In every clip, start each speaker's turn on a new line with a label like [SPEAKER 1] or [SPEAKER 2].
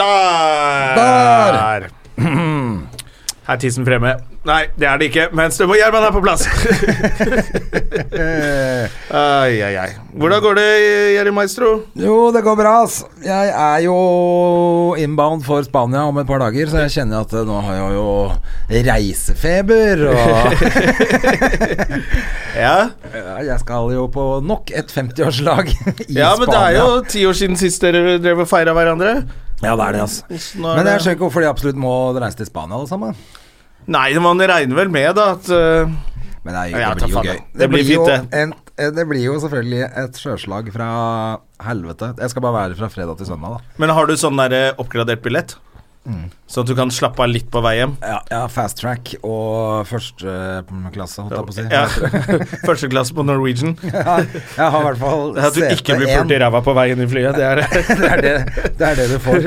[SPEAKER 1] Der! Er tissen fremme? Nei, det er det ikke, men Støm og Gjerman er på plass. ai, ai, ai. Hvordan går det, Jerry Maestro?
[SPEAKER 2] Jo, det går bra, ass. Jeg er jo inbound for Spania om et par dager, så jeg kjenner at eh, nå har jeg jo reisefeber. Og
[SPEAKER 1] Ja,
[SPEAKER 2] Ja, jeg skal jo på nok et 50-årslag i
[SPEAKER 1] ja men det
[SPEAKER 2] Spania.
[SPEAKER 1] er jo ti år siden sist dere drev og feira hverandre.
[SPEAKER 2] Ja, det er det, ass.
[SPEAKER 1] nå er
[SPEAKER 2] Men jeg
[SPEAKER 1] det-
[SPEAKER 2] skjønner ikke hvorfor de absolutt må reise til Spania, alle sammen.
[SPEAKER 1] Nei, man regner vel med da at eh,
[SPEAKER 2] Men det, er, jo-
[SPEAKER 1] Ja,
[SPEAKER 2] det
[SPEAKER 1] ta
[SPEAKER 2] blir jo
[SPEAKER 1] faen,
[SPEAKER 2] gøy.
[SPEAKER 1] da. Det blir
[SPEAKER 2] jo
[SPEAKER 1] fint, det.
[SPEAKER 2] En, eh, det blir jo selvfølgelig et sjøslag fra helvete. Jeg skal bare være fra fredag til søndag, da.
[SPEAKER 1] Men har du sånn der eh, oppgradert billett?
[SPEAKER 2] Mm.
[SPEAKER 1] Sånn at du kan slappe av litt på vei hjem?
[SPEAKER 2] Ja, ja fast track og førsteklasse, holdt jeg på å si.
[SPEAKER 1] Ja. Første klasse på Norwegian.
[SPEAKER 2] Ja, jeg har i hvert fall
[SPEAKER 1] At du ikke blir pult i
[SPEAKER 2] CP1.
[SPEAKER 1] ræva på vei inn i flyet. Det er,
[SPEAKER 2] Det er det, det er det du får.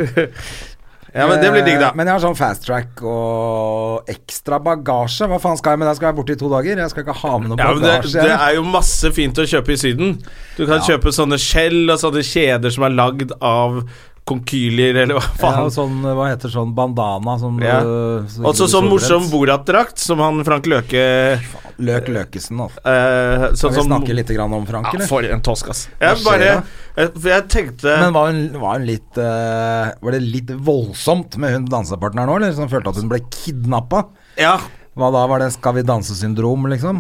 [SPEAKER 1] ja, men det blir digg, da.
[SPEAKER 2] Eh, Men jeg har sånn fast track og ekstra bagasje. Hva faen skal jeg med det? Skal jeg borte i to dager? Jeg skal ikke ha med noe
[SPEAKER 1] Ja, men det,
[SPEAKER 2] bagasje.
[SPEAKER 1] det er jo masse fint å kjøpe i Syden. Du kan kjøpe sånne skjell og sånne kjeder som er lagd av konkylier, eller hva
[SPEAKER 2] Jeg har
[SPEAKER 1] faen.
[SPEAKER 2] jo sånn, hva heter sånn, bandana som
[SPEAKER 1] Ja.
[SPEAKER 2] øh,
[SPEAKER 1] Også sånn morsom
[SPEAKER 2] solbrent.
[SPEAKER 1] Borat-drakt, som han Frank Løke eh,
[SPEAKER 2] Løk Løkesen, altså.
[SPEAKER 1] Sånn
[SPEAKER 2] Skal vi
[SPEAKER 1] som
[SPEAKER 2] snakke litt grann om Frank,
[SPEAKER 1] ja,
[SPEAKER 2] eller?
[SPEAKER 1] For en tosk, ass.
[SPEAKER 2] Hva
[SPEAKER 1] Jeg
[SPEAKER 2] skjer
[SPEAKER 1] bare
[SPEAKER 2] da?
[SPEAKER 1] jeg, For jeg tenkte
[SPEAKER 2] Men var hun, var hun litt øh, Var det litt voldsomt med hun dansepartneren nå, eller? Som følte at hun ble kidnappa?
[SPEAKER 1] Ja,
[SPEAKER 2] Hva da, var det Skal vi danse-syndrom, liksom?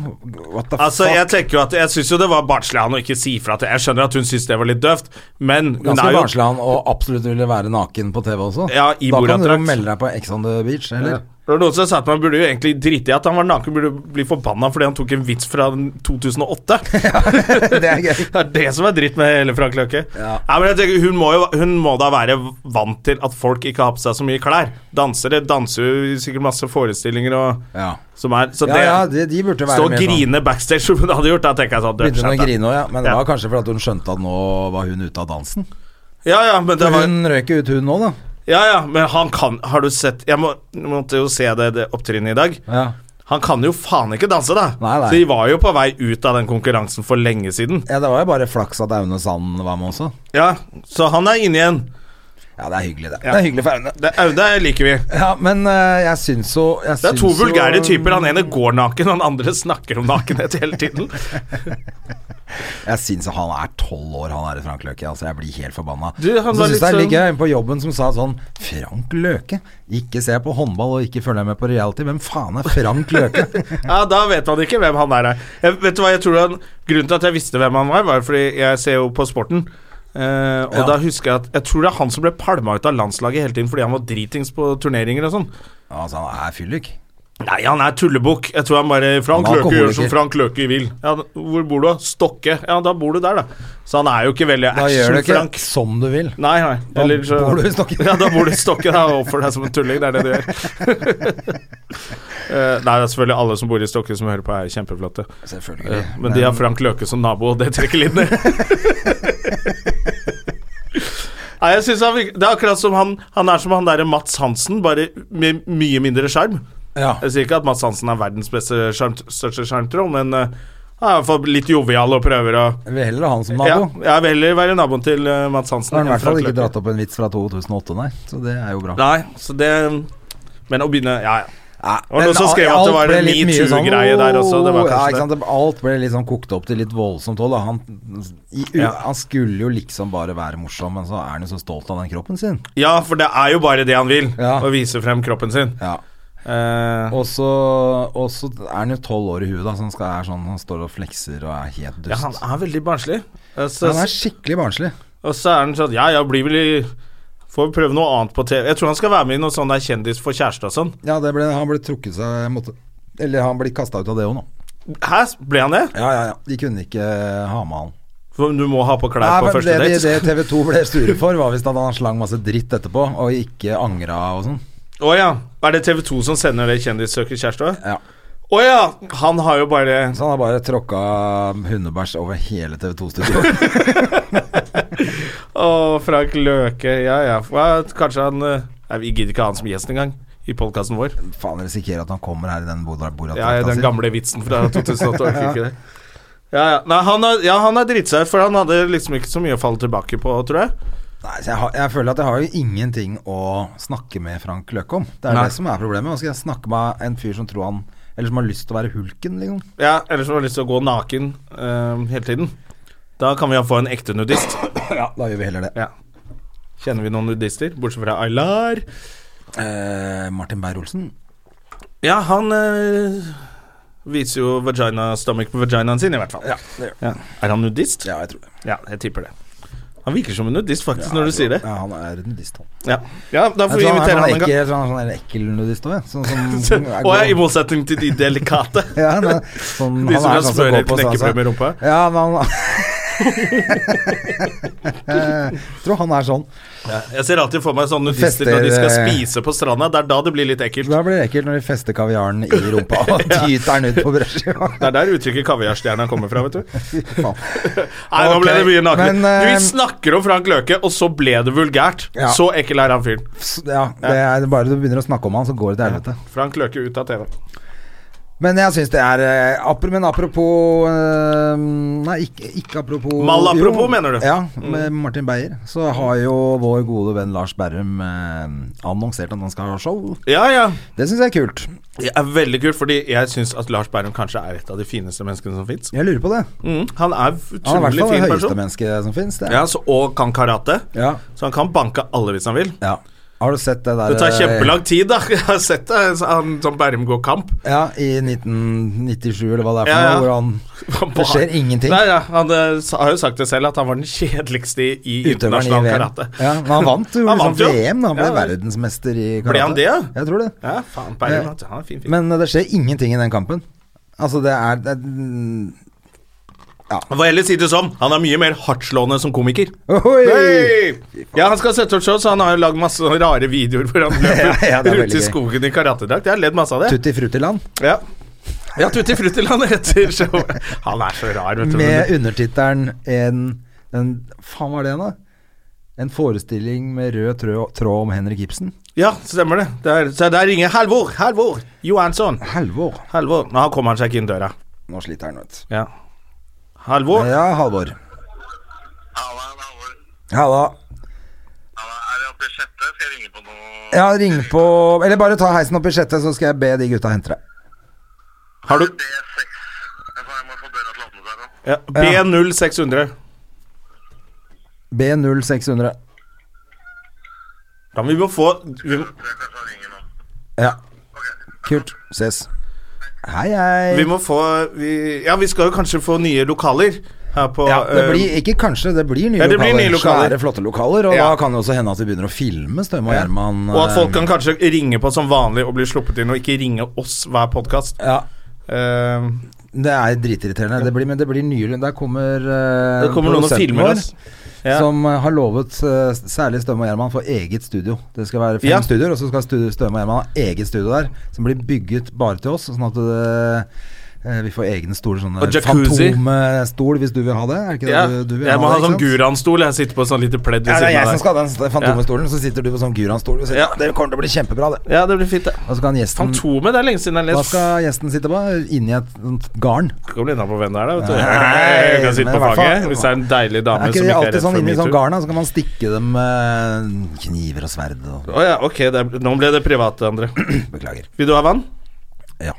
[SPEAKER 2] What the
[SPEAKER 1] altså,
[SPEAKER 2] fuck?
[SPEAKER 1] jeg tenker jo at Jeg syns jo det var barnslig av han å ikke si fra til Jeg skjønner at hun syns det var litt døvt, men hun
[SPEAKER 2] Ganske
[SPEAKER 1] er jo
[SPEAKER 2] barnslig han, og absolutt ville være naken på TV også.
[SPEAKER 1] Ja, i
[SPEAKER 2] da kan du jo
[SPEAKER 1] Borat-drakt.
[SPEAKER 2] melde deg på Ex on the Beach, eller?
[SPEAKER 1] Det var noen som sa at man burde jo egentlig drite i at han var naken, burde bli forbanna fordi han tok en vits fra 2008.
[SPEAKER 2] det er gøy.
[SPEAKER 1] Det er det som er dritt med hele Frank Løke.
[SPEAKER 2] Ja.
[SPEAKER 1] Nei, men jeg tenker, hun, må jo, hun må da være vant til at folk ikke har på seg så mye klær. Dansere danser jo sikkert masse forestillinger og
[SPEAKER 2] Ja,
[SPEAKER 1] som er Så
[SPEAKER 2] ja,
[SPEAKER 1] det
[SPEAKER 2] ja de, de burde være
[SPEAKER 1] Stå og
[SPEAKER 2] mer sånn.
[SPEAKER 1] grine backstage som hun hadde gjort, da tenker jeg sånn
[SPEAKER 2] Begynte hun å
[SPEAKER 1] dødsskjønt, da.
[SPEAKER 2] grine òg, ja. Men det
[SPEAKER 1] Ja.
[SPEAKER 2] var kanskje fordi hun skjønte at nå var hun ute av dansen.
[SPEAKER 1] Ja, ja, men det
[SPEAKER 2] For
[SPEAKER 1] var
[SPEAKER 2] hun røyk jo ut, hun nå, da.
[SPEAKER 1] Ja, ja, men han kan Har du sett Jeg må, måtte jo se det, det opptrinnet i dag.
[SPEAKER 2] Ja.
[SPEAKER 1] Han kan jo faen ikke danse, da.
[SPEAKER 2] Nei, nei.
[SPEAKER 1] Så de var jo på vei ut av den konkurransen for lenge siden.
[SPEAKER 2] ja, det var jo bare flaks at Aune Sand var med også.
[SPEAKER 1] Ja, Så han er inne igjen.
[SPEAKER 2] Ja, det er hyggelig, det.
[SPEAKER 1] Ja.
[SPEAKER 2] Det er hyggelig for Aune.
[SPEAKER 1] Det Aude liker vi.
[SPEAKER 2] Ja, men eh, jeg syns jo jeg
[SPEAKER 1] Det er
[SPEAKER 2] syns
[SPEAKER 1] to
[SPEAKER 2] jo-
[SPEAKER 1] vulgære typer. Han ene går naken, han andre snakker om nakenhet hele tiden.
[SPEAKER 2] Jeg syns han er tolv år, han er i Frank Løke. Altså, jeg blir helt forbanna.
[SPEAKER 1] Du, han
[SPEAKER 2] så
[SPEAKER 1] var
[SPEAKER 2] syns jeg
[SPEAKER 1] litt
[SPEAKER 2] det er litt
[SPEAKER 1] sånn-
[SPEAKER 2] gøy en på jobben som sa sånn Frank Løke? Ikke se på håndball og ikke følge med på reality. Hvem faen er Frank Løke?
[SPEAKER 1] Ja, Da vet man ikke hvem han er. Jeg, vet du hva, jeg tror han, Grunnen til at jeg visste hvem han var, var fordi jeg ser jo på sporten. Eh, og
[SPEAKER 2] Ja.
[SPEAKER 1] da husker Jeg at Jeg tror det er han som ble palma ut av landslaget hele tiden fordi han var dritings på turneringer og sånn.
[SPEAKER 2] altså, han er fyllik.
[SPEAKER 1] Nei, han er tullebukk. Jeg tror han bare Frank
[SPEAKER 2] Han er
[SPEAKER 1] Løke gjør
[SPEAKER 2] alkoholiker.
[SPEAKER 1] som Frank Løke vil. Ja, hvor bor du, da? Stokke. Ja, da bor du der, da. Så han er jo ikke veldig
[SPEAKER 2] Da gjør du ikke
[SPEAKER 1] action-Frank.
[SPEAKER 2] som du vil.
[SPEAKER 1] Nei, nei.
[SPEAKER 2] Da bor du i Stokke.
[SPEAKER 1] ja, da bor du i Stokke. Da og oppfører deg som en tulling. Det er det du gjør. Eh, nei, det er selvfølgelig alle som bor i Stokke som hører på, er kjempeflotte.
[SPEAKER 2] Selvfølgelig.
[SPEAKER 1] Eh, men de har Frank Løke som nabo, og det trekker litt ned. Nei, jeg synes han, virker- Det er akkurat som han Han er som han derre Mats Hansen, bare med mye mindre sjarm.
[SPEAKER 2] Ja.
[SPEAKER 1] Jeg sier ikke at Mats Hansen er verdens beste sjarm- største sjarmtroll, men eh, han er i hvert fall litt jovial og prøver å
[SPEAKER 2] Jeg vil heller ha han som
[SPEAKER 1] ja,
[SPEAKER 2] nabo.
[SPEAKER 1] Jeg vil heller være naboen til eh, Mats Hansen.
[SPEAKER 2] Da har han i
[SPEAKER 1] enn
[SPEAKER 2] hvert fall
[SPEAKER 1] Frank
[SPEAKER 2] ikke
[SPEAKER 1] Løke.
[SPEAKER 2] dratt opp en vits fra 2008, nei. Så det er jo bra.
[SPEAKER 1] Nei, så det Men å begynne Ja, ja.
[SPEAKER 2] Ja,
[SPEAKER 1] var noen som skrev at det var en metoo-greie der også, det
[SPEAKER 2] sånn,
[SPEAKER 1] var
[SPEAKER 2] ja,
[SPEAKER 1] kanskje
[SPEAKER 2] ikke sant? det- Alt ble liksom kokt opp til litt voldsomt òg, da. Han, i, u-
[SPEAKER 1] Ja.
[SPEAKER 2] han skulle jo liksom bare være morsom, men så er han jo så stolt av den kroppen sin.
[SPEAKER 1] Ja, for det er jo bare det han vil.
[SPEAKER 2] Ja.
[SPEAKER 1] Å vise frem kroppen sin.
[SPEAKER 2] Ja.
[SPEAKER 1] Eh,
[SPEAKER 2] Og så, og så er han jo tolv år i huet, da, så han, skal, er sånn, han står og flekser og er helt
[SPEAKER 1] ja,
[SPEAKER 2] dust.
[SPEAKER 1] han er veldig barnslig. Og så,
[SPEAKER 2] han er skikkelig barnslig.
[SPEAKER 1] og så er han sånn Ja, ja, blir vel i Får prøve noe annet på TV. Jeg tror han skal være med i noe sånn der Kjendis for kjæreste og sånn.
[SPEAKER 2] Ja, det ble, han ble trukket seg måtte, Eller han ble kasta ut av det òg nå.
[SPEAKER 1] Hæ, ble han det?
[SPEAKER 2] Ja, ja, ja. De kunne ikke eh, ha med han.
[SPEAKER 1] For du må ha på klær
[SPEAKER 2] Nei,
[SPEAKER 1] på
[SPEAKER 2] men
[SPEAKER 1] første
[SPEAKER 2] det,
[SPEAKER 1] date.
[SPEAKER 2] det TV 2 ble sure for, var visst at han slang masse dritt etterpå, og ikke angra og sånn.
[SPEAKER 1] Å ja. Er det TV 2 som sender det 'Kjendis søker kjæreste'? også?
[SPEAKER 2] Ja.
[SPEAKER 1] Å ja! Han har jo bare
[SPEAKER 2] Så han har bare tråkka hundebæsj over hele TV 2-studioet.
[SPEAKER 1] Å, Frank Løke. Ja ja. Hva, Kanskje han eh, Nei, Vi gidder ikke ha han som gjest engang i podkasten vår.
[SPEAKER 2] Faen, jeg risikerer at han kommer her i den borat
[SPEAKER 1] Ja, ja, den gamle vitsen fra 2008. Orker ikke det. Ja, ja. Nei, han er, ja, han er dritsau, for han hadde liksom ikke så mye å falle tilbake på, tror jeg.
[SPEAKER 2] Nei, så jeg, har, jeg føler at jeg har jo ingenting å snakke med Frank Løke om. Det er
[SPEAKER 1] Nei.
[SPEAKER 2] det som er problemet. Hva skal jeg snakke med en fyr som tror han Eller som har lyst til å være hulken, liksom?
[SPEAKER 1] Ja, Ellers har jeg lyst til å gå naken eh, hele tiden. Da kan vi jo få en ekte nudist.
[SPEAKER 2] Ja, da gjør vi heller det.
[SPEAKER 1] Ja. Kjenner vi noen nudister, bortsett fra Aylar?
[SPEAKER 2] Eh, Martin Beyer-Olsen.
[SPEAKER 1] Ja, han eh, viser jo vagina, stomach på vaginaen sin, i hvert fall.
[SPEAKER 2] det gjør
[SPEAKER 1] Ja. Er han nudist?
[SPEAKER 2] Ja, jeg tror det.
[SPEAKER 1] Ja, jeg tipper det. Han virker som en nudist, faktisk, når du sier det.
[SPEAKER 2] Ja, han er nudist, han.
[SPEAKER 1] Ja, ja da får
[SPEAKER 2] Jeg
[SPEAKER 1] vi
[SPEAKER 2] tror han er
[SPEAKER 1] invitere
[SPEAKER 2] sånn
[SPEAKER 1] han en
[SPEAKER 2] ekkel,
[SPEAKER 1] gang.
[SPEAKER 2] jeg tror han er sånn der ekkel nudist òg, jeg. Sånn som
[SPEAKER 1] Å ja, i motsetning til de delikate.
[SPEAKER 2] Ja, han er sånn,
[SPEAKER 1] De som
[SPEAKER 2] han er sånn
[SPEAKER 1] kan
[SPEAKER 2] som
[SPEAKER 1] smøre
[SPEAKER 2] går på sånn-
[SPEAKER 1] knekkebrød med rumpa.
[SPEAKER 2] Ja, men han Jeg tror han er sånn.
[SPEAKER 1] Jeg ser alltid for meg sånne nudister når de
[SPEAKER 2] Fester,
[SPEAKER 1] skal
[SPEAKER 2] eh,
[SPEAKER 1] spise på stranda. Det er da det blir litt ekkelt.
[SPEAKER 2] Da blir det ekkelt når de fester kaviaren i rumpa og tyter den ut på brødskiva.
[SPEAKER 1] Det er der uttrykket kaviarstjerna kommer fra, vet du.
[SPEAKER 2] Faen.
[SPEAKER 1] Nei, nå ble det
[SPEAKER 2] Ok,
[SPEAKER 1] mye naken.
[SPEAKER 2] men, eh,
[SPEAKER 1] Vi snakker om Frank Løke, og så ble det vulgært.
[SPEAKER 2] Ja.
[SPEAKER 1] Så ekkel er han fyren.
[SPEAKER 2] Så- Ja, det er bare du begynner å snakke om han, så går det til helvete.
[SPEAKER 1] Frank Løke ut av TV.
[SPEAKER 2] Men jeg syns det er eh, apro- Men apropos eh, Nei, ikke, ikke apropos
[SPEAKER 1] Malapropos,
[SPEAKER 2] jo,
[SPEAKER 1] mener du?
[SPEAKER 2] Ja, med Martin Beyer. Så har jo vår gode venn Lars Berrum eh, annonsert at han skal ha show.
[SPEAKER 1] Ja, ja.
[SPEAKER 2] Det syns jeg er kult.
[SPEAKER 1] Det er veldig kult, fordi jeg syns at Lars Berrum kanskje er et av de fineste menneskene som fins.
[SPEAKER 2] Jeg lurer på det.
[SPEAKER 1] Mm, han
[SPEAKER 2] Han er
[SPEAKER 1] er
[SPEAKER 2] i hvert
[SPEAKER 1] utrolig
[SPEAKER 2] fall det
[SPEAKER 1] fin
[SPEAKER 2] høyeste
[SPEAKER 1] person.
[SPEAKER 2] mennesket som fins.
[SPEAKER 1] Ja, så, og kan karate.
[SPEAKER 2] Ja.
[SPEAKER 1] Så han kan banke alle hvis han vil.
[SPEAKER 2] ja. Har du sett det der
[SPEAKER 1] Det tar
[SPEAKER 2] eh,
[SPEAKER 1] kjempelang tid, da. Jeg har sett det, så han som Berrum går kamp.
[SPEAKER 2] eh, Ja, i 1997 eller hva det er for
[SPEAKER 1] Ja, ja.
[SPEAKER 2] noe, hvor han Det skjer ingenting.
[SPEAKER 1] Nei, ja, han eh, sa- har jo sagt det selv, at han var den kjedeligste i, i
[SPEAKER 2] Utøveren i
[SPEAKER 1] internasjonal
[SPEAKER 2] VM.
[SPEAKER 1] karate.
[SPEAKER 2] Ja, men han vant jo
[SPEAKER 1] Han
[SPEAKER 2] liksom
[SPEAKER 1] vant jo.
[SPEAKER 2] VM, da. Han ble
[SPEAKER 1] Ja.
[SPEAKER 2] verdensmester i karate.
[SPEAKER 1] han det, ja?
[SPEAKER 2] Jeg tror det.
[SPEAKER 1] Ja, faen, Berrum.
[SPEAKER 2] Ja.
[SPEAKER 1] altså, Han er fin, fin.
[SPEAKER 2] Men eh, det skjer ingenting i den kampen. Altså, det er, det er
[SPEAKER 1] Jeg får heller si det sånn, han er mye mer hardtslående som komiker.
[SPEAKER 2] Ohoi!
[SPEAKER 1] Hei! Ja, han skal sette opp show, så han har jo lagd masse sånne rare videoer hvor han løper
[SPEAKER 2] Ja, ja, det er
[SPEAKER 1] rundt
[SPEAKER 2] veldig
[SPEAKER 1] i
[SPEAKER 2] gøy.
[SPEAKER 1] skogen i karatedrakt. Jeg har ledd masse av det.
[SPEAKER 2] Tutti Frutti-land
[SPEAKER 1] Ja. ja, Tutti Fruttiland etter showet. Han er så rar, vet du.
[SPEAKER 2] med undertittelen en, en Faen, hva er det, da? En forestilling med rød trø- tråd om Henrik Ibsen.
[SPEAKER 1] Ja, stemmer det. Der, så der ringer Halvor. Halvor Johansson.
[SPEAKER 2] Halvor.
[SPEAKER 1] Halvor. Nå kommer han seg ikke inn døra.
[SPEAKER 2] Nå sliter han, vet du.
[SPEAKER 1] Ja. Halvor?
[SPEAKER 2] Ja, Halvor.
[SPEAKER 3] Halla, det er Halvor.
[SPEAKER 2] Halla.
[SPEAKER 3] Halla, er det oppe i sjette? Skal jeg ringe på noe?
[SPEAKER 2] Ja, ring på Eller bare ta heisen opp i sjette, så skal jeg be de gutta hente deg.
[SPEAKER 1] Har du
[SPEAKER 3] D6. Jeg sa jeg må få døra til å åpne seg nå.
[SPEAKER 1] ja, B0600?
[SPEAKER 2] B0600.
[SPEAKER 1] Ja, men vi må få vi,
[SPEAKER 3] Jeg tror kanskje han ringer nå.
[SPEAKER 2] Ja. Kult. Ses. Hei, hei.
[SPEAKER 1] vi må få vi, Ja, vi skal jo kanskje få nye lokaler her på
[SPEAKER 2] ja, det
[SPEAKER 1] eh,
[SPEAKER 2] blir, ikke kanskje, det blir nye
[SPEAKER 1] Ja, det blir
[SPEAKER 2] lokaler.
[SPEAKER 1] nye lokaler.
[SPEAKER 2] Svære, flotte lokaler. Og
[SPEAKER 1] Ja.
[SPEAKER 2] da kan det også hende at vi begynner å filme Støme og Gjerman. eh,
[SPEAKER 1] Og at folk kan kanskje ringe på som vanlig og bli sluppet inn, og ikke ringe oss hver Ehm, podkast.
[SPEAKER 2] Ja, det er dritirriterende. Det blir, men det blir nye Der kommer, eh,
[SPEAKER 1] det kommer noen og
[SPEAKER 2] produsenten
[SPEAKER 1] filmer
[SPEAKER 2] vår,
[SPEAKER 1] oss. Ja.
[SPEAKER 2] Som eh, har lovet eh, særlig Støme og Gjerman for eget studio. Det skal være fem
[SPEAKER 1] Ja.
[SPEAKER 2] studioer, og så skal stu- Støme og Gjerman ha eget studio der. Som blir bygget bare til oss, sånn at eh, eh, vi får egne stoler.
[SPEAKER 1] Og
[SPEAKER 2] Sånne
[SPEAKER 1] jacuzzi.
[SPEAKER 2] fantomstol, hvis du vil ha det. Er ikke det
[SPEAKER 1] Ja.
[SPEAKER 2] du, du vil
[SPEAKER 1] Jeg må ha
[SPEAKER 2] det,
[SPEAKER 1] sånn
[SPEAKER 2] ikke sant?
[SPEAKER 1] Guran-stol. Jeg sitter på sånn lite pledd
[SPEAKER 2] Ja,
[SPEAKER 1] ved
[SPEAKER 2] det er jeg
[SPEAKER 1] siden
[SPEAKER 2] som
[SPEAKER 1] av der.
[SPEAKER 2] skal ha den fantomestolen, så sitter du på sånn Guran-stol og sier
[SPEAKER 1] Ja.
[SPEAKER 2] ja. det kommer til å bli kjempebra, det.
[SPEAKER 1] Ja, det blir fint, det.
[SPEAKER 2] Og så kan gjesten
[SPEAKER 1] Fantomet, det er lenge siden jeg
[SPEAKER 2] Mm. Hva
[SPEAKER 1] har lest.
[SPEAKER 2] skal gjesten sitte på? Inni et sånt garn.
[SPEAKER 1] Kom inna på hvem det er, da. Vet du.
[SPEAKER 2] Nei,
[SPEAKER 1] jeg kan sitte
[SPEAKER 2] men
[SPEAKER 1] på
[SPEAKER 2] i hvert fall-
[SPEAKER 1] fanget hvis det er en deilig dame
[SPEAKER 2] Er ikke
[SPEAKER 1] som
[SPEAKER 2] de
[SPEAKER 1] ikke er
[SPEAKER 2] alltid
[SPEAKER 1] redd
[SPEAKER 2] sånn
[SPEAKER 1] for
[SPEAKER 2] inni sånn
[SPEAKER 1] metoo.
[SPEAKER 2] garn, da? Så kan man stikke dem med kniver og sverd og
[SPEAKER 1] Å ja, ok. Det er, nå ble det privat, André.
[SPEAKER 2] Beklager.
[SPEAKER 1] Vil du ha vann?
[SPEAKER 2] Ja.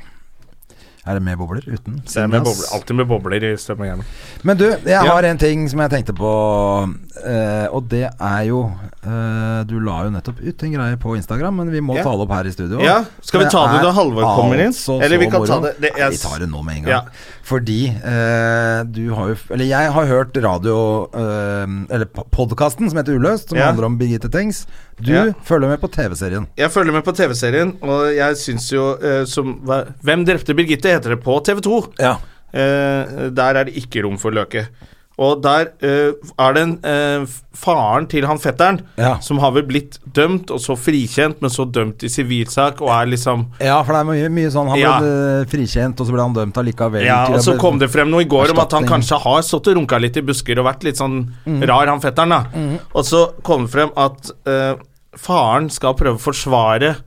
[SPEAKER 2] Er det med bobler? Uten?
[SPEAKER 1] Det er
[SPEAKER 2] Siden,
[SPEAKER 1] med
[SPEAKER 2] ass.
[SPEAKER 1] bobler, alltid med bobler i stemmehjernen.
[SPEAKER 2] Men du, jeg har en ting som jeg tenkte på, eh, og det er jo eh, Du la jo nettopp ut en greie på Instagram, men vi må
[SPEAKER 1] Ja.
[SPEAKER 2] ta det opp her i studio.
[SPEAKER 1] Ja, skal vi ta det da Halvor kommer inn?
[SPEAKER 2] Eller vi kan ta det
[SPEAKER 1] det-
[SPEAKER 2] Nei,
[SPEAKER 1] jeg-
[SPEAKER 2] Vi tar det nå med en gang.
[SPEAKER 1] Ja.
[SPEAKER 2] Fordi eh, du har jo Eller jeg har hørt radio eh, Eller podkasten som heter Uløst, som
[SPEAKER 1] Ja.
[SPEAKER 2] handler om Birgitte Tengs. Du
[SPEAKER 1] Ja.
[SPEAKER 2] følger med på TV-serien.
[SPEAKER 1] Jeg følger med på TV-serien, og jeg syns jo eh, som hva- Hvem drepte Birgitte? heter det på TV2.
[SPEAKER 2] Ja.
[SPEAKER 1] Eh, der er det ikke rom for Løke. Og der eh, er det en eh, f- faren til han fetteren
[SPEAKER 2] Ja.
[SPEAKER 1] som har vel blitt dømt, og så frikjent, men så dømt i sivilsak, og er liksom
[SPEAKER 2] Ja, for det er mye, mye sånn Han ble
[SPEAKER 1] Ja.
[SPEAKER 2] eh, frikjent, og så ble han dømt allikevel.
[SPEAKER 1] Ja,
[SPEAKER 2] til å
[SPEAKER 1] og så
[SPEAKER 2] bli-
[SPEAKER 1] kom det frem noe i går om at han
[SPEAKER 2] Erstatning.
[SPEAKER 1] kanskje har stått og runka litt i busker og vært litt sånn rar, han fetteren, da. Og så kom det frem at eh, faren skal prøve å forsvare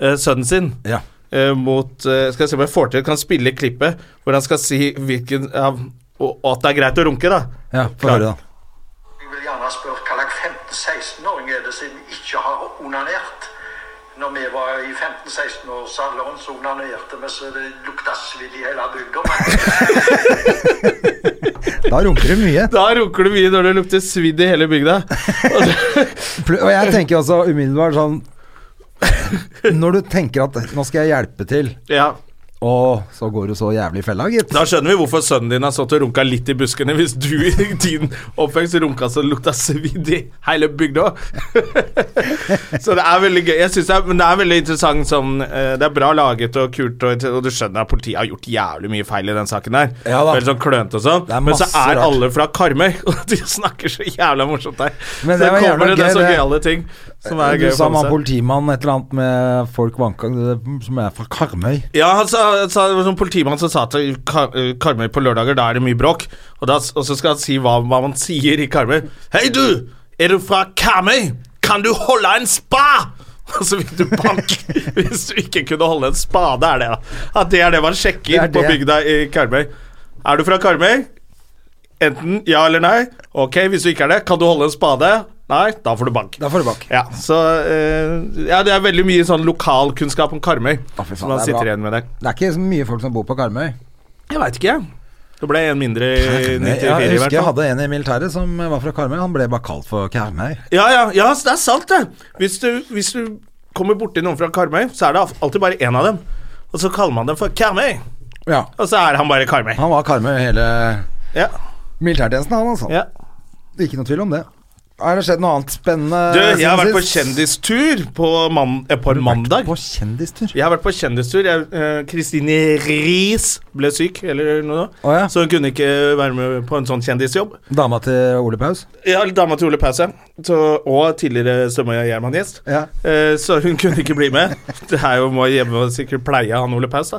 [SPEAKER 1] eh, sønnen sin.
[SPEAKER 2] Ja.
[SPEAKER 1] eh, mot eh, Skal jeg se om jeg får til Kan spille klippet hvor han skal si hvilken av- og, og at det er greit å runke, da.
[SPEAKER 2] ja Få høre, da.
[SPEAKER 4] Jeg vil gjerne spørre hva slags 15-16-åring er det som ikke har onanert? Når vi var i 15-16-årsalderen, så onanerte vi så det lukta svidd i hele bygda.
[SPEAKER 2] Da runker du mye.
[SPEAKER 1] Da runker du mye når det lukter svidd i hele bygda. Og det-
[SPEAKER 2] Pl- Og jeg tenker også umiddelbart sånn Når du tenker at 'nå skal jeg hjelpe til',
[SPEAKER 1] ja.
[SPEAKER 2] og så går du så jævlig i fella, gitt.
[SPEAKER 1] Da skjønner vi hvorfor sønnen din har stått og runka litt i buskene, hvis du i din oppvekst runka så det lukta svidd i hele bygda. så det er veldig gøy. Jeg synes det er, men det er veldig interessant sånn eh, Det er bra laget og kult, og, og du skjønner at politiet har gjort jævlig mye feil i den saken der.
[SPEAKER 2] Ja da.
[SPEAKER 1] Veldig sånn klønete og
[SPEAKER 2] Det er
[SPEAKER 1] sånn. Men så
[SPEAKER 2] masse
[SPEAKER 1] er
[SPEAKER 2] rart.
[SPEAKER 1] alle fra Karmøy, og de snakker så jævla morsomt der.
[SPEAKER 2] Men
[SPEAKER 1] så
[SPEAKER 2] det var
[SPEAKER 1] kommer
[SPEAKER 2] jævla
[SPEAKER 1] det
[SPEAKER 2] gøy,
[SPEAKER 1] så
[SPEAKER 2] det.
[SPEAKER 1] gøyale ting som er
[SPEAKER 2] Du
[SPEAKER 1] gøy å
[SPEAKER 2] sa
[SPEAKER 1] få med
[SPEAKER 2] man
[SPEAKER 1] seg.
[SPEAKER 2] politimann et eller annet med folk vanka som er fra Karmøy.
[SPEAKER 1] Ja, han sa, han sa det var sånn politimann som sa at i Kar eh, Karmøy på lørdager, da er det mye bråk. Og, da, s- og så skal han si hva, hva man sier i Karmøy. Hei, du! Er du fra Karmøy? Kan du holde en spa? Og så fikk du bank hvis du ikke kunne holde en spade, er det da. At det er det man
[SPEAKER 2] Det
[SPEAKER 1] sjekker
[SPEAKER 2] er
[SPEAKER 1] på
[SPEAKER 2] det.
[SPEAKER 1] bygda i Karmøy. Er du fra Karmøy? Enten ja eller nei. Ok, hvis du ikke er det, kan du holde en spade? Nei, da får du bank.
[SPEAKER 2] Da får du bak.
[SPEAKER 1] Ja, så eh, Ja, det er veldig mye sånn lokalkunnskap om Karmøy
[SPEAKER 2] Å, fy faen,
[SPEAKER 1] som man
[SPEAKER 2] det er
[SPEAKER 1] sitter
[SPEAKER 2] bra.
[SPEAKER 1] igjen med der.
[SPEAKER 2] Det er ikke så mye folk som bor på Karmøy.
[SPEAKER 1] Jeg veit ikke, jeg. Det ble en mindre i 94
[SPEAKER 2] Jeg, jeg
[SPEAKER 1] i hvert
[SPEAKER 2] husker jeg
[SPEAKER 1] fall.
[SPEAKER 2] hadde en i militæret som var fra Karmøy. Han ble bare kalt for Karmøy.
[SPEAKER 1] Ja, ja, ja, så det er sant, det. Hvis du, hvis du kommer borti noen fra Karmøy, så er det al- alltid bare én av dem. Og så kaller man dem for Karmøy,
[SPEAKER 2] Ja.
[SPEAKER 1] og så er han bare Karmøy.
[SPEAKER 2] Han var Karmøy hele
[SPEAKER 1] Ja,
[SPEAKER 2] militærtjenesten, han altså.
[SPEAKER 1] ja.
[SPEAKER 2] Ikke noe tvil om det. Har det skjedd noe annet spennende?
[SPEAKER 1] Du, jeg har
[SPEAKER 2] siden
[SPEAKER 1] vært på
[SPEAKER 2] sist?
[SPEAKER 1] kjendistur på, man, eh, på en mandag.
[SPEAKER 2] På kjendistur?
[SPEAKER 1] Jeg har vært på kjendistur. Jeg, eh, Kristine Riis ble syk, eller noe,
[SPEAKER 2] Å, ja.
[SPEAKER 1] så hun kunne ikke være med på en sånn kjendisjobb.
[SPEAKER 2] Dama til Ole Paus?
[SPEAKER 1] Ja, dama til Ole Pause, så, og tidligere Stømøy Gjerman-gjest.
[SPEAKER 2] Ja.
[SPEAKER 1] Eh, så hun kunne ikke bli med. Det er jo må hjemme og sikkert pleie han Ole Paus, da.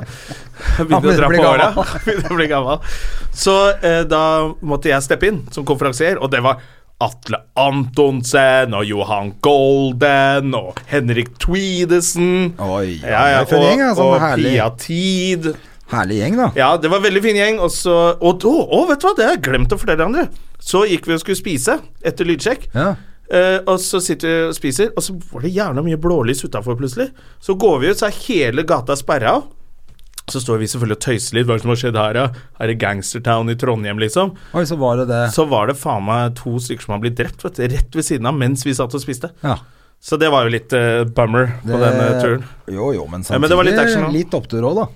[SPEAKER 2] Han
[SPEAKER 1] Han Begynner å
[SPEAKER 2] begynner å
[SPEAKER 1] dra
[SPEAKER 2] bli
[SPEAKER 1] på
[SPEAKER 2] gammel.
[SPEAKER 1] åra. Han Begynner å bli gammel. Så eh, da måtte jeg steppe inn som konferansier, og det var Atle Antonsen og Johan Golden og Henrik Tweedesen.
[SPEAKER 2] Oi,
[SPEAKER 1] ja, ja,
[SPEAKER 2] for en gjeng,
[SPEAKER 1] og,
[SPEAKER 2] altså,
[SPEAKER 1] og
[SPEAKER 2] herlig.
[SPEAKER 1] Pia Tid.
[SPEAKER 2] Herlig gjeng, da.
[SPEAKER 1] Ja, det var veldig fin gjeng. Og, så, og, å, å, vet du hva, det har jeg glemt å fortelle andre. Så gikk vi og skulle spise etter lydsjekk.
[SPEAKER 2] Ja.
[SPEAKER 1] Eh, og så sitter vi og spiser, og så var det jævla mye blålys utafor plutselig. Så går vi ut, så er hele gata sperra av. Så står vi selvfølgelig og tøyser litt. Hva er det som har skjedd her, da? Er det gangstertown i Trondheim, liksom?
[SPEAKER 2] Oi, så var det det.
[SPEAKER 1] Så var det faen meg to stykker som har blitt drept, vet du. Rett ved siden av mens vi satt og spiste.
[SPEAKER 2] Ja.
[SPEAKER 1] Så det var jo litt eh, bummer på den eh, turen.
[SPEAKER 2] Jo, jo, men
[SPEAKER 1] Ja,
[SPEAKER 2] samtidig
[SPEAKER 1] men det var litt action, da.
[SPEAKER 2] litt opptur òg, da.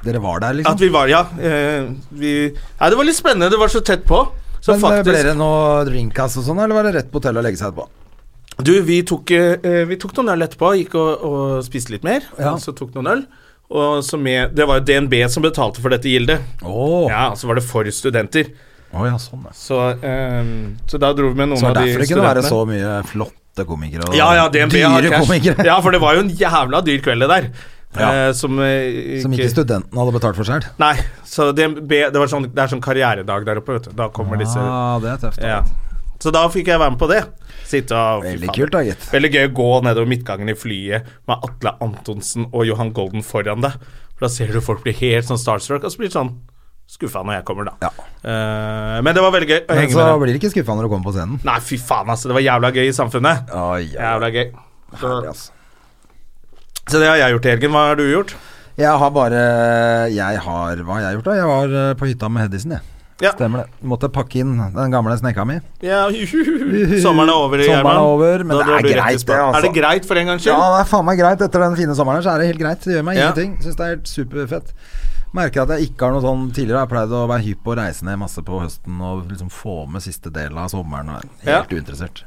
[SPEAKER 2] Dere var der,
[SPEAKER 1] At
[SPEAKER 2] liksom.
[SPEAKER 1] vi var Ja. eh, vi Nei, det var litt spennende. Det var så tett på. Så
[SPEAKER 2] men eh,
[SPEAKER 1] faktisk
[SPEAKER 2] ble det noe drinkas og sånn, eller var det rett på hotellet og legge seg etterpå?
[SPEAKER 1] Du, vi tok, eh, vi tok noen øl etterpå, gikk og, og spiste litt mer.
[SPEAKER 2] Ja.
[SPEAKER 1] Og så tok noen øl. Og så med, det var jo DNB som betalte for dette gildet.
[SPEAKER 2] Å
[SPEAKER 1] Ja, og så var det for studenter.
[SPEAKER 2] Å ja, sånn, ja.
[SPEAKER 1] Så, eh, så da dro vi med noen
[SPEAKER 2] Så det er
[SPEAKER 1] av de
[SPEAKER 2] derfor det kunne
[SPEAKER 1] studentene.
[SPEAKER 2] være så mye flotte komikere og
[SPEAKER 1] ja, ja, DNB har
[SPEAKER 2] dyre
[SPEAKER 1] cash.
[SPEAKER 2] komikere
[SPEAKER 1] Ja, for det var jo en jævla dyr kveld, det der.
[SPEAKER 2] Ja.
[SPEAKER 1] Eh, som, eh,
[SPEAKER 2] som ikke studentene hadde betalt for sjøl.
[SPEAKER 1] Nei, så DNB Det, var sånn, det er sånn karrieredag der oppe, vet du. Da kommer disse
[SPEAKER 2] Ah, det er tøft. da.
[SPEAKER 1] ja. Så da fikk jeg være med på det. Sitte og fy
[SPEAKER 2] Veldig
[SPEAKER 1] faen.
[SPEAKER 2] kult, da, gitt.
[SPEAKER 1] Veldig gøy å gå nedover midtgangen i flyet med Atle Antonsen og Johan Golden foran deg. For da ser du folk bli helt sånn starstruck, og så blir det sånn skuffa når jeg kommer, da.
[SPEAKER 2] Ja.
[SPEAKER 1] Eh, men det var veldig gøy å
[SPEAKER 2] Men
[SPEAKER 1] henge
[SPEAKER 2] så
[SPEAKER 1] med dem.
[SPEAKER 2] blir det ikke skuffa når du kommer på scenen.
[SPEAKER 1] Nei, fy faen, altså. Det var jævla gøy i samfunnet.
[SPEAKER 2] Oi, oi, oi.
[SPEAKER 1] Jævla gøy. Så,
[SPEAKER 2] Herlig, altså.
[SPEAKER 1] så det har jeg gjort i helgen. Hva har du gjort?
[SPEAKER 2] Jeg har bare Jeg har Hva har jeg gjort, da? Jeg var eh, på hytta med Hedisen, jeg.
[SPEAKER 1] Ja.
[SPEAKER 2] Stemmer det. Måtte pakke inn den gamle snekka mi.
[SPEAKER 1] ja Sommeren er over,
[SPEAKER 2] Sommeren er
[SPEAKER 1] Gjerman.
[SPEAKER 2] over, men det
[SPEAKER 1] Da drar
[SPEAKER 2] er
[SPEAKER 1] du rett i
[SPEAKER 2] greit, det,
[SPEAKER 1] spa.
[SPEAKER 2] altså.
[SPEAKER 1] Er det greit for en gangs
[SPEAKER 2] Ja,
[SPEAKER 1] skyld?
[SPEAKER 2] det er faen meg greit. Etter den fine sommeren her, så er det helt greit. Det gjør meg
[SPEAKER 1] Ja.
[SPEAKER 2] ingenting. Syns det er helt superfett. Merker at jeg ikke har noe sånn tidligere. Jeg har pleid å være hypp på å reise ned masse på høsten og liksom få med siste del av sommeren. Og er
[SPEAKER 1] Ja.
[SPEAKER 2] helt uinteressert.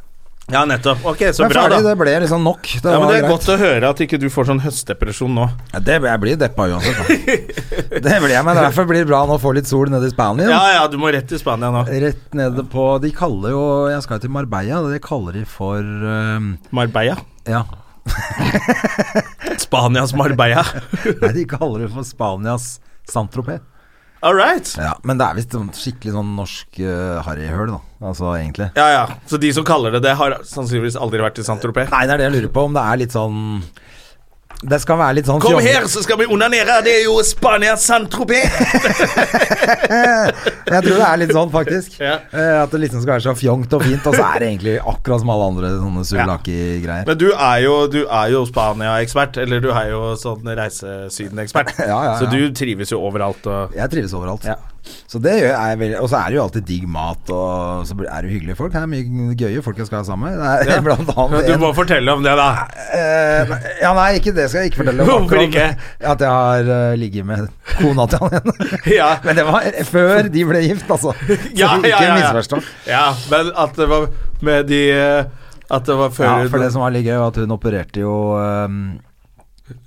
[SPEAKER 1] Ja, nettopp. Ok, så
[SPEAKER 2] Men
[SPEAKER 1] bra,
[SPEAKER 2] ferdig,
[SPEAKER 1] da.
[SPEAKER 2] det ble liksom nok. Det
[SPEAKER 1] Ja,
[SPEAKER 2] var
[SPEAKER 1] men Det er
[SPEAKER 2] greit.
[SPEAKER 1] godt å høre at ikke du får sånn høstdepresjon nå.
[SPEAKER 2] Ja, det, jeg blir deppa uansett. Da. det blir jeg, men derfor blir det bra nå å få litt sol nede i Spania.
[SPEAKER 1] Ja, ja, du må rett til Spania nå.
[SPEAKER 2] Rett nede på De kaller jo Jeg skal jo til Marbella, og det kaller de for ehm,
[SPEAKER 1] Marbella.
[SPEAKER 2] Ja.
[SPEAKER 1] Spanias Marbella.
[SPEAKER 2] Nei, de kaller det for Spanias Saint-Tropez.
[SPEAKER 1] All right.
[SPEAKER 2] Ja, men det er visst sånn skikkelig sånn norsk uh, harryhøl, da. Altså egentlig.
[SPEAKER 1] Ja, ja. Så de som kaller det det, har sannsynligvis aldri vært i Saint-Tropez.
[SPEAKER 2] Nei, det er det jeg lurer på, om det er litt sånn Det skal være litt sånn
[SPEAKER 1] Kom
[SPEAKER 2] fjolle-
[SPEAKER 1] her, så skal vi onanere! Det er jo Spania Saint-Tropez!
[SPEAKER 2] Jeg tror det er litt sånn, faktisk.
[SPEAKER 1] Ja.
[SPEAKER 2] Eh, at det liksom skal være så fjongt og fint, og så er det egentlig akkurat som alle andre sånne sulaki-greier.
[SPEAKER 1] Men du er jo, du er jo Spania-ekspert, eller du er jo sånn reisesyden-ekspert.
[SPEAKER 2] Ja, ja, ja.
[SPEAKER 1] Så du trives jo overalt og
[SPEAKER 2] Jeg trives overalt. Så det gjør jeg veldig Og så er det jo alltid digg mat, og så er det jo hyggelige folk. Det er mye gøye folk jeg skal være sammen med. Det er blant annet
[SPEAKER 1] Du
[SPEAKER 2] en-
[SPEAKER 1] må fortelle om det, da.
[SPEAKER 2] Eh, ja, nei, ikke det skal jeg ikke fortelle om.
[SPEAKER 1] Hvorfor
[SPEAKER 2] akkurat
[SPEAKER 1] ikke?
[SPEAKER 2] At jeg har eh, ligget med kona til han igjen.
[SPEAKER 1] Ja.
[SPEAKER 2] Men det var før de ble gift, altså. Så ikke misforstå.
[SPEAKER 1] Ja, men at det var med de eh, At det var før
[SPEAKER 2] Ja, for det som var litt gøy, var at hun opererte jo eh,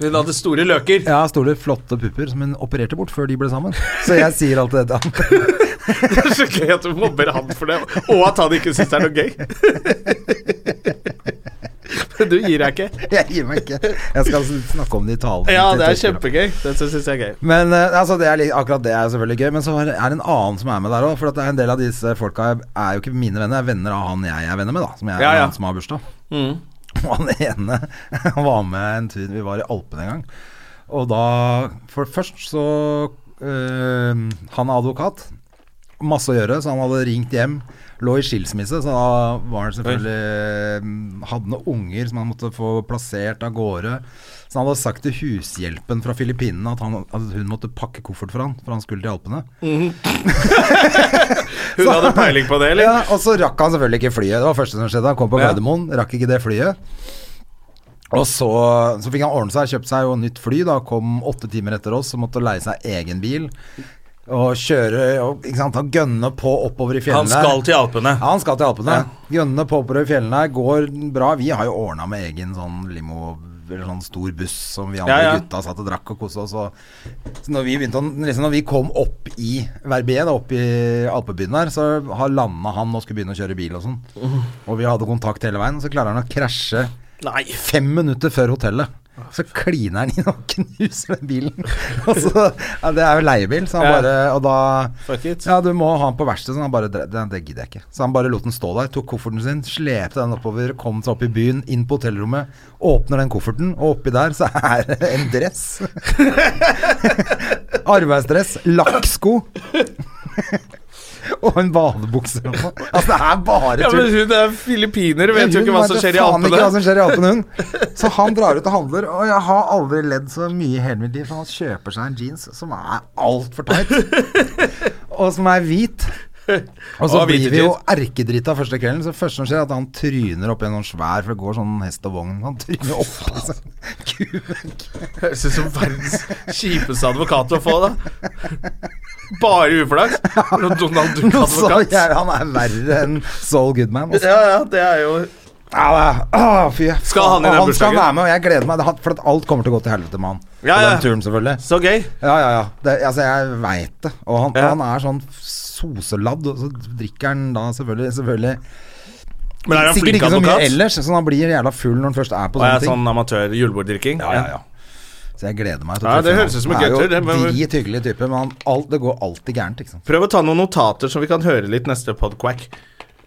[SPEAKER 1] Hun hadde store løker.
[SPEAKER 2] Ja, store, flotte pupper som hun opererte bort før de ble sammen. Så jeg sier alltid det til han.
[SPEAKER 1] Det er så gøy at du mobber han for det, og at han ikke syns det er noe gøy. Men du gir deg ikke.
[SPEAKER 2] Jeg gir meg ikke. Jeg skal snakke om det i talen.
[SPEAKER 1] Ja,
[SPEAKER 2] til
[SPEAKER 1] det er
[SPEAKER 2] Torkel.
[SPEAKER 1] kjempegøy. Det syns jeg er gøy.
[SPEAKER 2] Men eh, altså, det er, li- akkurat det er selvfølgelig gøy. Men så er er det en annen som er med der òg. For at det er en del av disse folka er jo ikke mine venner, er venner av han jeg er venner med, da. Som jeg
[SPEAKER 1] Ja, Mm. ja.
[SPEAKER 2] Han som har bursdag. Og han ene han var med en tur Vi var i Alpene en gang. Og da For først så eh, Han er advokat. Masse å gjøre, så han hadde ringt hjem. Lå i skilsmisse, så da var han selvfølgelig mm, Hadde noen unger som han måtte få plassert av gårde. Så han hadde sagt til hushjelpen fra Filippinene at, han, at hun måtte pakke koffert for han, for han skulle til Alpene.
[SPEAKER 1] Hun hadde peiling på det, eller?
[SPEAKER 2] Ja, og så rakk han selvfølgelig ikke flyet. Det var første som skjedde. Han kom på
[SPEAKER 1] Ja.
[SPEAKER 2] Gardermoen, rakk ikke det flyet. Og så, så fikk han ordne seg, kjøpte seg jo nytt fly, da kom åtte timer etter oss og måtte leie seg egen bil. Og kjøre og ikke sant, han gønner på oppover i
[SPEAKER 1] Han
[SPEAKER 2] fjellene.
[SPEAKER 1] skal til Alpene.
[SPEAKER 2] Ja, han skal til Alpene. Gønnene popper i fjellene her, går bra. Vi har jo ordna med egen sånn limo eller sånn stor buss som vi andre
[SPEAKER 1] Ja, ja.
[SPEAKER 2] gutta satt og drakk og kosa oss. Og så når vi, begynte, å- liksom når vi kom opp i Verbier, da, opp i alpebyen her, så har landa han og skulle begynne å kjøre bil og sånn.
[SPEAKER 1] Mm.
[SPEAKER 2] Og vi hadde kontakt hele veien, og så klarer han å krasje
[SPEAKER 1] Nei.
[SPEAKER 2] fem minutter før hotellet. Så kliner han inn og knuser den bilen. Og så, ja, det er jo leiebil, så han
[SPEAKER 1] Ja.
[SPEAKER 2] bare Og da
[SPEAKER 1] Fuck it.
[SPEAKER 2] Ja, du må ha den på verkstedet, så han bare det, det gidder jeg ikke. Så han bare lot den stå der, tok kofferten sin, slepte den oppover, kom seg opp i byen, inn på hotellrommet, åpner den kofferten, og oppi der så er det en dress. Arbeidsdress, lakksko. Og en badebukse. Altså, det er bare
[SPEAKER 1] Ja,
[SPEAKER 2] tull.
[SPEAKER 1] men hun er filippiner, vet jo
[SPEAKER 2] Hun
[SPEAKER 1] ikke hva som
[SPEAKER 2] vet
[SPEAKER 1] skjer i
[SPEAKER 2] faen ikke hva
[SPEAKER 1] Alpene.
[SPEAKER 2] som skjer i Alpene, hun. Så han drar ut og handler, og jeg har aldri ledd så mye i hele mitt liv. For han kjøper seg en jeans som er altfor tight, og som er hvit. Og så
[SPEAKER 1] Og hvite
[SPEAKER 2] blir vi jo
[SPEAKER 1] jeans.
[SPEAKER 2] erkedrita første kvelden. Så det første som skjer, er at han tryner opp i en sånn svær, for det går sånn hest og vogn. Han tryner opp i en sånn kuvegg.
[SPEAKER 1] Høres ut som verdens kjipeste advokat å få, da. Bare uflaks. Når Donald
[SPEAKER 2] Nå så
[SPEAKER 1] Duck-advokat.
[SPEAKER 2] altså, jeg han er verre enn Saul Goodman. Altså.
[SPEAKER 1] Ja, ja, det er jo
[SPEAKER 2] Ja, det er- Åh, fy.
[SPEAKER 1] Skal han i den
[SPEAKER 2] han skal
[SPEAKER 1] bursdagen?
[SPEAKER 2] være med, og jeg gleder meg. For at alt kommer til å gå til helvete med han.
[SPEAKER 1] Ja,
[SPEAKER 2] På
[SPEAKER 1] ja.
[SPEAKER 2] den turen, selvfølgelig.
[SPEAKER 1] så gøy.
[SPEAKER 2] Ja, ja, ja. Det, altså, jeg veit det. Og han,
[SPEAKER 1] Ja.
[SPEAKER 2] han er sånn soseladd, og så drikker han da selvfølgelig, selvfølgelig.
[SPEAKER 1] Men er han
[SPEAKER 2] Sikkert
[SPEAKER 1] flink
[SPEAKER 2] ikke så mye
[SPEAKER 1] advokat?
[SPEAKER 2] ellers, så han blir jævla full når han først er på
[SPEAKER 1] Og jeg
[SPEAKER 2] sånne
[SPEAKER 1] er
[SPEAKER 2] ting.
[SPEAKER 1] sånn amatør julebordrikking?
[SPEAKER 2] Ja, ja, ja. Så jeg gleder meg. til å
[SPEAKER 1] Ja, det
[SPEAKER 2] treffe
[SPEAKER 1] høres ut som en
[SPEAKER 2] han.
[SPEAKER 1] guttur, det,
[SPEAKER 2] Han er
[SPEAKER 1] men-
[SPEAKER 2] jo drit hyggelig type, men han, alt, det går alltid gærent, ikke sant.
[SPEAKER 1] Prøv å ta noen notater, så vi kan høre litt neste podquack.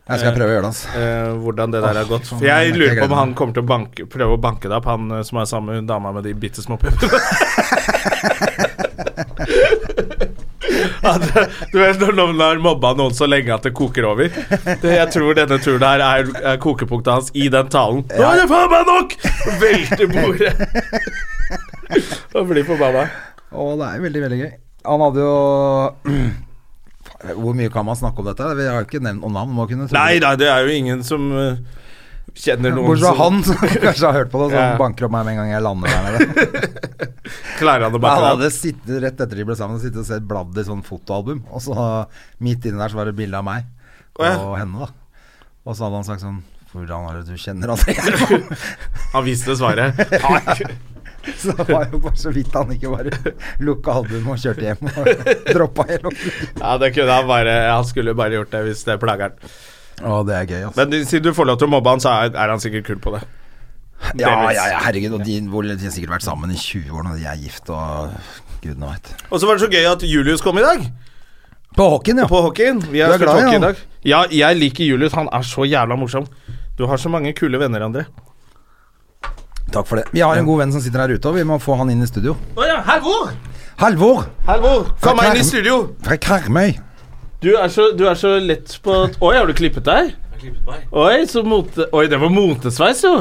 [SPEAKER 2] Jeg skal prøve å gjøre det, altså.
[SPEAKER 1] Eh, hvordan det der har gått.
[SPEAKER 2] faen,
[SPEAKER 1] For jeg
[SPEAKER 2] jeg
[SPEAKER 1] lurer på
[SPEAKER 2] gleder
[SPEAKER 1] om
[SPEAKER 2] meg.
[SPEAKER 1] han kommer til å banke, prøve å banke det opp, han eh, som er sammen med hun dama med de bitte små puppene. At, du vet når noen har mobba noen så lenge at det koker over. Det, jeg tror denne turen her er, er kokepunktet hans i den talen. Nå er det faen meg nok! Velter bordet. Og blir forbanna.
[SPEAKER 2] Å, det er jo veldig, veldig gøy. Han hadde jo Faen, Hvor mye kan man snakke om dette? Vi har jo ikke nevnt noen navn. man kunne tro-
[SPEAKER 1] Nei da, det er jo ingen som eh, kjenner noen
[SPEAKER 2] Bortsett fra
[SPEAKER 1] som
[SPEAKER 2] han som kanskje har hørt på det, og
[SPEAKER 1] Ja.
[SPEAKER 2] som banker opp meg med en gang jeg lander der nede.
[SPEAKER 1] klarer han å
[SPEAKER 2] Han
[SPEAKER 1] banke det opp.
[SPEAKER 2] hadde sittet, rett etter de ble sammen, sittet og sett bladd i sånn fotoalbum. Og så midt inni der så var det bilde av meg
[SPEAKER 1] Å, ja.
[SPEAKER 2] og henne, da. Og så hadde han sagt sånn Hvordan er det du kjenner han Jerv?
[SPEAKER 1] Han viste svaret. Takk.
[SPEAKER 2] Så det var jo bare så vidt han ikke bare lukka albumet og kjørte hjem og droppa hele opplegget.
[SPEAKER 1] Ja, det kunne han bare Han skulle bare gjort det hvis det plager han.
[SPEAKER 2] Å, det er gøy, altså.
[SPEAKER 1] Men siden du får lov til å mobbe han, så er, er han sikkert kul på det.
[SPEAKER 2] Ja,
[SPEAKER 1] delvis.
[SPEAKER 2] ja, ja, herregud. Og de, hvor, de har sikkert vært sammen i 20 år når de er gift og gudene veit.
[SPEAKER 1] Og så var det så gøy at Julius kom i dag.
[SPEAKER 2] På hockeyen, ja.
[SPEAKER 1] På hockeyen. Vi har
[SPEAKER 2] Du er
[SPEAKER 1] spilt
[SPEAKER 2] glad i
[SPEAKER 1] hockey i
[SPEAKER 2] han.
[SPEAKER 1] dag. Ja, jeg liker Julius. Han er så jævla morsom. Du har så mange kule venner, André.
[SPEAKER 2] Takk for det. Vi har en god venn som sitter her ute, og vi må få han inn i studio.
[SPEAKER 1] Å ja, Halvor!
[SPEAKER 2] Halvor
[SPEAKER 1] Halvor, kom meg inn i studio!
[SPEAKER 2] fra Karmøy.
[SPEAKER 1] Du er så, du er så lett på Oi, har du klippet deg? Oi, så mote... Oi, det var motesveis, jo!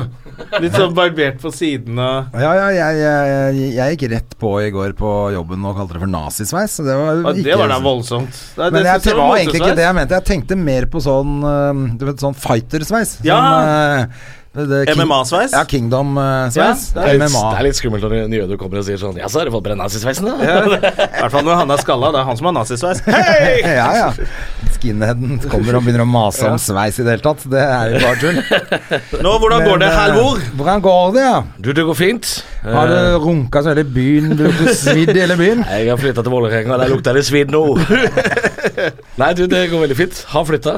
[SPEAKER 1] Litt sånn barbert på siden og
[SPEAKER 2] Ja, ja, jeg, jeg, jeg gikk rett på i går på jobben og kalte det for nazisveis. Så det var
[SPEAKER 1] Å,
[SPEAKER 2] jo
[SPEAKER 1] Det
[SPEAKER 2] ikke altså.
[SPEAKER 1] var da voldsomt. Nei,
[SPEAKER 2] Men jeg,
[SPEAKER 1] synes
[SPEAKER 2] det
[SPEAKER 1] var
[SPEAKER 2] var egentlig ikke
[SPEAKER 1] motesveis.
[SPEAKER 2] det jeg mente. Jeg tenkte mer på sånn eh, Du vet, sånn fightersveis.
[SPEAKER 1] Ja.
[SPEAKER 2] Sånn, eh, det- King-
[SPEAKER 1] MMA-sveis?
[SPEAKER 2] Ja, Kingdom-sveis.
[SPEAKER 1] Ja,
[SPEAKER 5] Det er, litt,
[SPEAKER 2] MMA.
[SPEAKER 5] det er litt skummelt når en jøde kommer og sier sånn Ja, så har du fått på deg nazisveisen, da?
[SPEAKER 1] I hvert fall når han er skalla. Det er han som har nazisveis. Hei!
[SPEAKER 2] Ja, ja. Skinheaden kommer og begynner å mase om sveis i det hele tatt. Det er jo bare tull.
[SPEAKER 1] Nå, hvordan går det,
[SPEAKER 2] Men, eh,
[SPEAKER 1] Halvor?
[SPEAKER 2] Hvordan går det, ja?
[SPEAKER 5] Du, det går fint.
[SPEAKER 2] Har du runka så hele byen? Du har svidd i hele byen?
[SPEAKER 5] Eh, Jeg har flytta til Vålerenga, der lukter det svidd nå. Nei, du, det går veldig fint. Har flytta.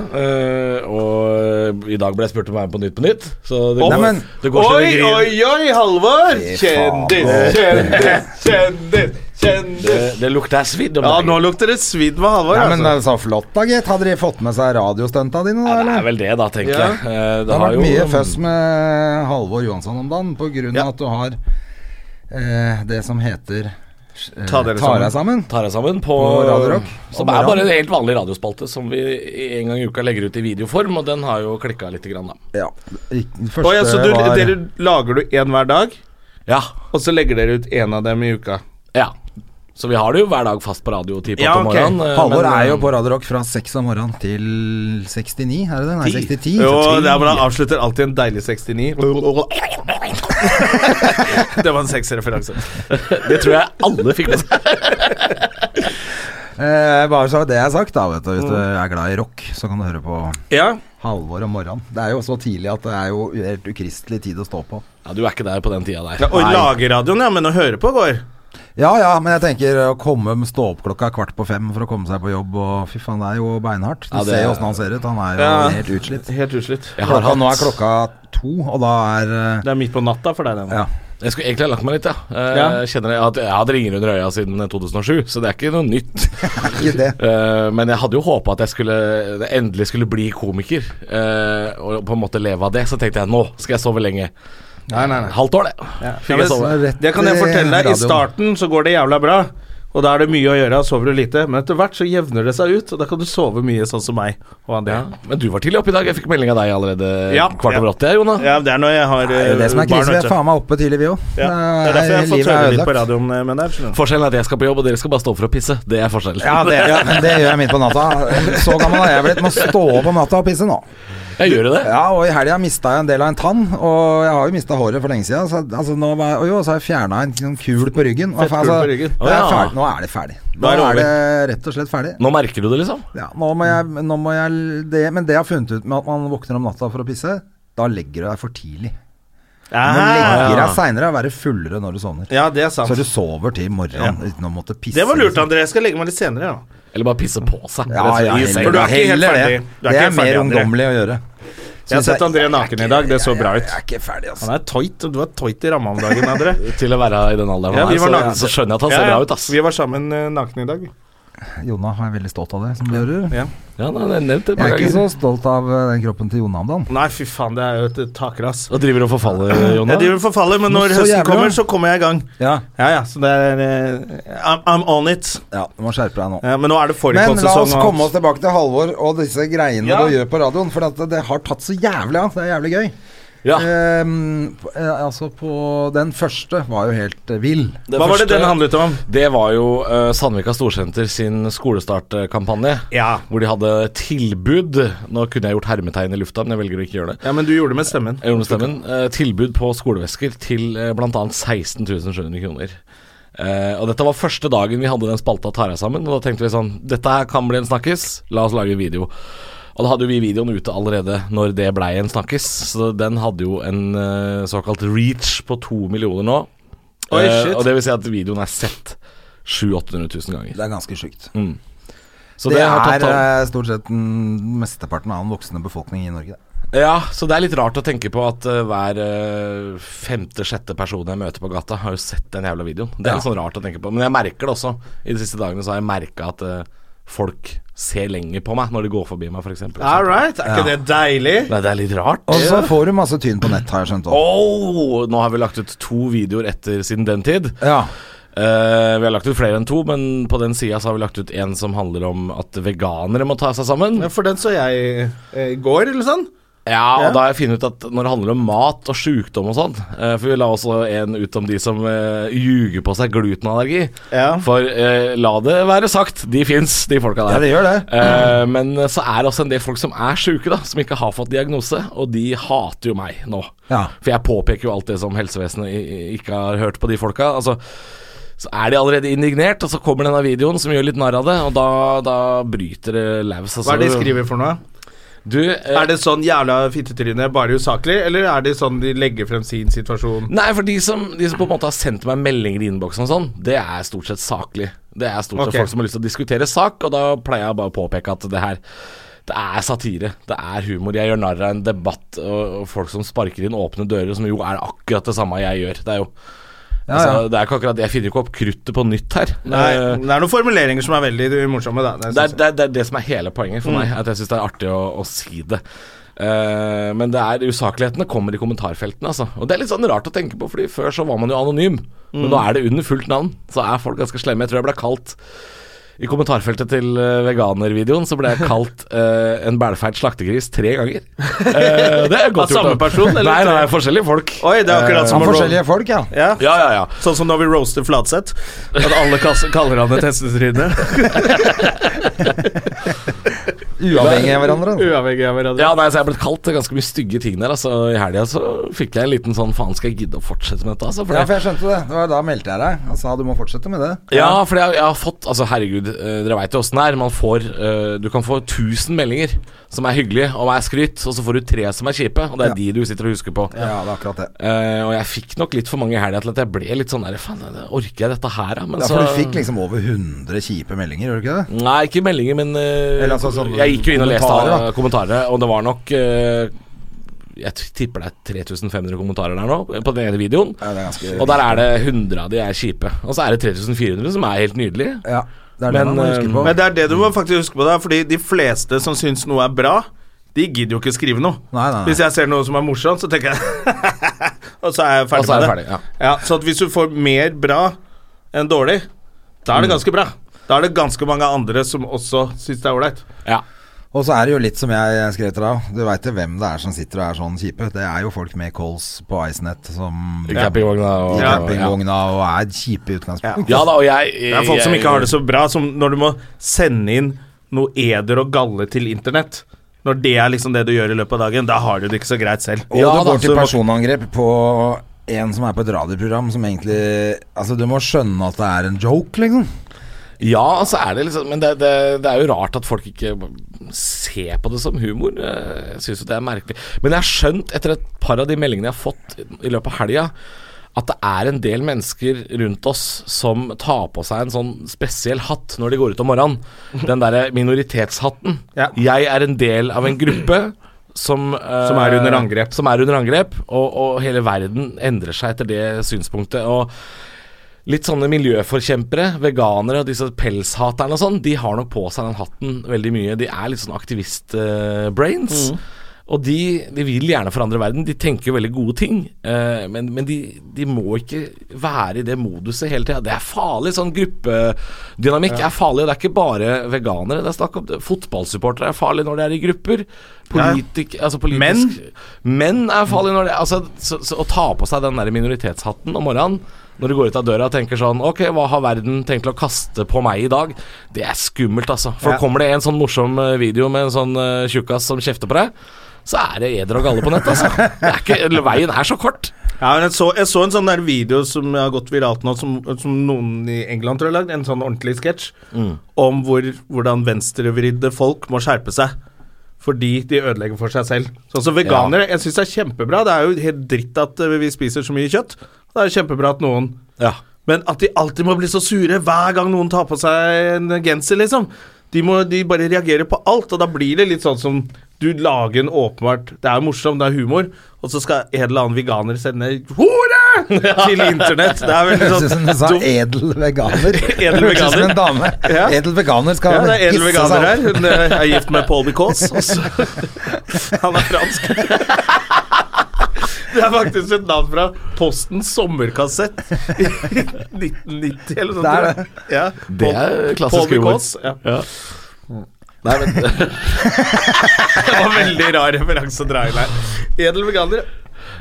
[SPEAKER 5] og eh, i dag ble jeg spurt om å være med på Nytt på Nytt. Så det
[SPEAKER 2] Nei,
[SPEAKER 5] går,
[SPEAKER 2] men-
[SPEAKER 5] det går så
[SPEAKER 1] Oi,
[SPEAKER 5] det griner.
[SPEAKER 1] oi, oi, Halvor!
[SPEAKER 2] faen,
[SPEAKER 1] Kjendis, kjendis, kjendis,
[SPEAKER 5] Det,
[SPEAKER 1] kjendis.
[SPEAKER 5] det lukter svidd om
[SPEAKER 1] Ja,
[SPEAKER 5] dagen.
[SPEAKER 1] nå lukter det svidd med Halvor.
[SPEAKER 2] Nei, men det er
[SPEAKER 1] altså.
[SPEAKER 2] så flott da, gitt. Hadde de fått med seg radiostunta dine da,
[SPEAKER 5] Ja, det
[SPEAKER 2] eller?
[SPEAKER 5] er vel det, da, tenker
[SPEAKER 1] Ja.
[SPEAKER 5] jeg. Eh, det,
[SPEAKER 2] Det har vært
[SPEAKER 5] jo-
[SPEAKER 2] mye føss med Halvor Johansson om dagen på grunn av at du har eh, det som heter eh,
[SPEAKER 1] Ta dere
[SPEAKER 2] deg sammen.
[SPEAKER 5] Tar jeg sammen på,
[SPEAKER 2] På Radio Rock.
[SPEAKER 5] Som
[SPEAKER 2] Om
[SPEAKER 5] er bare
[SPEAKER 2] morgenen.
[SPEAKER 5] en helt vanlig radiospalte som vi en gang i uka legger ut i videoform, og den har jo klikka litt, grann, da.
[SPEAKER 2] Ja. Ik- den Første
[SPEAKER 1] Oi, altså, du,
[SPEAKER 2] var
[SPEAKER 1] dere lager du én hver dag,
[SPEAKER 5] Ja.
[SPEAKER 1] og så legger dere ut én av dem i uka.
[SPEAKER 5] ja. Så vi har det jo hver dag fast på radio ti på
[SPEAKER 1] Ja,
[SPEAKER 5] åtte om
[SPEAKER 1] ok.
[SPEAKER 5] morgenen. eh,
[SPEAKER 2] Halvor
[SPEAKER 5] men,
[SPEAKER 2] er jo
[SPEAKER 5] eh,
[SPEAKER 2] på Radio Rock fra 6 om morgenen til 69, er det det? Nei, 60-10.
[SPEAKER 1] Jo, det er hvor han avslutter alltid en deilig 69. Det var en sexreferanse.
[SPEAKER 5] Det tror jeg alle fikk med seg.
[SPEAKER 2] Eh, bare så det er sagt, da, vet du. Hvis du er glad i rock, så kan du høre på
[SPEAKER 1] Ja.
[SPEAKER 2] Halvor om morgenen. Det er jo så tidlig at det er jo helt ukristelig tid å stå på.
[SPEAKER 5] Ja, du er ikke der på den tida der.
[SPEAKER 1] ja og
[SPEAKER 2] Nei.
[SPEAKER 1] lage radioen, ja, men å høre på går.
[SPEAKER 2] Ja ja, men jeg tenker å komme stå opp klokka kvart på fem for å komme seg på jobb og fy faen, det er jo beinhardt. Du
[SPEAKER 5] Ja, det-
[SPEAKER 2] ser jo åssen han ser ut. Han er jo
[SPEAKER 1] Ja.
[SPEAKER 2] helt utslitt.
[SPEAKER 1] Helt utslitt.
[SPEAKER 5] Jeg, har
[SPEAKER 2] Klokka, nå er
[SPEAKER 5] hatt,
[SPEAKER 2] klokka to, og da er eh,
[SPEAKER 1] Det er midt på natta for deg, det. nå.
[SPEAKER 2] Ja.
[SPEAKER 5] jeg skulle egentlig ha lagt meg litt, ja. Eh,
[SPEAKER 1] Ja.
[SPEAKER 5] Kjenner jeg, at jeg har hatt ringer under øya siden eh, 2007, så det er ikke noe nytt.
[SPEAKER 2] Ikke det.
[SPEAKER 5] Eh, men jeg hadde jo håpa at jeg skulle, det endelig skulle bli komiker, eh, og på en måte leve av det. Så tenkte jeg nå skal jeg sove lenge.
[SPEAKER 2] Nei, nei, nei.
[SPEAKER 5] Halvt år, det. Fikk jeg
[SPEAKER 1] Ja,
[SPEAKER 5] sove.
[SPEAKER 1] men
[SPEAKER 2] Rett
[SPEAKER 1] Det kan jeg
[SPEAKER 2] i
[SPEAKER 1] fortelle deg. I
[SPEAKER 2] radioen.
[SPEAKER 1] starten så går det jævla bra, og da er det mye å gjøre, og sover du lite. Men etter hvert så jevner det seg ut, og da kan du sove mye, sånn som meg og André.
[SPEAKER 5] Ja. Men du var tidlig oppe i dag. Jeg fikk melding av deg allerede
[SPEAKER 1] Ja,
[SPEAKER 5] kvart
[SPEAKER 1] ja.
[SPEAKER 5] over åtte, Jona.
[SPEAKER 1] Ja, det er når jeg har eh,
[SPEAKER 2] Det er jo det som er krise. Vi er faen meg oppe tidlig, vi Eh, òg.
[SPEAKER 1] Ja. Det er derfor jeg har fått tøyle litt på radioen eh, med deg. skjønner du.
[SPEAKER 5] Forskjellen er at jeg skal på jobb, og dere skal bare stå for å pisse. Det er forskjellen.
[SPEAKER 2] Ja, det, ja, men det gjør jeg midt på natta. Så gammel er jeg blitt. Må stå opp om natta og pisse nå.
[SPEAKER 5] Jeg gjør jo det.
[SPEAKER 2] Ja, og i helga mista jeg en del av en tann, og jeg har jo mista håret for lenge siden. Så, altså, nå var, og jo, så har jeg fjerna en sånn kul på ryggen. Og,
[SPEAKER 1] Fettkul på ryggen.
[SPEAKER 2] det er
[SPEAKER 5] Å, ja.
[SPEAKER 2] ferdig. Nå er det ferdig. Nå
[SPEAKER 1] Da er det
[SPEAKER 2] er det rett og slett ferdig.
[SPEAKER 5] Nå merker du det, liksom.
[SPEAKER 2] Ja, nå må jeg, nå må jeg det, Men det jeg har funnet ut med at man våkner om natta for å pisse, da legger du deg for tidlig. Du legger deg seinere og være fullere når du sovner.
[SPEAKER 1] Ah, Ja, det er sant.
[SPEAKER 2] Så du sover til i morgen uten å måtte pisse.
[SPEAKER 1] Det var lurt,
[SPEAKER 2] liksom.
[SPEAKER 1] André. Jeg skal legge meg litt senere, ja.
[SPEAKER 5] Eller bare pisse på seg.
[SPEAKER 2] Ja,
[SPEAKER 5] Rett
[SPEAKER 2] ja,
[SPEAKER 5] og slett. I
[SPEAKER 2] heller,
[SPEAKER 5] senga.
[SPEAKER 1] For du er ikke helt
[SPEAKER 2] heller det.
[SPEAKER 1] ferdig. Du er
[SPEAKER 2] Det
[SPEAKER 1] ikke
[SPEAKER 2] er
[SPEAKER 1] helt
[SPEAKER 2] mer
[SPEAKER 1] ferdig, André.
[SPEAKER 2] ungdommelig å gjøre.
[SPEAKER 1] Jeg har
[SPEAKER 2] Synes
[SPEAKER 1] sett André naken i dag. Det så bra
[SPEAKER 2] Jeg
[SPEAKER 1] ut.
[SPEAKER 2] er ikke ferdig, altså.
[SPEAKER 1] Han er tøyt, og du er tøyt i ramma om dagen, André.
[SPEAKER 5] Til å være i den alderen
[SPEAKER 1] Ja,
[SPEAKER 5] han
[SPEAKER 1] vi
[SPEAKER 5] er,
[SPEAKER 1] var
[SPEAKER 5] så,
[SPEAKER 1] naken.
[SPEAKER 5] så skjønner jeg at han ser
[SPEAKER 1] Ja, ja.
[SPEAKER 5] bra ut, ass.
[SPEAKER 1] Vi var sammen eh, nakne i dag. vi.
[SPEAKER 2] Jonna er veldig stolt av det som du gjør.
[SPEAKER 1] Ja.
[SPEAKER 5] Ja, nei, jeg nevnte
[SPEAKER 2] Jeg
[SPEAKER 5] det et
[SPEAKER 2] er
[SPEAKER 5] par
[SPEAKER 2] ikke
[SPEAKER 5] ganger.
[SPEAKER 2] så stolt av eh, den kroppen til Jonna om dagen.
[SPEAKER 1] Nei, fy faen, det er jo et takras.
[SPEAKER 5] Hva driver du og forfaller, Jonna?
[SPEAKER 1] sånn Jeg driver og forfaller, men når
[SPEAKER 2] Så
[SPEAKER 1] høsten
[SPEAKER 2] jævlig,
[SPEAKER 1] kommer,
[SPEAKER 2] da.
[SPEAKER 1] så kommer jeg i gang.
[SPEAKER 2] Ja,
[SPEAKER 1] Ja, ja, så det er eh, I'm, I'm on it.
[SPEAKER 2] ja du må skjerpe deg nå.
[SPEAKER 1] Ja, men nå er det
[SPEAKER 2] Men la
[SPEAKER 1] fårikålsesong.
[SPEAKER 2] oss
[SPEAKER 1] og
[SPEAKER 2] komme
[SPEAKER 1] alt.
[SPEAKER 2] oss tilbake til Halvor og disse greiene
[SPEAKER 1] Ja.
[SPEAKER 2] du gjør på radioen. For at det har tatt så jævlig av. Det er jævlig gøy.
[SPEAKER 5] Ja,
[SPEAKER 2] Ehm, p- eh, altså på Den første var jo helt eh, vill.
[SPEAKER 1] Hva var det
[SPEAKER 5] første-
[SPEAKER 1] den handlet om?
[SPEAKER 5] Det var jo eh, Sandvika Storsenter sin skolestartkampanje.
[SPEAKER 1] Ja.
[SPEAKER 5] Hvor de hadde tilbud Nå kunne jeg gjort hermetegn i lufta, men jeg velger å ikke gjøre det.
[SPEAKER 1] Ja, men du gjorde det med stemmen.
[SPEAKER 5] Jeg gjorde med stemmen. Eh, tilbud på skolevesker til eh, blant bl.a. 16 700 kroner. Eh, og dette var første dagen vi hadde den spalta Tar jeg sammen. Og da tenkte vi sånn Dette her kan bli en snakkis, la oss lage en video. Og da hadde jo vi videoen ute allerede når det blei en snakkis. Så den hadde jo en eh, såkalt reach på to millioner nå.
[SPEAKER 1] Oi,
[SPEAKER 5] Eh,
[SPEAKER 1] shit.
[SPEAKER 5] og det vil si at videoen er sett 700 000-800 000 ganger.
[SPEAKER 2] Det er ganske sjukt.
[SPEAKER 5] Så
[SPEAKER 2] det,
[SPEAKER 5] det, har
[SPEAKER 2] er
[SPEAKER 5] tatt av.
[SPEAKER 2] eh, stort sett den mesteparten av den voksne befolkning i Norge. Det.
[SPEAKER 5] Ja, så det er litt rart å tenke på at eh, hver femte-sjette person jeg møter på gata, har jo sett den jævla videoen. Det er litt sånn rart å tenke på. Men jeg merker det også. I de siste dagene så har jeg merka at eh, folk ser lenger på meg når de går forbi meg, f.eks.
[SPEAKER 1] All right, er ikke det deilig?
[SPEAKER 5] Nei, det er litt rart.
[SPEAKER 2] Og så får du masse tyn på nett, har jeg skjønt. også.
[SPEAKER 5] Oh, nå har vi lagt ut to videoer etter siden den tid.
[SPEAKER 2] Ja.
[SPEAKER 5] Eh, vi har lagt ut flere enn to, men på den sida har vi lagt ut en som handler om at veganere må ta seg sammen.
[SPEAKER 1] Ja, For den så jeg eh, i går, eller sånn.
[SPEAKER 5] Ja,
[SPEAKER 1] Ja.
[SPEAKER 5] og da har jeg funnet ut at når det handler om mat og sjukdom og sånn eh, For vi la også en ut om de som eh, ljuger på seg glutenallergi.
[SPEAKER 1] Ja.
[SPEAKER 5] For eh, la det være sagt, de fins, de folka der.
[SPEAKER 2] Ja, det gjør det.
[SPEAKER 5] Eh, men så er det også en del folk som er sjuke, da. Som ikke har fått diagnose. Og de hater jo meg nå.
[SPEAKER 2] Ja.
[SPEAKER 5] For jeg påpeker jo alt det som helsevesenet i- i- ikke har hørt på de folka. Altså så er de allerede indignert, og så kommer denne videoen som gjør litt narr av det, og da, da bryter det laus. altså.
[SPEAKER 1] Hva er det de skriver for noe?
[SPEAKER 5] Du, eh,
[SPEAKER 1] Er det sånn jævla fittetryne, bare usaklig, eller er det sånn de legger frem sin situasjon?
[SPEAKER 5] Nei, for de som, de som på en måte har sendt meg meldinger i innboksen og sånn, det er stort sett saklig. Det er stort sett
[SPEAKER 1] Ok.
[SPEAKER 5] folk som har lyst til å diskutere sak, og da pleier jeg bare å påpeke at det her det er satire. Det er humor. Jeg gjør narr av en debatt og, og folk som sparker inn åpne dører, som jo er akkurat det samme jeg gjør. Det er jo Altså, det er ikke akkurat Jeg finner jo ikke opp kruttet på nytt her.
[SPEAKER 1] Nei,
[SPEAKER 5] Eh,
[SPEAKER 1] det er noen formuleringer som er veldig morsomme, da. Det
[SPEAKER 5] det
[SPEAKER 1] synes Mm.
[SPEAKER 5] er,
[SPEAKER 1] jeg.
[SPEAKER 5] det, er, det er det som er hele poenget for meg. At jeg syns det er artig å, å si det. Eh, men det er usaklighetene kommer i kommentarfeltene. Altså. Og det er litt sånn rart å tenke på, Fordi før så var man jo anonym. Men
[SPEAKER 1] Mm.
[SPEAKER 5] nå er det under fullt navn, så er folk ganske slemme. Jeg tror jeg ble kalt i kommentarfeltet til eh, veganervideoen så ble jeg kalt eh, en bælfeit slaktegris tre ganger. Eh, det er godt
[SPEAKER 1] Av samme
[SPEAKER 5] da.
[SPEAKER 1] person, eller
[SPEAKER 5] Nei, nei,
[SPEAKER 1] tre?
[SPEAKER 5] forskjellige folk.
[SPEAKER 1] Oi, det er akkurat som
[SPEAKER 2] Av
[SPEAKER 1] å roll-
[SPEAKER 2] forskjellige folk, ja.
[SPEAKER 1] Ja.
[SPEAKER 5] Ja, ja, ja.
[SPEAKER 1] Sånn som når vi roaster Flatseth. At alle kas- kaller han et hestetryne.
[SPEAKER 2] Uavhengig av hverandre. da.
[SPEAKER 1] Uavhengig av hverandre.
[SPEAKER 5] Ja, nei, så jeg ble kalt ganske mye stygge ting der. Altså, I helga så fikk jeg en liten sånn faen, skal jeg gidde å fortsette med dette? Altså, for
[SPEAKER 2] Ja,
[SPEAKER 5] det-
[SPEAKER 2] for jeg skjønte det. Det var da meldte jeg deg og sa du må fortsette med det.
[SPEAKER 5] Ja, for jeg, jeg har fått Altså, herregud, eh, dere veit jo åssen det er. Man får eh, Du kan få 1000 meldinger som er hyggelige og er skryt, og så får du tre som er kjipe, og det er
[SPEAKER 2] Ja.
[SPEAKER 5] de du sitter og husker på.
[SPEAKER 2] Ja, det er akkurat det.
[SPEAKER 5] Eh, og jeg fikk nok litt for mange i helga til at jeg ble litt sånn der Faen, orker jeg dette her, da? Men
[SPEAKER 2] Ja, for du fikk liksom over 100 kjipe meldinger, gjorde du ikke det?
[SPEAKER 5] Nei, ikke meldinger, men eh,
[SPEAKER 2] Eller altså sånne
[SPEAKER 5] Jeg gikk jo inn og leste
[SPEAKER 2] kommentarer,
[SPEAKER 5] alle kommentarer, og det var nok eh, Jeg t- tipper det er 3500 kommentarer der nå, eh, på den ene videoen.
[SPEAKER 2] Ja, det er ganske
[SPEAKER 5] og der er det 100 av de er kjipe. Og så er det 3400 som er helt nydelige.
[SPEAKER 2] Ja, det er det man
[SPEAKER 5] Men,
[SPEAKER 2] må huske
[SPEAKER 5] eh,
[SPEAKER 2] på.
[SPEAKER 1] Um, Men det er det du må faktisk huske på, da, fordi de fleste som syns noe er bra, de gidder jo ikke skrive noe.
[SPEAKER 2] Nei, nei, nei.
[SPEAKER 1] Hvis jeg ser noe som er morsomt, så tenker jeg Og så er jeg ferdig
[SPEAKER 5] Og så er
[SPEAKER 1] med det.
[SPEAKER 5] jeg ferdig, ja.
[SPEAKER 1] så at hvis du får mer bra enn dårlig, da er det ganske bra. Da er det ganske mange andre som også syns det er ålreit.
[SPEAKER 5] Ja.
[SPEAKER 2] Og så er det jo litt som jeg skrev til deg òg. Du veit jo hvem det er som sitter og er sånn kjipe. Det er jo folk med calls på Icenet som
[SPEAKER 5] I campingvogna og
[SPEAKER 2] i
[SPEAKER 1] Ja.
[SPEAKER 2] campingvogna og er kjipe i utgangspunktet.
[SPEAKER 5] Ja da, og jeg
[SPEAKER 1] Det er folk som ikke har det så bra, som når du må sende inn noe eder og galle til internett. Når det er liksom det du gjør i løpet av dagen, da har du det ikke så greit selv.
[SPEAKER 2] Og
[SPEAKER 5] Ja
[SPEAKER 2] du
[SPEAKER 5] da,
[SPEAKER 2] går til
[SPEAKER 5] så-
[SPEAKER 2] personangrep på en som er på et radioprogram som egentlig Altså, du må skjønne at det er en joke, liksom.
[SPEAKER 5] Ja, altså er det liksom Men det, det, det er jo rart at folk ikke ser på det som humor. Eh, Jeg syns jo det er merkelig. Men jeg har skjønt etter et par av de meldingene jeg har fått i løpet av helga, at det er en del mennesker rundt oss som tar på seg en sånn spesiell hatt når de går ut om morgenen. Den derre minoritetshatten.
[SPEAKER 1] Ja.
[SPEAKER 5] Jeg er en del av en gruppe som eh,
[SPEAKER 1] Som er under angrep.
[SPEAKER 5] Som er under angrep, og, og hele verden endrer seg etter det synspunktet. Og Litt sånne miljøforkjempere, veganere og disse pelshaterne og sånn, de har nok på seg den hatten veldig mye. De er litt sånn aktivist-brains. Og de, de vil gjerne forandre verden. De tenker jo veldig gode ting. eh, men men de, de må ikke være i det moduset hele tida. Det er farlig. Sånn gruppedynamikk er farlig. Det er ikke bare veganere det er snakk om. Det- Fotballsupportere er farlig når de er i grupper. Politik, altså politisk Menn er farlig når det altså, så, så, Å ta på seg den der minoritetshatten om morgenen når du går ut av døra og tenker sånn Ok, hva har verden tenkt å kaste på meg i dag? Det er skummelt, altså. For kommer det en sånn morsom eh, video med en sånn eh, tjukkas som kjefter på deg, så er det eder og galle på nett, altså. Det er ikke, eller, veien er så kort.
[SPEAKER 1] Ja, men jeg, så, jeg så en sånn der video som har gått viralt nå, som, som noen i England tror jeg har lagd. En sånn ordentlig sketsj om hvor, hvordan venstrevridde folk må skjerpe seg. fordi de ødelegger for seg selv. Sånn som veganere. Jeg syns det er kjempebra. Det er jo helt dritt at eh, vi spiser så mye kjøtt. Det er jo kjempebra at noen
[SPEAKER 5] Ja.
[SPEAKER 1] Men at de alltid må bli så sure hver gang noen tar på seg en genser, liksom. De, må, de bare reagerer på alt, og da blir det litt sånn som du lager en åpenbart Det er jo morsomt, det er humor, og så skal en eller annen veganer sende 'hore' til internett. Det er veldig
[SPEAKER 2] Høres ut som
[SPEAKER 1] sånn
[SPEAKER 2] du sa
[SPEAKER 1] dumt.
[SPEAKER 2] edel veganer.
[SPEAKER 1] Edel
[SPEAKER 2] Høres ut som en
[SPEAKER 1] veganer.
[SPEAKER 2] dame.
[SPEAKER 1] Ja.
[SPEAKER 2] Edel veganer skal
[SPEAKER 1] Ja, det er edel
[SPEAKER 2] hisse seg
[SPEAKER 1] veganer
[SPEAKER 2] opp.
[SPEAKER 1] her. Hun eh, er gift med Paul Because. og så- Han er fransk. Det er faktisk et navn fra Postens sommerkassett i 1990 eller noe sånt.
[SPEAKER 2] Det er
[SPEAKER 1] tror jeg.
[SPEAKER 2] det.
[SPEAKER 1] Ja.
[SPEAKER 5] Det er klassisk humor.
[SPEAKER 1] Because, Ja.
[SPEAKER 5] Ja. Nei, men
[SPEAKER 1] Det var veldig rar referanse å dra inn her. Edel veganer.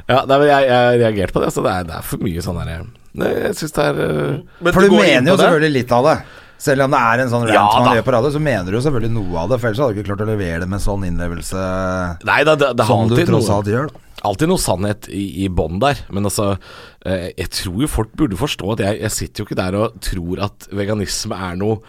[SPEAKER 5] Ja, nei, men jeg, jeg reagerte på det. Altså, det, er, det er for mye sånn derre Nei, Jeg syns det er eh,
[SPEAKER 1] Men
[SPEAKER 2] For du
[SPEAKER 1] går inn
[SPEAKER 2] mener jo
[SPEAKER 1] på det.
[SPEAKER 2] selvfølgelig litt av det. Selv om det er en sånn rant
[SPEAKER 5] Ja, da.
[SPEAKER 2] man gjør på radio, så mener du jo selvfølgelig noe av det. For ellers hadde du ikke klart å levere det med sånn innlevelse
[SPEAKER 5] Nei da, det, det har
[SPEAKER 2] som du
[SPEAKER 5] alltid
[SPEAKER 2] tross alt
[SPEAKER 5] noe,
[SPEAKER 2] gjør. da.
[SPEAKER 5] alltid noe sannhet i, i bånn der. Men altså, eh, jeg tror jo folk burde forstå at jeg, jeg sitter jo ikke der og tror at veganisme er noe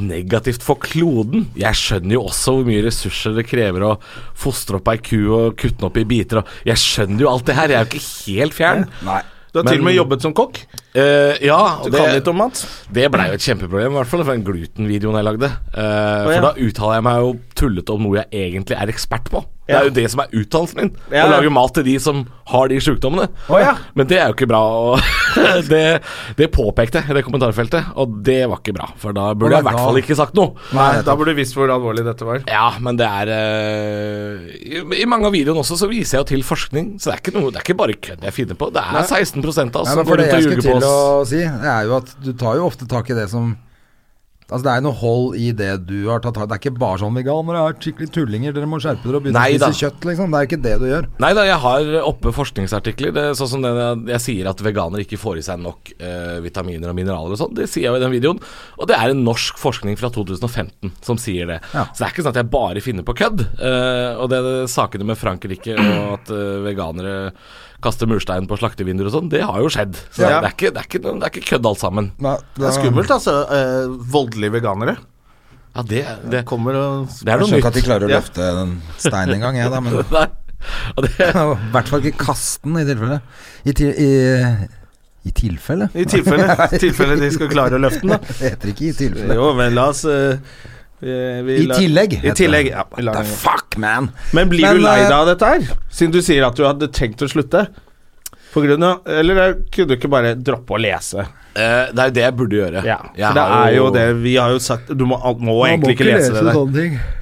[SPEAKER 5] negativt for kloden. Jeg skjønner jo også hvor mye ressurser det krever å fostre opp ei ku og kutte den opp i biter. Og jeg skjønner jo alt det her, jeg er jo ikke helt fjern.
[SPEAKER 2] Nei.
[SPEAKER 1] Du har til og med
[SPEAKER 5] Men-
[SPEAKER 1] jobbet som kokk.
[SPEAKER 5] Eh, ja,
[SPEAKER 1] Du kan litt om mat.
[SPEAKER 5] Det blei jo et kjempeproblem, i hvert fall for den glutenvideoen jeg lagde. Eh,
[SPEAKER 1] ja.
[SPEAKER 5] For da uttaler jeg meg jo tullete om noe jeg egentlig er ekspert på. Det
[SPEAKER 1] Ja.
[SPEAKER 5] er jo det som er utdannelsen min.
[SPEAKER 1] Ja.
[SPEAKER 5] Å lage mat til de som har de sjukdommene.
[SPEAKER 1] Å ja.
[SPEAKER 5] Men det er jo ikke bra. Og det, det påpekte jeg i det kommentarfeltet, og det var ikke bra. For da burde jeg i hvert fall ikke sagt noe.
[SPEAKER 1] Nei, da burde du visst hvor alvorlig dette var.
[SPEAKER 5] Ja, men det er eh, i, I mange av videoene også så viser jeg jo til forskning, så det er ikke, noe, det er ikke bare kødd jeg finner på. Det er 16 av oss
[SPEAKER 2] Nei,
[SPEAKER 5] som
[SPEAKER 2] men for
[SPEAKER 5] går
[SPEAKER 2] det
[SPEAKER 5] rundt
[SPEAKER 2] jeg
[SPEAKER 5] og
[SPEAKER 2] skulle
[SPEAKER 5] ljuger på
[SPEAKER 2] til
[SPEAKER 5] oss.
[SPEAKER 2] å si, det er jo at du tar jo ofte tak i det som Altså Det er jo noe hold i det du har tatt tak i. Det er ikke bare sånn veganere er skikkelig tullinger, dere må skjerpe dere og begynne
[SPEAKER 5] Nei
[SPEAKER 2] å spise
[SPEAKER 5] da.
[SPEAKER 2] kjøtt, liksom. Det er jo ikke det du gjør.
[SPEAKER 5] Nei da, jeg har oppe forskningsartikler. Det, er sånn som den jeg, jeg sier at veganere ikke får i seg nok eh, vitaminer og mineraler og sånn. Det sier jeg jo i den videoen. Og det er en norsk forskning fra 2015 som sier det.
[SPEAKER 2] Ja.
[SPEAKER 5] Så det er ikke sånn at jeg bare finner på kødd. Eh, og det er sakene med Frankrike og at eh, veganere kaster murstein på slaktevinduer og sånn, det har jo skjedd. Så
[SPEAKER 1] Ja.
[SPEAKER 5] det, er ikke, det, er ikke, noe- det er ikke kødd alt sammen.
[SPEAKER 2] Nei,
[SPEAKER 1] Det er skummelt, altså. Eh, voldelige veganere.
[SPEAKER 5] Ja, det, det,
[SPEAKER 1] Kommer og
[SPEAKER 5] det er
[SPEAKER 2] Jeg
[SPEAKER 5] noe
[SPEAKER 2] skjønner ikke at de
[SPEAKER 5] nytt.
[SPEAKER 2] klarer å
[SPEAKER 1] Ja.
[SPEAKER 2] løfte den steinen engang, jeg, da. Men
[SPEAKER 5] Nei. Og det,
[SPEAKER 2] I hvert fall ikke kaste den, i tilfelle. I, til, i, i tilfelle?
[SPEAKER 1] I tilfelle, i tilfelle de skal klare å løfte den, da.
[SPEAKER 2] Det heter ikke i tilfelle.
[SPEAKER 1] Jo, men la oss eh, vi- vi
[SPEAKER 2] I
[SPEAKER 1] la-
[SPEAKER 2] tillegg.
[SPEAKER 1] I
[SPEAKER 2] heter
[SPEAKER 1] tillegg,
[SPEAKER 2] det.
[SPEAKER 1] ja. vi lar
[SPEAKER 2] What the
[SPEAKER 1] den gå.
[SPEAKER 2] fuck, man?
[SPEAKER 1] Men blir
[SPEAKER 2] Men,
[SPEAKER 1] du lei
[SPEAKER 2] eh,
[SPEAKER 1] deg av dette her? Siden du sier at du hadde tenkt å slutte. På grunn av, eller eh, kunne du ikke bare droppe å lese?
[SPEAKER 5] eh, det er jo det jeg burde gjøre.
[SPEAKER 1] Ja,
[SPEAKER 5] Jeg
[SPEAKER 1] for det
[SPEAKER 5] har
[SPEAKER 1] er jo det vi har jo sagt Du må, al- må egentlig ikke lese det der.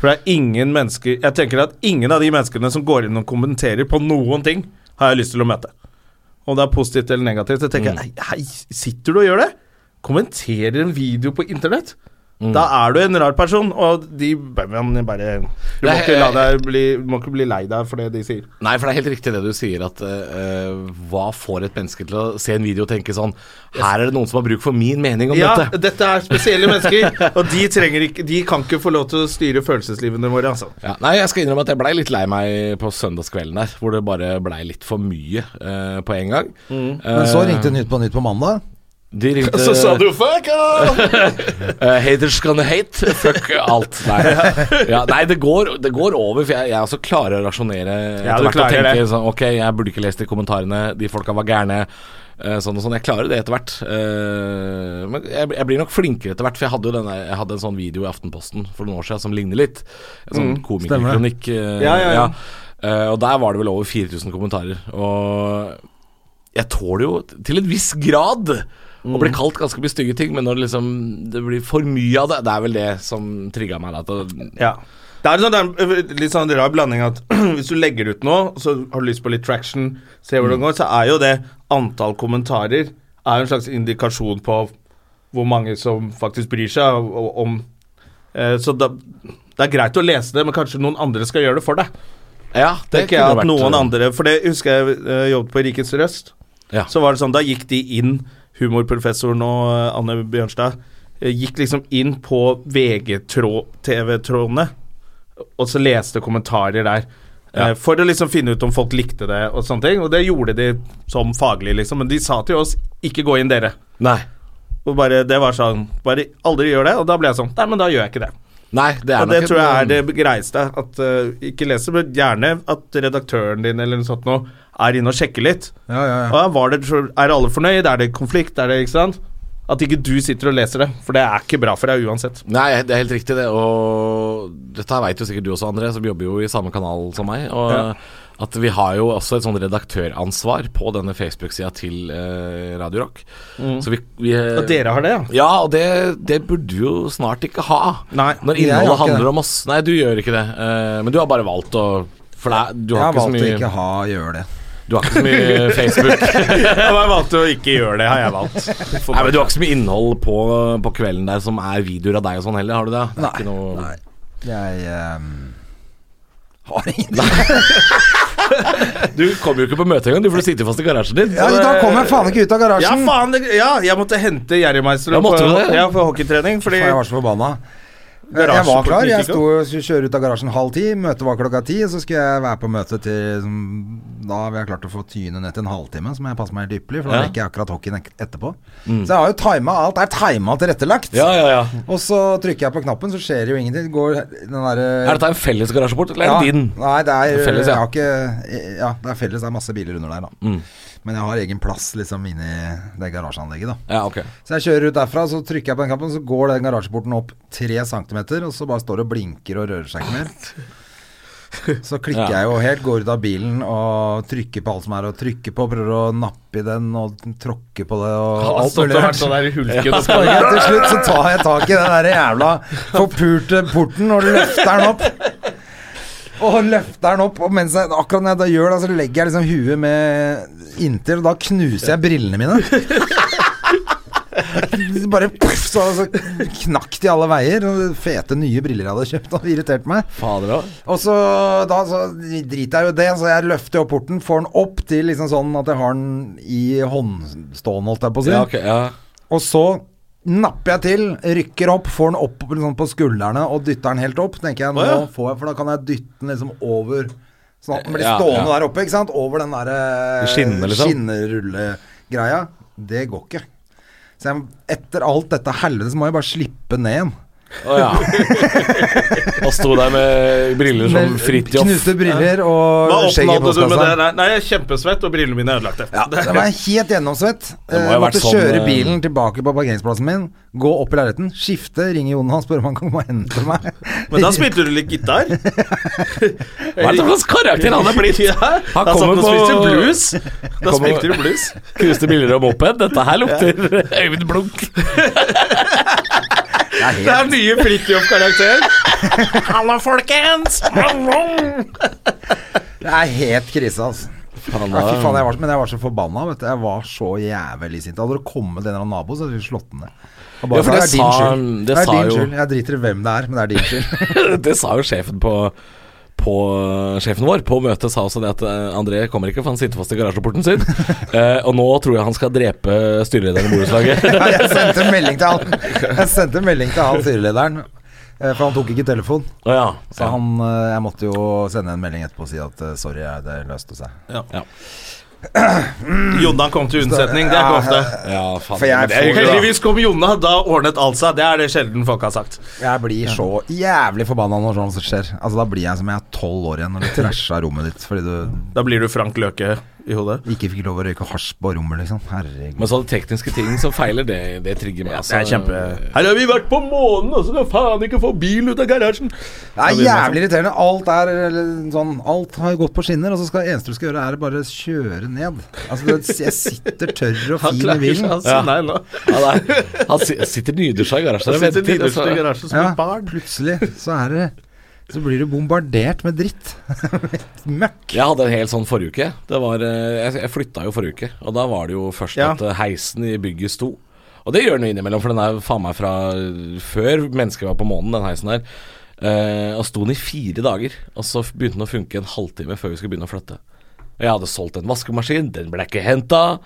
[SPEAKER 1] For det er ingen mennesker Jeg tenker at ingen av de menneskene som går inn og kommenterer på noen ting, har jeg lyst til å møte. Om det er positivt eller negativt. Så tenker jeg nei, hei, sitter du og gjør det? Kommenterer en video på internett? Da er du en rar person, og de bør man bare Du må
[SPEAKER 5] Nei,
[SPEAKER 1] ikke, la deg bli, du må ikke bli lei deg for det de sier.
[SPEAKER 5] Nei, for det er helt riktig det du sier, at eh, hva får et menneske til å se en video og tenke sånn Her er det noen som har bruk for min mening om
[SPEAKER 1] Ja,
[SPEAKER 5] dette.
[SPEAKER 1] dette er spesielle mennesker, og de, trenger ikke, de kan ikke få lov til å styre følelseslivene våre, altså.
[SPEAKER 5] Ja, nei, jeg skal innrømme at jeg blei litt lei meg på søndagskvelden der, hvor det bare blei litt for mye eh, på en gang. Eh,
[SPEAKER 2] Men så ringte Nytt på Nytt på mandag.
[SPEAKER 5] De ringte
[SPEAKER 1] Mm. Så sa du fuck off!
[SPEAKER 5] eh, Haters gonna hate. Fuck alt. Nei, ja, nei det, går, det går over, for jeg, jeg også klarer å rasjonere
[SPEAKER 1] Ja,
[SPEAKER 5] etter
[SPEAKER 1] du
[SPEAKER 5] hvert. Og
[SPEAKER 1] klarer
[SPEAKER 5] tenke
[SPEAKER 1] det.
[SPEAKER 5] sånn Ok, jeg burde ikke lest de kommentarene. De folka var gærne. eh, Sånn og sånn, Jeg klarer det etter hvert. Eh, Men jeg, jeg blir nok flinkere etter hvert. For jeg hadde jo denne, jeg hadde en sånn video i Aftenposten for noen år siden som ligner litt. En sånn komikerkronikk. eh,
[SPEAKER 1] Mm, Ja, ja, ja.
[SPEAKER 5] Eh, Og der var det vel over 4000 kommentarer. Og jeg tåler jo til en viss grad
[SPEAKER 1] Mm.
[SPEAKER 5] å bli kalt ganske mye stygge ting, men når det liksom det blir for mye av det Det er vel det som trigga meg. Da, til,
[SPEAKER 1] Ja. Det er, en sånn, det er en litt sånn rar blanding at hvis du legger ut noe, så har du lyst på litt traction, se
[SPEAKER 5] Mm.
[SPEAKER 1] hvor det går, så er jo det antall kommentarer er jo en slags indikasjon på hvor mange som faktisk bryr seg og- og- om eh, Så da, det er greit å lese det, men kanskje noen andre skal gjøre det for deg.
[SPEAKER 5] ja, det
[SPEAKER 1] Tenker jeg
[SPEAKER 5] kunne
[SPEAKER 1] at
[SPEAKER 5] vært- eh,
[SPEAKER 1] noen andre For det husker jeg eh, jobbet på Rikets Røst.
[SPEAKER 5] Ja.
[SPEAKER 1] Så var det sånn, da gikk de inn, humorprofessoren og eh, Anne Bjørnstad, eh, gikk liksom inn på VG-TV-trådene, og så leste kommentarer der. eh, For å liksom finne ut om folk likte det og sånne ting. Og det gjorde de som faglig, liksom. Men de sa til oss 'ikke gå inn, dere'.
[SPEAKER 5] Nei.
[SPEAKER 1] Og bare, det var sånn Bare aldri gjør det. Og da ble jeg sånn Nei, men da gjør jeg ikke det.
[SPEAKER 5] Nei, det er
[SPEAKER 1] Og det
[SPEAKER 5] nok
[SPEAKER 1] tror jeg er
[SPEAKER 5] en-
[SPEAKER 1] det greieste. At, eh, ikke lese, men gjerne at redaktøren din eller noe sånt nå er inne og sjekker litt.
[SPEAKER 2] Ja, ja, ja.
[SPEAKER 1] Ja, var det, er alle fornøyd? Er det konflikt? Er det, ikke sant? At ikke du sitter og leser det, for det er ikke bra for deg uansett.
[SPEAKER 5] Nei, det er helt riktig det. Og dette veit jo sikkert du også, André, som jobber jo i samme kanal som meg. Og
[SPEAKER 1] Ja.
[SPEAKER 5] at vi har jo også et sånn redaktøransvar på denne Facebook-sida til eh, Radio Rock. Så vi, vi
[SPEAKER 1] Mm.
[SPEAKER 5] eh,
[SPEAKER 1] Og dere har det, ja?
[SPEAKER 5] Ja, og det, det burde du jo snart ikke ha.
[SPEAKER 1] Nei,
[SPEAKER 5] Når
[SPEAKER 2] jeg har
[SPEAKER 5] innholdet
[SPEAKER 2] ikke
[SPEAKER 5] handler
[SPEAKER 2] det.
[SPEAKER 5] om oss. Nei, du gjør ikke det. eh, men du har bare valgt å For det, er- du,
[SPEAKER 2] Jeg har
[SPEAKER 5] har ikke så
[SPEAKER 2] valgt å
[SPEAKER 5] mye,
[SPEAKER 2] ikke ha gjøre det.
[SPEAKER 5] du har ikke så mye Facebook.
[SPEAKER 1] Jeg valgte å ikke gjøre det, har jeg valgt.
[SPEAKER 5] Nei, men Du har ikke så mye innhold på, på kvelden der som er videoer av deg og sånn heller, har du det? det er
[SPEAKER 2] Nei,
[SPEAKER 5] ikke noe,
[SPEAKER 2] nei. Jeg ehm, har ingen
[SPEAKER 5] Du kommer jo ikke på møte engang, du, for du sitter fast i garasjen din.
[SPEAKER 2] ja, Da kommer jeg faen ikke ut av
[SPEAKER 1] Ja,
[SPEAKER 2] garasjen!
[SPEAKER 1] faen! det- Ja, jeg måtte hente Jerrymeister
[SPEAKER 5] Ja, måtte du
[SPEAKER 1] på,
[SPEAKER 5] det?
[SPEAKER 1] ja, på hockeytrening, fordi
[SPEAKER 2] For jeg var så forbanna. Jeg
[SPEAKER 1] garasjen
[SPEAKER 2] var
[SPEAKER 1] på
[SPEAKER 2] klar. Jeg
[SPEAKER 1] Knivkikk
[SPEAKER 2] sto og skulle kjøre ut av garasjen halv ti. Møtet var klokka ti, så skulle jeg være på møtet til som- Da har jeg klart å få tyne ned til en halvtime, så må jeg passe meg helt ypperlig, for da
[SPEAKER 5] Ja. Mm.
[SPEAKER 2] rekker jeg akkurat hockeyen ek- etterpå. Så jeg har jo tima alt. Er tima og tilrettelagt.
[SPEAKER 5] Ja, ja, ja.
[SPEAKER 2] Og så trykker jeg på knappen, så skjer det jo ingenting. Det Går den derre
[SPEAKER 5] Er dette en felles garasjeport, eller
[SPEAKER 2] ja,
[SPEAKER 5] er det din?
[SPEAKER 2] Nei, det er,
[SPEAKER 5] Felles, ja. Mm.
[SPEAKER 2] jeg har ikke, ja, det er felles. Det er masse biler under der, da. Men jeg har egen plass liksom inni det garasjeanlegget, da.
[SPEAKER 5] Ja, ok.
[SPEAKER 2] Så jeg kjører ut derfra, så trykker jeg på den knappen, så går den garasjeporten opp tre centimeter, og så bare står det og blinker og rører seg ikke mer. Så klikker
[SPEAKER 5] Ja.
[SPEAKER 2] jeg jo helt, går ut av bilen og trykker på alt som er å trykke på, prøver å nappe i den og tråkke på det og
[SPEAKER 1] og
[SPEAKER 2] alt
[SPEAKER 1] stått
[SPEAKER 2] mulig
[SPEAKER 1] og vært
[SPEAKER 2] rart.
[SPEAKER 1] sånn der i hulken og
[SPEAKER 2] Og
[SPEAKER 1] sånn.
[SPEAKER 2] jeg, til slutt så tar jeg tak i den der jævla forpurte porten og løfter den opp. Og løfter den opp, og mens jeg, akkurat når jeg da gjør det, så legger jeg liksom huet med inntil, og da knuser jeg brillene mine. Bare puff, så, så knakk de alle veier. og Fete nye briller jeg hadde kjøpt, og det irriterte meg.
[SPEAKER 5] Fader òg.
[SPEAKER 2] Og så, da, så driter jeg jo i det, så jeg løfter opp porten, får den opp til liksom sånn at jeg har den i håndstående, holdt jeg på å si.
[SPEAKER 5] Ja, ok, ja.
[SPEAKER 2] Og så napper jeg til, rykker opp, får den opp liksom, på skuldrene og dytter den helt opp. tenker jeg, nå
[SPEAKER 1] Å, ja.
[SPEAKER 2] får jeg, For da kan jeg dytte den liksom over Sånn at den blir
[SPEAKER 5] Ja,
[SPEAKER 2] stående
[SPEAKER 5] ja.
[SPEAKER 2] der oppe, ikke sant? Over den der eh,
[SPEAKER 5] Skinnene, liksom.
[SPEAKER 2] skinnerullegreia. Det går ikke. Så jeg, etter alt dette helvete, så må jeg bare slippe ned igjen.
[SPEAKER 5] Å ja. Og sto der med briller som
[SPEAKER 2] Med
[SPEAKER 5] Fridtjof.
[SPEAKER 2] Knuste briller og
[SPEAKER 1] sånn Hva
[SPEAKER 2] skjegg i
[SPEAKER 1] oppnådde du med det?
[SPEAKER 2] postkassa.
[SPEAKER 1] der? Nei, jeg er kjempesvett, og brillene mine er ødelagte.
[SPEAKER 2] Ja, det var helt gjennomsvett.
[SPEAKER 5] må
[SPEAKER 2] Eh,
[SPEAKER 5] ha vært
[SPEAKER 2] måtte
[SPEAKER 5] sånn,
[SPEAKER 2] kjøre
[SPEAKER 5] eh,
[SPEAKER 2] bilen tilbake på parkeringsplassen min, gå opp i leiligheten, skifte, ringe Jonas, spørre om han kan komme og hente meg.
[SPEAKER 1] Men da spilte du litt gitar.
[SPEAKER 5] Hva er det for slags karakter han er blitt?
[SPEAKER 1] Ja,
[SPEAKER 5] Han
[SPEAKER 1] da satt
[SPEAKER 5] kommer
[SPEAKER 1] du og spilte
[SPEAKER 5] på-
[SPEAKER 1] blues. Da
[SPEAKER 5] Kommer-
[SPEAKER 1] spilte du blues.
[SPEAKER 5] Knuste briller og moped. Dette her lukter Øyvind Blunk.
[SPEAKER 1] Det er nye Fridtjof-karakter. Halla, folkens!
[SPEAKER 2] Det er helt krise, altså.
[SPEAKER 5] Faen,
[SPEAKER 2] Ja, fy
[SPEAKER 5] da.
[SPEAKER 2] faen, jeg var, så- men jeg var så forbanna. Vet du. Jeg var så jævlig sint. Hadde det kommet en eller annen nabo, så hadde vi slått den ned. Og
[SPEAKER 5] Ja, for
[SPEAKER 2] «Det er
[SPEAKER 5] det
[SPEAKER 2] din
[SPEAKER 5] sa-
[SPEAKER 2] skyld.
[SPEAKER 5] det
[SPEAKER 2] det er
[SPEAKER 5] sa
[SPEAKER 2] din
[SPEAKER 5] jo-
[SPEAKER 2] skyld. Jeg driter i hvem det er, men det er din skyld.
[SPEAKER 5] Det sa jo sjefen på på eh, Sjefen vår på møtet sa også det at eh, André kommer ikke, for han sitter fast i garasjeporten sin. Eh, og nå tror jeg han skal drepe styrelederen i borettslaget.
[SPEAKER 2] Ja, jeg sendte en melding til han Jeg sendte en melding til han styrelederen, eh, for han tok ikke telefon.
[SPEAKER 5] Å ja.
[SPEAKER 2] Så han, eh, jeg måtte jo sende en melding etterpå og si at eh, sorry, jeg- det løste seg.
[SPEAKER 1] Jonna kom til unnsetning. Det er ikke ofte.
[SPEAKER 5] ja, faen.
[SPEAKER 2] For jeg
[SPEAKER 5] Men det er
[SPEAKER 2] får-
[SPEAKER 5] hyggelig.
[SPEAKER 1] Heldigvis kom Jonna, da ordnet alt seg. Det er det sjelden folk har sagt.
[SPEAKER 2] Jeg blir så jævlig forbanna når sånt skjer. Altså Da blir jeg som jeg er tolv år igjen, når du trasha rommet ditt fordi du
[SPEAKER 1] Da blir du Frank Løke i hodet.
[SPEAKER 2] ikke fikk lov å røyke hasj på rommet, liksom. Herregud.
[SPEAKER 5] Men sånne tekniske ting som feiler, det, det trigger meg. altså.
[SPEAKER 1] Her har vi vært på månen, og så kan faen ikke få bilen ut av garasjen!
[SPEAKER 2] Det er jævlig irriterende. Alt er eller, sånn Alt har gått på skinner, og så skal eneste du skal gjøre, er bare kjøre ned. Altså, det, jeg sitter tørr og
[SPEAKER 1] Han
[SPEAKER 2] fin i
[SPEAKER 1] klarer ikke
[SPEAKER 2] bilen.
[SPEAKER 1] å si nei nå.
[SPEAKER 5] Ja, nei. Han si- sitter nydusja i garasjen.
[SPEAKER 1] Han
[SPEAKER 5] og
[SPEAKER 1] sitter
[SPEAKER 5] venter,
[SPEAKER 1] nederst i
[SPEAKER 5] altså.
[SPEAKER 1] garasjen som
[SPEAKER 2] Ja,
[SPEAKER 1] et barn.
[SPEAKER 2] plutselig så er det Så blir du bombardert med dritt. Møkk.
[SPEAKER 5] Jeg hadde en hel sånn forrige uke. Det var, eh, jeg jeg flytta jo forrige uke, og da var det jo først
[SPEAKER 1] Ja.
[SPEAKER 5] at eh, heisen i bygget sto. Og det gjør den jo innimellom, for den er jo faen meg fra før mennesket var på månen, den heisen der. Eh, og sto den i fire dager, og så f- begynte den å funke en halvtime før vi skulle begynne å flytte. Og jeg hadde solgt en vaskemaskin, den ble ikke henta.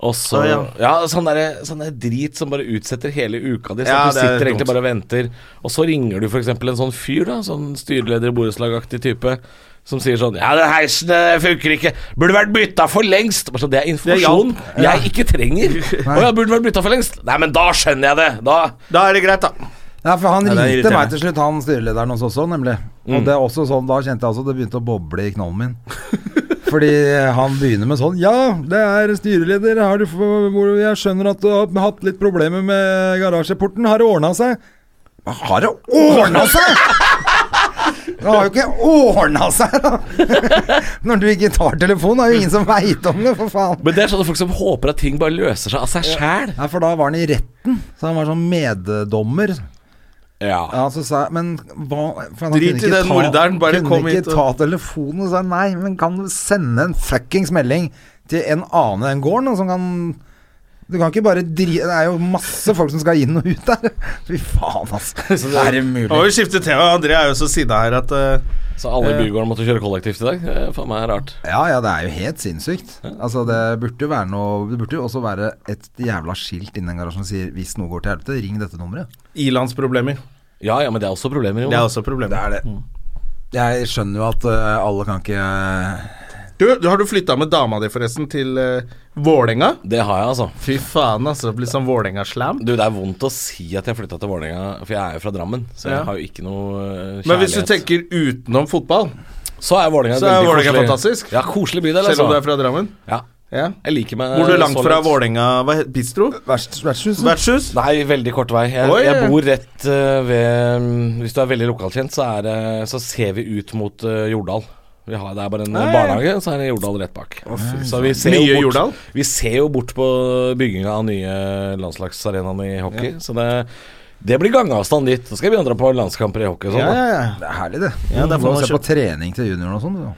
[SPEAKER 5] Og så Ja,
[SPEAKER 1] Å,
[SPEAKER 5] sånn, der, sånn der drit som bare utsetter hele uka di. Så
[SPEAKER 1] Ja,
[SPEAKER 5] at du
[SPEAKER 1] det er
[SPEAKER 5] sitter egentlig
[SPEAKER 1] dumt.
[SPEAKER 5] bare og venter, og så ringer du f.eks. en sånn fyr, da, sånn styreleder i borettslagaktig type, som sier sånn 'Ja, den heisen eh, funker ikke. Burde vært bytta for lengst.' Bare sånn, det er informasjon jeg ikke trenger. Å ja, burde vært bytta for lengst. Nei, men da skjønner jeg det. Da
[SPEAKER 1] Da er det greit, da.
[SPEAKER 2] Ja, Ja, for han
[SPEAKER 1] Ja, det er
[SPEAKER 2] ringte meg
[SPEAKER 1] irriterende.
[SPEAKER 2] til slutt, han styrelederen hos oss også, nemlig. Og det er også sånn, da kjente jeg også det begynte å boble i knollen min. Fordi han begynner med sånn Ja, det er styreleder. Har du, få- hvor- jeg skjønner at du har hatt litt problemer med garasjeporten. Har det ordna seg? Har det ordna seg?! Det har jo ikke ordna seg! da. Når du ikke tar telefonen, er jo ingen som veit om det, for faen.
[SPEAKER 5] Men det er sånne folk som håper at ting bare løser seg av seg sjæl.
[SPEAKER 2] Ja, for da var han i retten, så han var sånn meddommer.
[SPEAKER 5] Ja.
[SPEAKER 2] Ja, så sa jeg, men hva for han kunne
[SPEAKER 1] Drit i
[SPEAKER 2] ikke
[SPEAKER 1] den morderen, bare
[SPEAKER 2] kunne
[SPEAKER 1] kom hit
[SPEAKER 2] ikke ta telefonen og sa nei, men kan du sende en fuckings melding til en annen enn gården, og som kan Du kan ikke bare dri... Det er jo masse folk som skal inn og ut der. Fy faen, altså. Er det mulig?
[SPEAKER 1] Nå må vi skifte tema. André er jo så sinna her at eh,
[SPEAKER 5] Så alle i bygården måtte kjøre kollektivt i dag? Det er faen meg rart.
[SPEAKER 2] Ja, ja, det er jo helt sinnssykt. Altså, det burde jo være noe Det burde jo også være et jævla skilt inni den garasjen som sier 'hvis noe går til helvete, ring dette nummeret'.
[SPEAKER 1] I-landsproblemer.
[SPEAKER 5] Ja, ja, men det er også problemer, jo.
[SPEAKER 1] Det er også problemer.
[SPEAKER 2] er det. Jeg skjønner jo at eh, alle kan ikke
[SPEAKER 1] Du, du, har du flytta med dama di, forresten, til eh, Vålerenga?
[SPEAKER 5] Det har jeg, altså.
[SPEAKER 1] Fy faen, altså. Blitt sånn Vålerenga-slam.
[SPEAKER 5] Du, det er vondt å si at jeg flytta til Vålerenga, for jeg er jo fra Drammen. Så
[SPEAKER 1] Ja.
[SPEAKER 5] jeg har jo ikke noe eh, kjærlighet.
[SPEAKER 1] Men hvis du tenker utenom fotball,
[SPEAKER 5] Så er Vålerenga
[SPEAKER 1] Så er
[SPEAKER 5] veldig
[SPEAKER 1] Vålerenga
[SPEAKER 5] koselig.
[SPEAKER 1] fantastisk.
[SPEAKER 5] Ja, koselig bydel,
[SPEAKER 1] selv
[SPEAKER 5] altså.
[SPEAKER 1] om du er fra Drammen
[SPEAKER 5] Ja.
[SPEAKER 1] ja.
[SPEAKER 5] Jeg liker meg
[SPEAKER 2] Eh,
[SPEAKER 1] Bor du langt
[SPEAKER 5] så
[SPEAKER 1] fra
[SPEAKER 5] langt.
[SPEAKER 1] Vålerenga Hva het Bistro?
[SPEAKER 2] Mm. Vertshuset?
[SPEAKER 1] Vertshus?
[SPEAKER 5] Nei, veldig kort vei. Jeg,
[SPEAKER 1] Oi.
[SPEAKER 5] jeg bor rett eh, ved mm, Hvis du er veldig lokalkjent, så, er, det- så ser vi ut mot eh, Jordal. Vi har, det er bare en eh, barnehage, så er det Jordal rett bak. så vi ser,
[SPEAKER 1] Nye
[SPEAKER 5] jo
[SPEAKER 1] Jordal?
[SPEAKER 5] bort, vi ser jo bort på bygginga av nye landslagsarenaen i hockey. Så det, det blir gangavstand dit. Så skal jeg begynne å dra på landskamper i hockey og sånn. da.
[SPEAKER 2] Det er herlig, det.
[SPEAKER 1] Ja,
[SPEAKER 2] du
[SPEAKER 1] det er
[SPEAKER 2] må
[SPEAKER 1] for å
[SPEAKER 2] se på trening til junioren og sånn. du.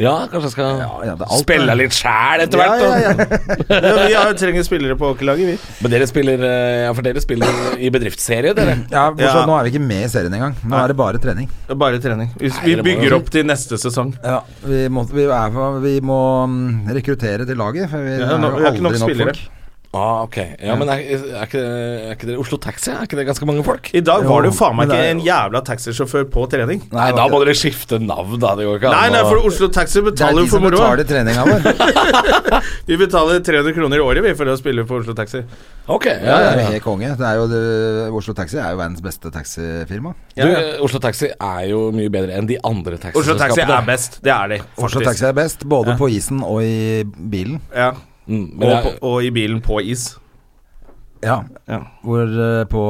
[SPEAKER 5] Ja, kanskje jeg skal
[SPEAKER 2] Ja, ja, det er alt,
[SPEAKER 5] spille
[SPEAKER 2] det.
[SPEAKER 5] litt sjæl etter hvert. da.
[SPEAKER 1] Ja, vi har, trenger spillere på hockeylaget, vi.
[SPEAKER 5] Men dere spiller, eh, ja, for dere spiller i bedriftsserie, dere.
[SPEAKER 2] Ja, bortsett,
[SPEAKER 1] Ja.
[SPEAKER 2] Nå er vi ikke med i serien engang. Nå er det bare trening.
[SPEAKER 1] Bare trening. Vi, vi
[SPEAKER 5] dere må
[SPEAKER 1] bygger
[SPEAKER 5] jo-
[SPEAKER 1] opp til neste sesong.
[SPEAKER 2] Vi, må, vi, er, vi må mm, rekruttere til laget, for vi
[SPEAKER 1] Ja,
[SPEAKER 2] er
[SPEAKER 1] nå-
[SPEAKER 2] jo
[SPEAKER 1] vi har ikke
[SPEAKER 2] aldri
[SPEAKER 1] nok
[SPEAKER 2] nok,
[SPEAKER 1] spillere.
[SPEAKER 2] folk.
[SPEAKER 5] Ah, ok. Ja, men er, er, ikke, er ikke det Oslo Taxi? Er ikke det ganske mange folk?
[SPEAKER 1] I dag var det jo
[SPEAKER 2] Jo,
[SPEAKER 1] faen meg
[SPEAKER 2] men det
[SPEAKER 1] ikke
[SPEAKER 2] er
[SPEAKER 1] en jævla taxisjåfør på trening.
[SPEAKER 5] Nei, da må dere skifte navn, da. Det går ikke
[SPEAKER 1] Nei,
[SPEAKER 5] an.
[SPEAKER 1] nei,
[SPEAKER 5] å-
[SPEAKER 1] for Oslo Taxi
[SPEAKER 2] Det er
[SPEAKER 1] betaler
[SPEAKER 2] de
[SPEAKER 1] jo for
[SPEAKER 2] som
[SPEAKER 1] moroa.
[SPEAKER 2] betaler treninga vår.
[SPEAKER 1] Vi betaler 300 kroner i året, vi, for å spille på Oslo Taxi.
[SPEAKER 5] Ok, ja,
[SPEAKER 2] Det
[SPEAKER 5] ja,
[SPEAKER 2] er jo
[SPEAKER 5] ja.
[SPEAKER 2] helt konge. Det er jo, det, Oslo Taxi er jo verdens beste taxifirma.
[SPEAKER 5] Du, eh, Oslo Taxi er jo mye bedre enn de andre
[SPEAKER 1] Oslo Taxi er
[SPEAKER 5] taxiselskapene.
[SPEAKER 1] best. Det er de,
[SPEAKER 2] Oslo
[SPEAKER 1] faktisk.
[SPEAKER 2] Taxi er best, både på isen og i bilen.
[SPEAKER 1] Ja.
[SPEAKER 5] Mm, men
[SPEAKER 1] Og,
[SPEAKER 5] jeg,
[SPEAKER 1] på- og i bilen på is.
[SPEAKER 2] Ja,
[SPEAKER 1] Ja.
[SPEAKER 2] Hvor eh, på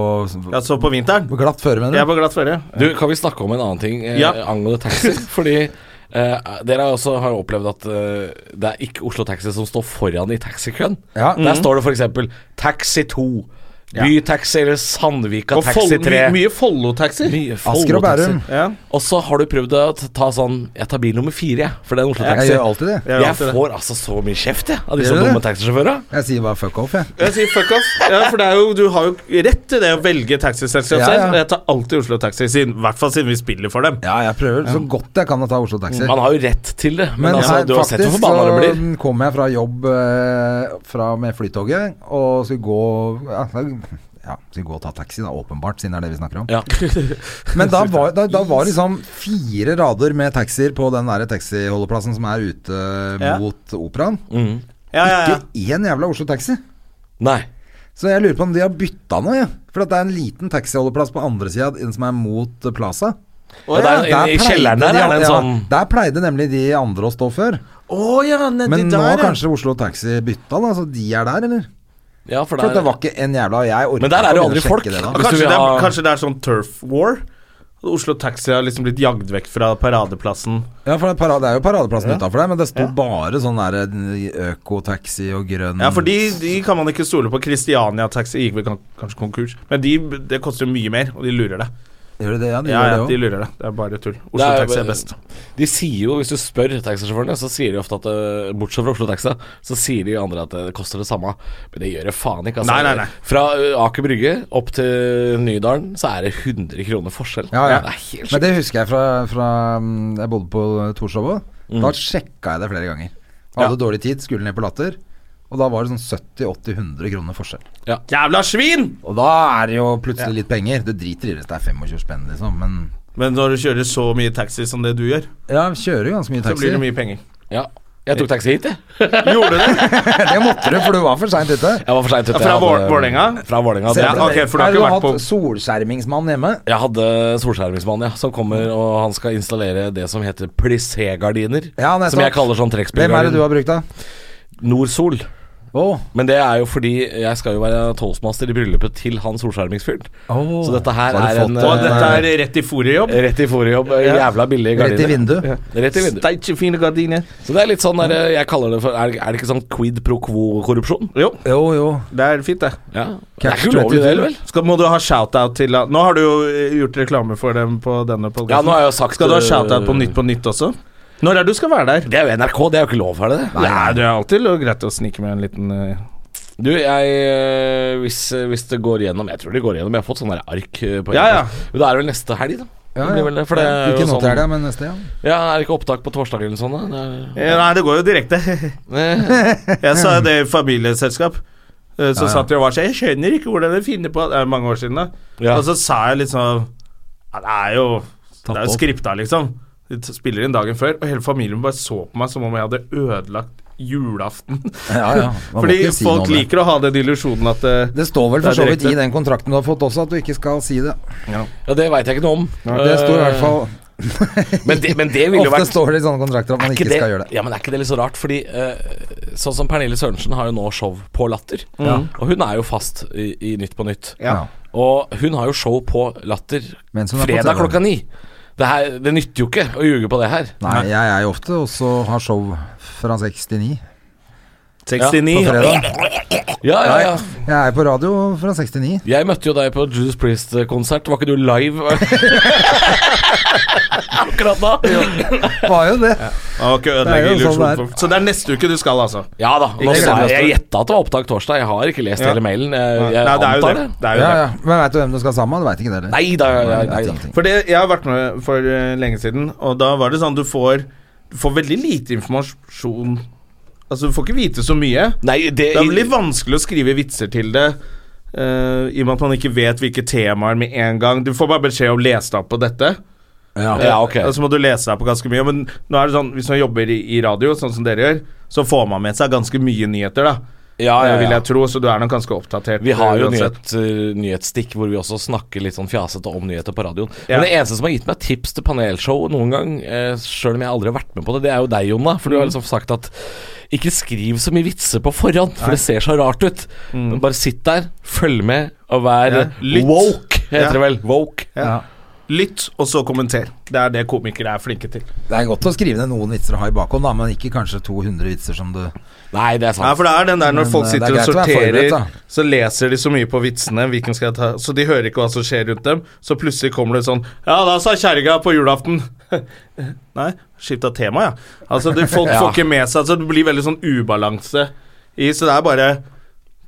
[SPEAKER 1] Ja, så på vinteren.
[SPEAKER 2] Hvor glatt føre,
[SPEAKER 1] Jeg er
[SPEAKER 2] mener du?
[SPEAKER 1] på glatt føre.
[SPEAKER 5] du, kan vi snakke om en annen ting eh,
[SPEAKER 1] Ja.
[SPEAKER 5] angående taxi? Fordi eh, dere har også har jo opplevd at eh, det er ikke Oslo Taxi som står foran i taxikøen.
[SPEAKER 2] Ja.
[SPEAKER 1] Mm.
[SPEAKER 5] Der står det f.eks. Taxi 2, Bytaxi eller Sandvika
[SPEAKER 1] Og
[SPEAKER 5] Taxi
[SPEAKER 1] Follo-
[SPEAKER 5] 3.
[SPEAKER 1] mye Follo-taxi.
[SPEAKER 5] Mye
[SPEAKER 2] Asker og
[SPEAKER 5] Follo-taxi.
[SPEAKER 2] Bærum.
[SPEAKER 1] Ja.
[SPEAKER 5] Og så har du prøvd å t- ta sånn Jeg tar bil nummer fire, jeg, for det er en Oslo
[SPEAKER 2] Jeg
[SPEAKER 5] Taxi.
[SPEAKER 2] gjør alltid det.
[SPEAKER 1] Jeg gjør
[SPEAKER 5] Jeg
[SPEAKER 1] alltid det.
[SPEAKER 5] får altså så mye kjeft jeg, av disse
[SPEAKER 2] Gjør du det?
[SPEAKER 5] dumme taxisjåførene.
[SPEAKER 2] Jeg sier bare fuck off, jeg.
[SPEAKER 1] Jeg sier fuck off. Ja, for det er jo, du har jo rett til det å velge
[SPEAKER 2] Ja,
[SPEAKER 1] taxiselskap selv.
[SPEAKER 2] ja.
[SPEAKER 1] og Jeg tar alltid Oslo Taxi, siden- i hvert fall siden vi spiller for dem.
[SPEAKER 2] Ja, jeg prøver så godt jeg kan å ta Oslo Taxi.
[SPEAKER 5] Man har jo rett til det, men,
[SPEAKER 2] Mm. Men
[SPEAKER 5] altså,
[SPEAKER 2] her,
[SPEAKER 5] du har sett hvor
[SPEAKER 2] faktisk
[SPEAKER 5] forbanna det blir.
[SPEAKER 2] så kom jeg fra jobb eh, fra med flytoget og skulle gå ja, ja, skulle gå og ta taxi, da, åpenbart, siden det er det vi snakker om.
[SPEAKER 5] Ja.
[SPEAKER 2] Men da var, da, da var liksom fire rader med taxier på den der taxiholdeplassen som er ute
[SPEAKER 1] Ja.
[SPEAKER 2] mot operaen.
[SPEAKER 1] Ja, ja, ja.
[SPEAKER 2] Ikke én jævla Oslo Taxi.
[SPEAKER 5] Nei.
[SPEAKER 2] Så jeg lurer på om de har bytta nå, jeg. For at det er en liten taxiholdeplass på andre sida, den som er mot eh, Plaza.
[SPEAKER 5] Og det er, I
[SPEAKER 2] pleide
[SPEAKER 5] kjelleren der
[SPEAKER 2] de-
[SPEAKER 5] er det en
[SPEAKER 2] ja,
[SPEAKER 5] sånn
[SPEAKER 2] Der pleide nemlig de andre å stå før.
[SPEAKER 1] Å ja, nedi
[SPEAKER 2] Men
[SPEAKER 1] der,
[SPEAKER 2] nå
[SPEAKER 1] ja.
[SPEAKER 2] har kanskje Oslo Taxi bytta, da, så de er der, eller?
[SPEAKER 5] ja, for
[SPEAKER 2] For at det
[SPEAKER 5] der,
[SPEAKER 2] var ikke en jævla Jeg orker
[SPEAKER 5] Men der er det jo
[SPEAKER 2] ikke å
[SPEAKER 5] aldri
[SPEAKER 2] sjekke
[SPEAKER 5] folk.
[SPEAKER 2] Det, da.
[SPEAKER 5] Hvis du
[SPEAKER 1] Kanskje,
[SPEAKER 5] vil
[SPEAKER 1] det
[SPEAKER 5] ha-
[SPEAKER 1] er, kanskje det er sånn turf war? Oslo Taxi har liksom blitt jagd vekk fra paradeplassen.
[SPEAKER 2] Ja, for det er, para, det er jo paradeplassen utenfor der, men det sto bare sånn der eh, økotaxi og grønn
[SPEAKER 1] Ja, for de, de kan man ikke stole på. Christiania Taxi gikk vel kan- kanskje konkurs. Men de, det koster jo mye mer, og de lurer deg.
[SPEAKER 2] Gjør de det? Ja, de
[SPEAKER 1] Ja,
[SPEAKER 2] gjør
[SPEAKER 1] ja, de
[SPEAKER 2] det òg.
[SPEAKER 1] lurer deg. Det er bare tull.
[SPEAKER 5] Det
[SPEAKER 1] Oslo
[SPEAKER 5] er jo-
[SPEAKER 1] Taxi er best.
[SPEAKER 5] De sier jo, hvis du spør taxisjåførene, så sier de ofte at eh, bortsett fra Oslo Taxi, så sier de andre at eh, det koster det samme. Men det gjør det faen ikke. altså.
[SPEAKER 1] Nei, nei, nei.
[SPEAKER 5] Fra eh, Aker Brygge opp til Nydalen så er det 100 kroner forskjell.
[SPEAKER 2] Ja, ja.
[SPEAKER 5] Det er helt
[SPEAKER 2] Men
[SPEAKER 5] sjukt.
[SPEAKER 2] det husker jeg fra, fra mm, jeg bodde på Torshov òg. Da sjekka jeg det flere ganger. Hadde dårlig tid, skulle ned på Latter. Og da var det sånn 70-80-100 kroner forskjell.
[SPEAKER 1] Jævla svin!
[SPEAKER 2] Og da er det jo plutselig litt penger. Du driter i det hvis det er 25 spenn, liksom, men
[SPEAKER 1] Men når du kjører så mye taxi som det du gjør,
[SPEAKER 2] Ja, kjører jo ganske mye
[SPEAKER 1] så
[SPEAKER 2] taxi.
[SPEAKER 1] blir det mye penger.
[SPEAKER 5] Ja. Jeg tok taxi hit, jeg.
[SPEAKER 1] Gjorde du det?
[SPEAKER 2] det måtte du, for du var for seint ute.
[SPEAKER 5] Jeg var for seint ute.
[SPEAKER 1] Ja, fra
[SPEAKER 5] jeg hadde-
[SPEAKER 1] Vår- Vålerenga?
[SPEAKER 5] Fra Vålerenga.
[SPEAKER 1] Ja,
[SPEAKER 5] det-
[SPEAKER 1] ok, for du har
[SPEAKER 2] Nei,
[SPEAKER 1] ikke
[SPEAKER 2] hatt
[SPEAKER 1] vært på
[SPEAKER 2] solskjermingsmann hjemme.
[SPEAKER 5] Jeg hadde solskjermingsmann, ja, som kommer og han skal installere det som heter plissé-gardiner.
[SPEAKER 2] Ja, nettopp.
[SPEAKER 5] som jeg kaller sånn
[SPEAKER 2] Hvem er det du
[SPEAKER 5] trekkspillgardin.
[SPEAKER 2] har brukt, da?
[SPEAKER 5] Nordsol.
[SPEAKER 2] Åh,
[SPEAKER 5] Men det er jo fordi jeg skal jo være toastmaster i bryllupet til han solskjermingsfyren.
[SPEAKER 2] Åh.
[SPEAKER 5] Så dette
[SPEAKER 2] Har
[SPEAKER 5] her
[SPEAKER 2] du
[SPEAKER 5] er
[SPEAKER 2] fått
[SPEAKER 5] en
[SPEAKER 2] det?
[SPEAKER 1] Og
[SPEAKER 5] eh,
[SPEAKER 1] dette er rett i fôret-jobb?
[SPEAKER 5] Rett i fòrjobb. Jævla billig
[SPEAKER 2] Rett i
[SPEAKER 5] gardiner.
[SPEAKER 2] vinduet.
[SPEAKER 5] Rett i vinduet.
[SPEAKER 1] Steikje fine gardiner.
[SPEAKER 5] Så det er litt sånn der, eh, jeg kaller det for Er, er det ikke sånn quid pro quo-korrupsjon?
[SPEAKER 1] Jo,
[SPEAKER 2] Jo, jo.
[SPEAKER 1] det er fint, det.
[SPEAKER 5] Ja. Det er
[SPEAKER 2] Catch
[SPEAKER 5] ikke ulovlig, det, vel?
[SPEAKER 1] Skal, må du ha shout-out til Nå har du jo eh, gjort reklame for dem på denne podcasten.
[SPEAKER 5] Ja, nå har jeg jo sagt
[SPEAKER 1] Skal du ha
[SPEAKER 5] eh,
[SPEAKER 1] shout-out på Nytt på Nytt også? Når er det du skal være der?
[SPEAKER 5] Det er jo NRK, det er jo ikke lov, er det det?
[SPEAKER 1] Nei, det er alltid lo- greit å snike med en liten eh,
[SPEAKER 5] Du, jeg øh, hvis, øh, hvis det går gjennom Jeg tror det går gjennom. Jeg har fått sånne der ark øh, på
[SPEAKER 1] Ja, ja.
[SPEAKER 5] e-post. Men det er vel neste helg, da.
[SPEAKER 2] Ja,
[SPEAKER 5] Det
[SPEAKER 2] ja.
[SPEAKER 5] blir vel det, for det er jo
[SPEAKER 2] ikke nå
[SPEAKER 5] sånn-
[SPEAKER 2] til helga, men neste, ja.
[SPEAKER 5] Ja, Er det ikke opptak på torsdag eller noe sånt? da? Det
[SPEAKER 1] eh, Nei, det går jo direkte.
[SPEAKER 5] er-
[SPEAKER 1] Jeg sa jo det i familieselskap. Eh, Så satt jeg og var sånn Jeg skjønner ikke hvordan de finner på Det er mange år siden, da.
[SPEAKER 5] Ja.
[SPEAKER 1] Og så sa jeg litt sånn ja, Det er jo Det er jo
[SPEAKER 5] opp.
[SPEAKER 1] skripta, liksom. De t- spiller inn dagen før, og hele familien bare så på meg som om jeg hadde ødelagt julaften.
[SPEAKER 2] ja, ja. Man må
[SPEAKER 1] Fordi
[SPEAKER 2] ikke si noe
[SPEAKER 1] folk
[SPEAKER 2] om det.
[SPEAKER 1] liker å ha den illusjonen at eh,
[SPEAKER 2] Det står vel
[SPEAKER 1] Det er
[SPEAKER 2] for så vidt
[SPEAKER 1] direkte.
[SPEAKER 2] i den kontrakten du har fått også, at du ikke skal si det.
[SPEAKER 5] ja, det veit jeg ikke noe om.
[SPEAKER 2] Det står i hvert fall
[SPEAKER 5] Øh, Men det, men det ville jo
[SPEAKER 2] Ofte
[SPEAKER 5] vært
[SPEAKER 2] står det i sånne kontrakter at man ikke
[SPEAKER 5] det,
[SPEAKER 2] skal gjøre det.
[SPEAKER 5] Ja, men Er ikke det litt så rart? Fordi eh, Sånn som Pernille Sørensen har jo nå show på Latter. Og hun er jo fast i, i Nytt på Nytt.
[SPEAKER 2] Ja.
[SPEAKER 5] Og hun har jo show på Latter
[SPEAKER 2] Mens hun er på
[SPEAKER 5] fredag
[SPEAKER 2] TV.
[SPEAKER 5] klokka ni. Det, her, det nytter jo ikke å ljuge på det her.
[SPEAKER 2] Nei, jeg er jo ofte også har show fra 69 på
[SPEAKER 1] 69
[SPEAKER 2] fredag.
[SPEAKER 5] Ja, ja, ja
[SPEAKER 2] Jeg er på radio fra 69.
[SPEAKER 5] Jeg møtte jo deg på Judas Priest-konsert. Var ikke du live akkurat da?
[SPEAKER 2] Var jo det.
[SPEAKER 1] Å, ikke
[SPEAKER 2] Det er
[SPEAKER 1] ødelegge
[SPEAKER 2] jo sånn det er.
[SPEAKER 1] illusjonen. for- Så det er neste uke du skal, altså?
[SPEAKER 5] Ja da. Nå
[SPEAKER 2] Ikke
[SPEAKER 5] sa
[SPEAKER 2] sant?
[SPEAKER 5] jeg jeg gjetta at det var opptak torsdag. Jeg har ikke lest
[SPEAKER 1] Ja.
[SPEAKER 5] hele mailen. Jeg, jeg
[SPEAKER 1] Nei, det er jo det.
[SPEAKER 5] antar det.
[SPEAKER 1] det, er jo
[SPEAKER 2] Ja,
[SPEAKER 1] det.
[SPEAKER 2] ja. Men veit du hvem du skal sammen med? Du veit ikke det heller.
[SPEAKER 5] Nei da. ja, ja,
[SPEAKER 2] Nei,
[SPEAKER 5] Nei,
[SPEAKER 2] vet
[SPEAKER 5] da.
[SPEAKER 2] ingenting.
[SPEAKER 1] For det, jeg har vært med for eh, lenge siden, og da var det sånn du får, du får veldig lite informasjon Altså, du får ikke vite så mye.
[SPEAKER 5] Nei, det,
[SPEAKER 1] Det er veldig vanskelig å skrive vitser til det. eh, I og med at man ikke vet hvilke temaer med en gang. Du får bare beskjed om 'les deg opp på dette'.
[SPEAKER 5] ja, ja, ok.
[SPEAKER 1] Og så må du lese deg på ganske mye. Men nå er det sånn, hvis man jobber i, i radio, sånn som dere gjør, så får man med seg ganske mye nyheter, da.
[SPEAKER 5] Ja, Ah, ja,
[SPEAKER 1] Eh, Vil
[SPEAKER 5] ja.
[SPEAKER 1] jeg tro, så du er nok ganske oppdatert. eh,
[SPEAKER 5] Vi har jo
[SPEAKER 1] uansett.
[SPEAKER 5] nyheter, nyhetsstikk hvor vi også snakker litt sånn fjasete om nyheter på radioen.
[SPEAKER 1] Ja.
[SPEAKER 5] Men det eneste som har gitt meg tips til panelshow noen gang, eh, sjøl om jeg aldri har vært med på det, det er jo deg, Jonna. For du
[SPEAKER 1] Mm.
[SPEAKER 5] har liksom sagt at ikke skriv så mye vitser på forhånd, for det ser så rart ut. Men bare sitt der, følg med, og vær
[SPEAKER 1] Mm. Ja. Lytt.
[SPEAKER 5] woke, heter
[SPEAKER 1] Ja.
[SPEAKER 5] det vel. Woke.
[SPEAKER 1] Ja. Lytt, og så kommenter. Det er det komikere er flinke til.
[SPEAKER 2] Det er godt å skrive ned noen vitser å ha i bakhånd, da, men ikke kanskje 200 vitser som du
[SPEAKER 5] Nei, det er
[SPEAKER 1] Ja,
[SPEAKER 5] sant.
[SPEAKER 1] for det er den der når
[SPEAKER 2] Men,
[SPEAKER 1] folk
[SPEAKER 2] eh, det
[SPEAKER 1] sitter
[SPEAKER 2] er
[SPEAKER 1] og
[SPEAKER 2] greit å være forberedt,
[SPEAKER 1] sorterer,
[SPEAKER 2] da.
[SPEAKER 1] så leser de så mye på vitsene, hvilken skal jeg ta Så de hører ikke hva som skjer rundt dem, så plutselig kommer det sånn Ja, da sa kjerringa på julaften Nei, skifta tema, ja. Altså, det, folk
[SPEAKER 5] Ja.
[SPEAKER 1] får ikke med seg Så det blir veldig sånn ubalanse i Så det er bare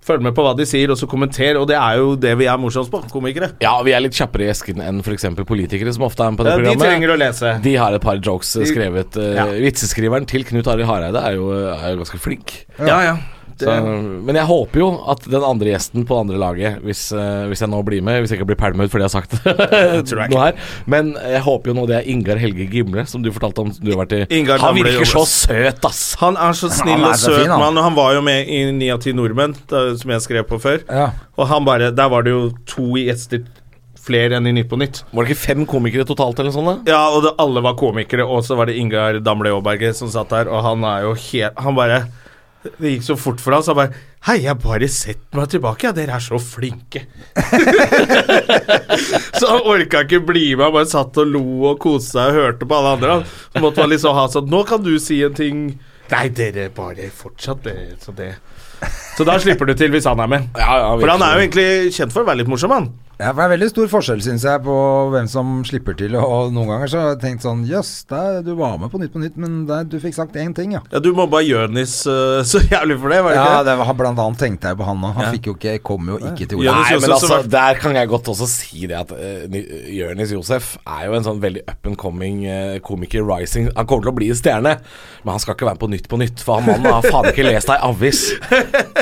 [SPEAKER 1] Følg med på hva de sier, og så kommenter, og det er jo det vi er morsomst på, komikere.
[SPEAKER 5] Ja, vi er litt kjappere i esken enn f.eks. politikere, som ofte er med på det
[SPEAKER 1] Ja, de
[SPEAKER 5] programmet.
[SPEAKER 1] trenger å lese.
[SPEAKER 5] De har et par jokes eh, skrevet. eh,
[SPEAKER 1] Ja.
[SPEAKER 5] Vitseskriveren til Knut Arild Hareide er jo, er jo ganske flink.
[SPEAKER 1] Ja, ja.
[SPEAKER 5] Så, men jeg håper jo at den andre gjesten på det andre laget, hvis, eh, hvis jeg nå blir med Hvis jeg ikke blir pælma ut fordi jeg har sagt
[SPEAKER 1] jeg
[SPEAKER 5] noe her Men jeg håper jo nå det er Ingar Helge Gimle, som du fortalte om du har vært i.
[SPEAKER 1] Ingar
[SPEAKER 5] han
[SPEAKER 1] Gamle
[SPEAKER 5] virker så
[SPEAKER 1] Jonas.
[SPEAKER 5] søt, ass!
[SPEAKER 1] Han er så snill
[SPEAKER 2] Han er
[SPEAKER 1] og
[SPEAKER 2] så
[SPEAKER 1] søt
[SPEAKER 2] fin, han.
[SPEAKER 1] mann, og han var jo med i Ni av ti nordmenn, da, som jeg skrev på før.
[SPEAKER 2] Ja.
[SPEAKER 1] Og han bare Der var det jo to gjester flere enn i Nytt på Nytt.
[SPEAKER 5] Var det ikke fem komikere totalt eller noe sånt? da?
[SPEAKER 1] Ja, og det, alle var komikere, og så var det Ingar Damle Aaberge som satt der, og han er jo helt Han bare Det gikk så fort for han, så han bare Hei, jeg bare setter meg tilbake, ja, dere er så flinke. så han orka ikke bli med, han bare satt og lo og koste seg og hørte på alle andre. han. Så måtte man liksom ha sånn Nå kan du si en ting Nei, dere bare fortsatt det, så det Så da slipper du til hvis han er med.
[SPEAKER 5] Ja, ja,
[SPEAKER 1] For han er jo egentlig kjent for å være litt morsom, han.
[SPEAKER 2] Ja, for Det er veldig stor forskjell, syns jeg, på hvem som slipper til. Og noen ganger så har jeg tenkt sånn Jøss, der- du var med på Nytt på Nytt, men der, du fikk sagt én ting, ja.
[SPEAKER 1] Ja, Du mobba Jonis øh, så jævlig for det, var det ikke?
[SPEAKER 2] Ja,
[SPEAKER 1] det?
[SPEAKER 2] det var, Blant annet tenkte jeg på han nå. Han fikk jo ikke, kom jo ikke til
[SPEAKER 1] Ja,
[SPEAKER 2] ordet.
[SPEAKER 1] Jonas
[SPEAKER 5] Nei, men
[SPEAKER 1] Josef som
[SPEAKER 5] altså,
[SPEAKER 1] var-
[SPEAKER 5] der kan jeg godt også si det at uh, Jørnis Josef er jo en sånn veldig up and coming eh, komiker rising. Han kommer til å bli en stjerne, men han skal ikke være med på Nytt på Nytt, for han mannen har faen ikke lest ei avis.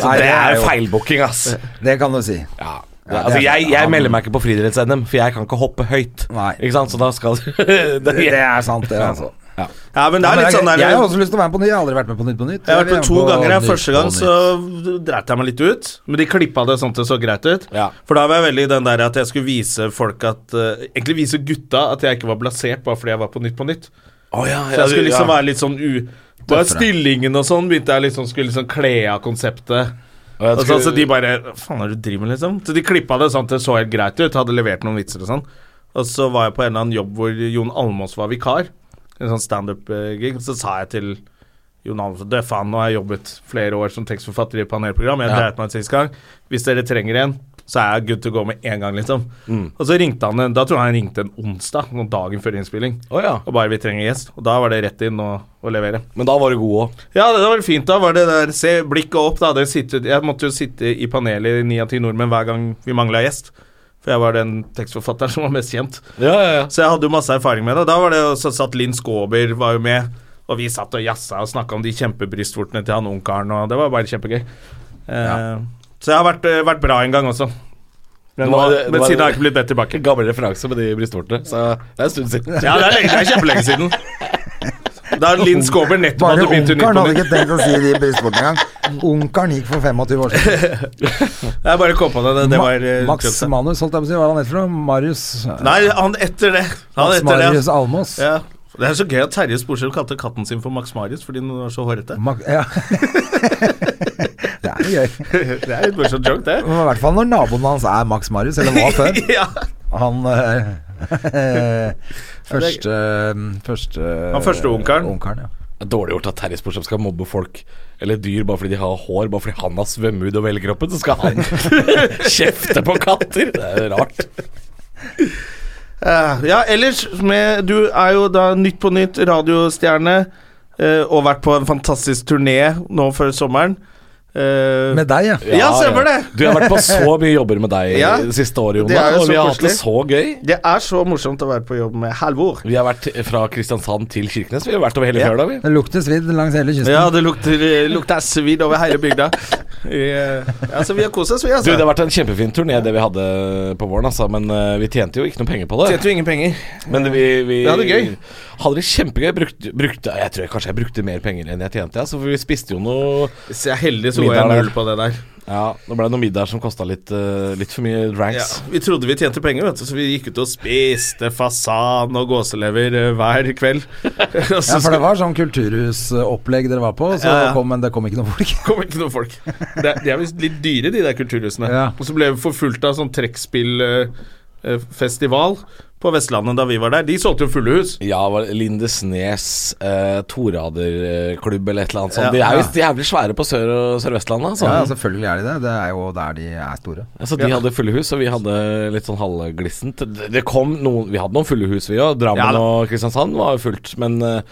[SPEAKER 5] Så
[SPEAKER 2] Nei,
[SPEAKER 5] det er
[SPEAKER 2] jo-
[SPEAKER 5] feilbooking, ass.
[SPEAKER 2] Det kan du si.
[SPEAKER 5] Ja.
[SPEAKER 2] Ja, det
[SPEAKER 5] altså,
[SPEAKER 2] er-
[SPEAKER 5] jeg, jeg
[SPEAKER 2] han-
[SPEAKER 5] melder meg ikke på friidretts-NM, for jeg kan ikke hoppe høyt.
[SPEAKER 2] Nei.
[SPEAKER 5] Ikke sant? Så da skal
[SPEAKER 2] Det, det er sant, det, altså.
[SPEAKER 5] Ja. Ja.
[SPEAKER 1] Ja, men det er litt sånn der
[SPEAKER 2] jeg, jeg har også lyst til å være med på nytt. Jeg har aldri vært med på Nytt på nytt.
[SPEAKER 1] Jeg har vært
[SPEAKER 2] vil
[SPEAKER 1] på to
[SPEAKER 2] være med på
[SPEAKER 1] ganger. Jeg.
[SPEAKER 2] Nytt
[SPEAKER 1] Første
[SPEAKER 2] på
[SPEAKER 1] gang
[SPEAKER 2] Nytt.
[SPEAKER 1] så dreit jeg meg litt ut, men de klippa det sånn at det så greit ut.
[SPEAKER 5] Ja.
[SPEAKER 1] For da var jeg veldig i den der at jeg skulle vise folk at eh, Egentlig vise gutta at jeg ikke var blasert bare fordi jeg var på Nytt på Nytt.
[SPEAKER 5] Å, ja,
[SPEAKER 1] Så jeg skulle liksom
[SPEAKER 5] ja.
[SPEAKER 1] være litt sånn u... Bare stillingen og sånn begynte jeg liksom skulle liksom kle av konseptet.
[SPEAKER 5] Og jeg
[SPEAKER 1] Og så,
[SPEAKER 5] skulle-
[SPEAKER 1] så de bare Hva faen er det du driver med, liksom? Så de klippa det sånn at det så helt greit ut. Hadde levert noen vitser og sånn. Og så var jeg på en eller annen jobb hvor Jon Almaas var vikar. En sånn standup-gig. Så sa jeg til Jon Almaas at faen, nå har jeg jobbet flere år som tekstforfatter i panelprogram. Jeg
[SPEAKER 5] Ja.
[SPEAKER 1] dreit meg ut sist gang. Hvis dere trenger en, så er jeg good to go med en gang, liksom.
[SPEAKER 5] Mm.
[SPEAKER 1] Og så ringte han en Da tror jeg han ringte en onsdag, noen dagen før innspilling.
[SPEAKER 5] Å, ja.
[SPEAKER 1] Og bare 'vi trenger gjest'. Og da var det rett inn og, og levere.
[SPEAKER 5] Men da var du god òg.
[SPEAKER 1] Ja, det var fint. Da var det der Se blikket opp, da. Det sitter, jeg måtte jo sitte i panelet i ni av ti nordmenn hver gang vi mangla gjest. For jeg var den tekstforfatteren som var mest kjent.
[SPEAKER 5] Ja, ja, ja.
[SPEAKER 1] Så jeg hadde jo masse erfaring med det. Og da var det jo så satt Linn Skåber var jo med, og vi satt og jazza og snakka om de kjempebrystvortene til han ungkaren, og det var bare kjempegøy. Eh, Så jeg har vært, eh, vært bra en gang også. Men,
[SPEAKER 5] Det var-
[SPEAKER 1] nå-
[SPEAKER 5] det
[SPEAKER 1] men
[SPEAKER 5] var-
[SPEAKER 1] siden har jeg ikke blitt bedt tilbake.
[SPEAKER 5] Gammel referanse med de brystvortene. Så det er en stund siden.
[SPEAKER 1] Ja, det er, lenge, det er kjempelenge siden. Da Linn Skåber nettopp
[SPEAKER 2] Bare
[SPEAKER 1] hadde begynt i Nytt
[SPEAKER 2] onkelen
[SPEAKER 1] på
[SPEAKER 2] hadde
[SPEAKER 1] Nytt.
[SPEAKER 2] ikke tenkt å si det i brystvorten engang. Onkelen gikk for 25 år siden.
[SPEAKER 1] Jeg bare kom på det. Det, det
[SPEAKER 2] Ma-
[SPEAKER 1] var eh,
[SPEAKER 2] Max
[SPEAKER 1] tøft, det.
[SPEAKER 2] Manus, holdt jeg på å si. Hva var han het for noe? Marius Max
[SPEAKER 1] Nei, han etter det. Han etter
[SPEAKER 2] Marius
[SPEAKER 1] det.
[SPEAKER 2] Almås?
[SPEAKER 1] Ja. Det er så gøy at Terje Sporsem kalte katten sin for Max Marius fordi den var så hårete.
[SPEAKER 2] Max- Ja. det er jo gøy.
[SPEAKER 1] Det er litt morsomt joke, det.
[SPEAKER 2] Men I hvert fall når naboen hans er Max Marius, eller var før.
[SPEAKER 1] Ja.
[SPEAKER 2] Han eh, Første eh, Første
[SPEAKER 1] Han første onkelen.
[SPEAKER 2] onkelen, ja.
[SPEAKER 5] Det er Dårlig gjort at Terje Sporsem skal mobbe folk eller dyr bare fordi de har hår. Bare fordi han har svømmehud over hele kroppen, så skal han kjefte på katter! Det er rart.
[SPEAKER 1] Eh, ja, ellers med, Du er jo da Nytt på Nytt radiostjerne eh, og vært på en fantastisk turné nå før sommeren. Eh,
[SPEAKER 2] Med deg, ja.
[SPEAKER 1] Ja, stemmer det.
[SPEAKER 5] Du har vært på så mye jobber med deg
[SPEAKER 1] Ja,
[SPEAKER 5] det siste året,
[SPEAKER 1] det er
[SPEAKER 5] Jonna,
[SPEAKER 1] jo
[SPEAKER 5] og
[SPEAKER 1] så
[SPEAKER 5] vi har hatt det
[SPEAKER 1] koselig.
[SPEAKER 5] så gøy.
[SPEAKER 1] det er så morsomt å være på jobb med Halvor.
[SPEAKER 5] Vi har vært fra Kristiansand til Kirkenes. Vi har vært over hele
[SPEAKER 1] Ja.
[SPEAKER 5] fjøla, vi.
[SPEAKER 2] Det lukter svidd langs hele kysten.
[SPEAKER 1] Ja, det lukter, eh, lukter svidd over hele bygda. Eh, altså, vi har kost oss, vi,
[SPEAKER 5] Du,
[SPEAKER 1] altså.
[SPEAKER 5] det har vært en kjempefin turné, det vi hadde på våren, altså. Men eh, vi tjente jo ikke noe penger på det.
[SPEAKER 1] Tjente jo ingen penger.
[SPEAKER 5] Men vi,
[SPEAKER 1] Vi
[SPEAKER 5] vi
[SPEAKER 1] hadde det gøy.
[SPEAKER 5] Hadde det kjempegøy. Brukte, brukte Jeg tror jeg kanskje jeg brukte mer penger enn jeg tjente, ja. Så vi spiste jo noe
[SPEAKER 1] Hvis jeg er heldig, så går jeg
[SPEAKER 5] Middag der.
[SPEAKER 1] null på det der.
[SPEAKER 5] Ja, det ble noen middager som kosta litt, eh, litt for mye
[SPEAKER 1] Ja,
[SPEAKER 5] dranks.
[SPEAKER 1] vi trodde vi tjente penger, vet du, så vi gikk ut og spiste fasan og gåselever eh, hver kveld. og
[SPEAKER 2] Ja,
[SPEAKER 1] så
[SPEAKER 2] for det var sånn kulturhusopplegg dere var på, så
[SPEAKER 1] Ja, ja.
[SPEAKER 2] Kom, men det kom ikke noen folk.
[SPEAKER 1] kom ikke noen folk. Det, de er visst litt dyre, de der kulturhusene.
[SPEAKER 2] Ja.
[SPEAKER 1] Og så ble vi forfulgt av sånn trekkspillfestival på Vestlandet da vi var der. De solgte jo fulle hus.
[SPEAKER 5] Ja, var det Lindesnes eh, Toraderklubb eller et eller annet sånt.
[SPEAKER 1] Ja,
[SPEAKER 5] de er
[SPEAKER 1] ja.
[SPEAKER 5] visst jævlig svære på Sør- og Sør-Vestlandet. Altså.
[SPEAKER 2] Ja, selvfølgelig er de det. Det er jo der de er store.
[SPEAKER 5] Altså, de hadde fulle hus, og vi hadde litt sånn halvglissent. Det- Det kom noen Vi hadde noen fulle hus, vi òg. Drammen
[SPEAKER 1] Ja da.
[SPEAKER 5] og Kristiansand var jo fullt. Men, eh,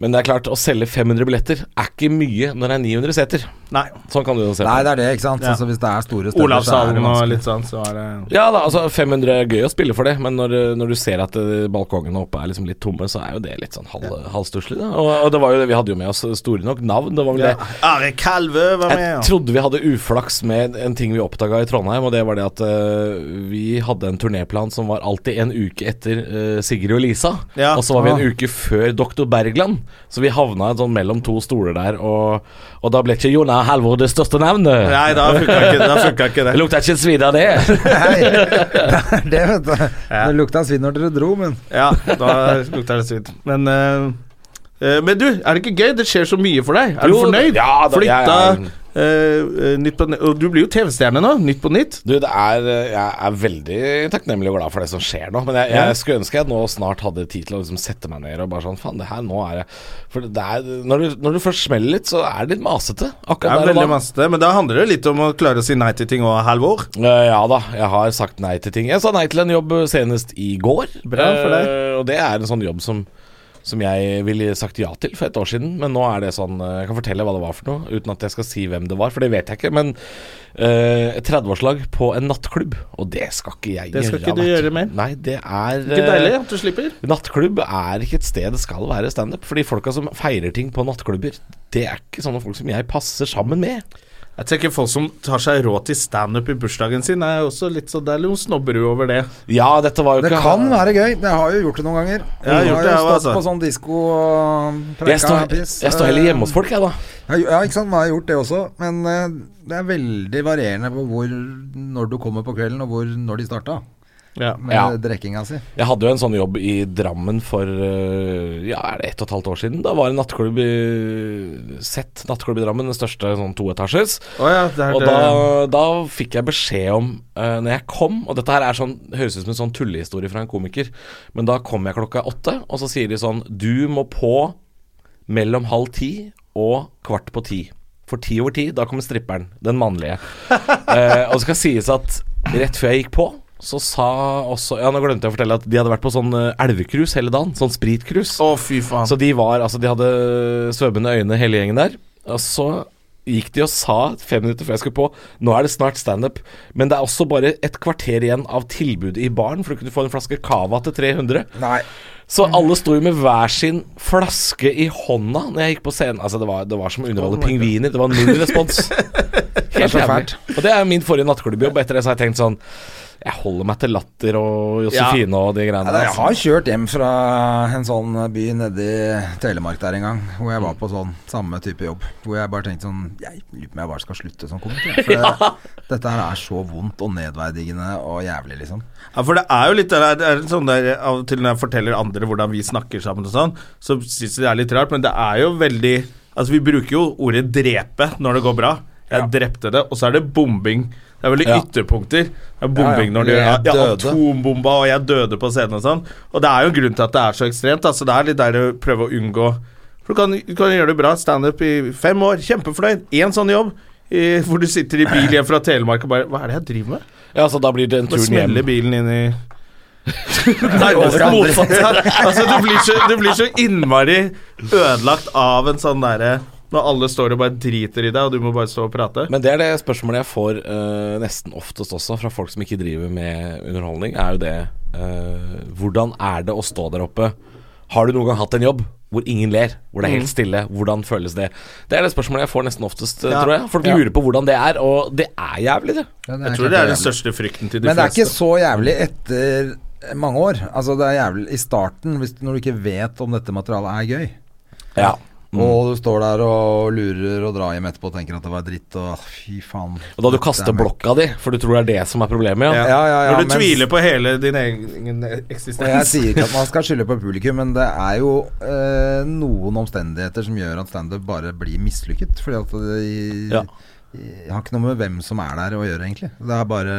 [SPEAKER 5] men det er klart, å selge 500 billetter er ikke mye når det er 900 seter.
[SPEAKER 1] Nei.
[SPEAKER 5] Sånn kan du jo se
[SPEAKER 2] Nei,
[SPEAKER 5] på.
[SPEAKER 2] det er det, ikke sant.
[SPEAKER 1] Ja.
[SPEAKER 2] Så hvis det er store steder, så er det
[SPEAKER 1] Olavshallen og
[SPEAKER 2] vanskelig.
[SPEAKER 1] litt sånn, så er det
[SPEAKER 5] Ja da, altså 500 er gøy å spille for det, men når, eh, når du ser at eh, balkongene oppe er liksom litt tomme, så er jo det litt sånn halv, halvstusslig. da. Og, og det var jo det, vi hadde jo med oss eh, store nok navn. Det var vel det
[SPEAKER 1] Are Kalvø var med.
[SPEAKER 5] Jeg
[SPEAKER 1] og-
[SPEAKER 5] trodde vi hadde uflaks med en ting vi oppdaga i Trondheim, og det var det at eh, vi hadde en turnéplan som var alltid en uke etter eh, Sigrid og Lisa.
[SPEAKER 1] Ja.
[SPEAKER 5] Og så var vi en uke før Dr. Bergland, så vi havna sånn mellom to stoler der, og, og da ble ikke Jonna Halvor det største navnet.
[SPEAKER 1] Nei, da funka ikke, da funka ikke det.
[SPEAKER 5] Det lukta ikke svidd av det.
[SPEAKER 2] Nei, det vet du. Det lukta svidd når dere dro, men
[SPEAKER 1] Ja, da lukter det svidd. Men, eh, eh, men du, er det ikke gøy? Det skjer så mye for deg. Er
[SPEAKER 5] Jo,
[SPEAKER 1] du fornøyd?
[SPEAKER 5] ja da,
[SPEAKER 1] Flytta
[SPEAKER 5] jeg er-
[SPEAKER 1] eh, eh, nytt på, nytt- Og du blir jo TV-stjerne nå. Nytt på nytt.
[SPEAKER 5] Du, det er, eh, jeg er veldig takknemlig og glad for det som skjer nå. Men jeg, jeg skulle ønske jeg nå snart hadde tid til å liksom sette meg ned og bare sånn Faen, det her nå er jeg For det er, når, du, når du først smeller litt, så er det litt masete.
[SPEAKER 1] Det
[SPEAKER 5] Akkurat
[SPEAKER 1] er
[SPEAKER 5] der og
[SPEAKER 1] veldig
[SPEAKER 5] da.
[SPEAKER 1] masse, men da handler det litt om å klare å si nei til ting og halvor.
[SPEAKER 5] Eh, ja da, jeg har sagt nei til ting. Jeg sa nei til en jobb senest i går.
[SPEAKER 1] Bra for deg.
[SPEAKER 5] Eh, og det er en sånn jobb som som jeg ville sagt ja til for et år siden, men nå er det sånn eh, Jeg kan fortelle hva det var for noe, uten at jeg skal si hvem det var, for det vet jeg ikke. Men eh, et 30-årslag på en nattklubb, og det skal ikke jeg
[SPEAKER 1] Det
[SPEAKER 5] gjøre.
[SPEAKER 1] skal ikke du
[SPEAKER 5] vet
[SPEAKER 1] gjøre mer.
[SPEAKER 5] Nei, det er
[SPEAKER 1] Ikke
[SPEAKER 5] eh,
[SPEAKER 1] deilig at du slipper?
[SPEAKER 5] Nattklubb er ikke et sted det skal være standup, fordi folka som feirer ting på nattklubber, det er ikke sånne folk som jeg passer sammen med.
[SPEAKER 1] Jeg tenker folk som tar seg råd til standup i bursdagen sin, er jo også litt sånn Det er noe snobberud over det.
[SPEAKER 5] Ja, dette var jo
[SPEAKER 2] Det
[SPEAKER 5] ikke
[SPEAKER 2] kan være gøy. Jeg har jo gjort det noen ganger.
[SPEAKER 1] Jeg har gjort det, jeg
[SPEAKER 2] jo
[SPEAKER 1] også,
[SPEAKER 2] stått på
[SPEAKER 1] altså.
[SPEAKER 2] sånn disko og
[SPEAKER 5] jeg
[SPEAKER 2] preika
[SPEAKER 5] står,
[SPEAKER 2] piss.
[SPEAKER 5] jeg står heller hjemme hos folk, jeg, da.
[SPEAKER 2] Ja, jo- ja, ikke sant. Man har gjort det også. Men eh, det er veldig varierende på hvor når du kommer på kvelden, og hvor når de starta
[SPEAKER 1] Ja.
[SPEAKER 2] med
[SPEAKER 5] Ja.
[SPEAKER 2] drikkinga si.
[SPEAKER 5] Jeg hadde jo en sånn jobb i Drammen for øh, ja, er det ett og et halvt år siden. Da var det en nattklubb i Sett nattklubb i Drammen, den største sånn toetasjes.
[SPEAKER 1] Å ja, det er
[SPEAKER 5] og
[SPEAKER 1] det-
[SPEAKER 5] da, da fikk jeg beskjed om, øh, når jeg kom Og dette her er sånn, høres ut som en sånn tullehistorie fra en komiker, men da kom jeg klokka åtte, og så sier de sånn Du må på mellom halv ti og kvart på ti. For ti over ti, da kommer stripperen. Den mannlige. Eh, og det skal sies at rett før jeg gikk på, så sa også Ja, nå glemte jeg å fortelle at de hadde vært på sånn eh, elvekrus hele dagen. Sånn spritkrus.
[SPEAKER 1] Å, fy faen.
[SPEAKER 5] Så de var Altså, de hadde svømmende øyne, hele gjengen der. Og så gikk de og sa fem minutter før jeg skulle på Nå er det snart standup, men det er også bare et kvarter igjen av tilbudet i baren, for du kunne få en flaske cava til 300.
[SPEAKER 2] Nei.
[SPEAKER 5] Så alle sto jo med hver sin flaske i hånda når jeg gikk på scenen. Altså Det var, det var som å underholde pingviner. Det var null respons. Helt
[SPEAKER 2] så
[SPEAKER 5] jævlig.
[SPEAKER 2] fælt.
[SPEAKER 5] Og det er min forrige nattklubbejobb. Etter det så har jeg tenkt sånn Jeg holder meg til latter og Josefine og de greiene
[SPEAKER 2] Nei,
[SPEAKER 5] der.
[SPEAKER 2] jeg
[SPEAKER 5] altså.
[SPEAKER 2] har kjørt hjem fra en sånn by nede i Telemark der en gang, hvor jeg var
[SPEAKER 1] Mm.
[SPEAKER 2] på sånn samme type jobb. Hvor jeg bare tenkte sånn Jeg lurer på om jeg bare skal slutte som komiker. jeg, For det, dette her er så vondt og nedverdigende og jævlig, liksom.
[SPEAKER 1] Ja, for det er jo litt det der, det er sånn der Av og til når jeg forteller andre hvordan vi snakker sammen og sånn, så syns de det er litt rart, men det er jo veldig Altså, vi bruker jo ordet 'drepe' når det går bra. Jeg drepte det, og så er det bombing. Det er veldig
[SPEAKER 5] Ja.
[SPEAKER 1] ytterpunkter. Det er bombing
[SPEAKER 2] Ja, ja.
[SPEAKER 1] når de
[SPEAKER 2] Jeg
[SPEAKER 1] ja,
[SPEAKER 2] døde.
[SPEAKER 1] atombomba, og jeg døde på scenen og sånn. Og det er jo en grunn til at det er så ekstremt. Altså, det er litt der å prøve å unngå For du kan, du kan gjøre det bra. Standup i fem år, kjempefornøyd. Én sånn jobb. eh, hvor du sitter i bil hjem fra Telemark og bare Hva er det jeg driver med?
[SPEAKER 5] Ja, så da blir det en
[SPEAKER 1] Bare
[SPEAKER 5] tur hjem.
[SPEAKER 1] smeller bilen inn i Nærmest
[SPEAKER 2] Overalt.
[SPEAKER 1] motsatt. Altså, du, blir så, du blir så innmari ødelagt av en sånn derre Når alle står og bare driter i deg, og du må bare stå og prate.
[SPEAKER 5] Men det er det spørsmålet jeg får eh, nesten oftest også fra folk som ikke driver med underholdning, er jo det eh, Hvordan er det å stå der oppe? Har du noen gang hatt en jobb hvor ingen ler, hvor det er helt stille? Hvordan føles det? Det er det spørsmålet jeg får nesten oftest, eh,
[SPEAKER 1] Ja.
[SPEAKER 5] tror jeg. Folk lurer på hvordan det er, og det er jævlig, det.
[SPEAKER 2] Ja,
[SPEAKER 1] jeg
[SPEAKER 2] klart
[SPEAKER 1] tror det er
[SPEAKER 2] jævlig.
[SPEAKER 1] den største frykten til de
[SPEAKER 2] Men det er
[SPEAKER 1] fleste.
[SPEAKER 2] ikke så jævlig etter mange år. Altså Det er jævlig i starten, hvis, når du ikke vet om dette materialet er gøy.
[SPEAKER 5] Ja.
[SPEAKER 1] Mm.
[SPEAKER 2] Og du står der og lurer og drar hjem etterpå og tenker at det var dritt og ah, fy faen.
[SPEAKER 5] Og da du
[SPEAKER 2] dette
[SPEAKER 5] kaster
[SPEAKER 2] er mørkt.
[SPEAKER 5] blokka di, for du tror det er det som er problemet, ja.
[SPEAKER 2] Ja, ja, ja,
[SPEAKER 1] Når du
[SPEAKER 2] mens-
[SPEAKER 1] tviler på hele din egen
[SPEAKER 2] Og jeg
[SPEAKER 1] eksistens.
[SPEAKER 2] sier ikke at man skal skylde på publikum, men det er jo eh, noen omstendigheter som gjør at standup bare blir mislykket. Fordi at det
[SPEAKER 5] Ja.
[SPEAKER 2] det har ikke noe med hvem som er der å gjøre, egentlig. Det er bare,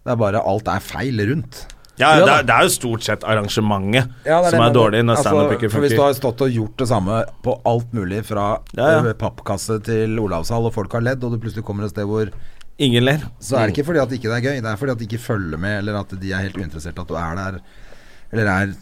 [SPEAKER 2] det er bare alt er feil rundt.
[SPEAKER 1] Ja,
[SPEAKER 5] Ja
[SPEAKER 1] det
[SPEAKER 5] da.
[SPEAKER 1] er, det er jo stort sett arrangementet
[SPEAKER 2] Ja, det det
[SPEAKER 1] som
[SPEAKER 2] jeg
[SPEAKER 1] er
[SPEAKER 2] mener.
[SPEAKER 1] dårlig når standup
[SPEAKER 2] Altså,
[SPEAKER 1] ikke
[SPEAKER 2] for Hvis
[SPEAKER 1] funker.
[SPEAKER 2] du har stått og gjort det samme på alt mulig, fra
[SPEAKER 1] Ja, ja.
[SPEAKER 2] eh, pappkasse til Olavshall, og folk har ledd, og du plutselig kommer et sted hvor
[SPEAKER 1] Ingen ler.
[SPEAKER 2] Så er det ikke fordi at ikke det er gøy, det er fordi at de ikke følger med, eller at de er helt uinteressert i at du er der. Eller er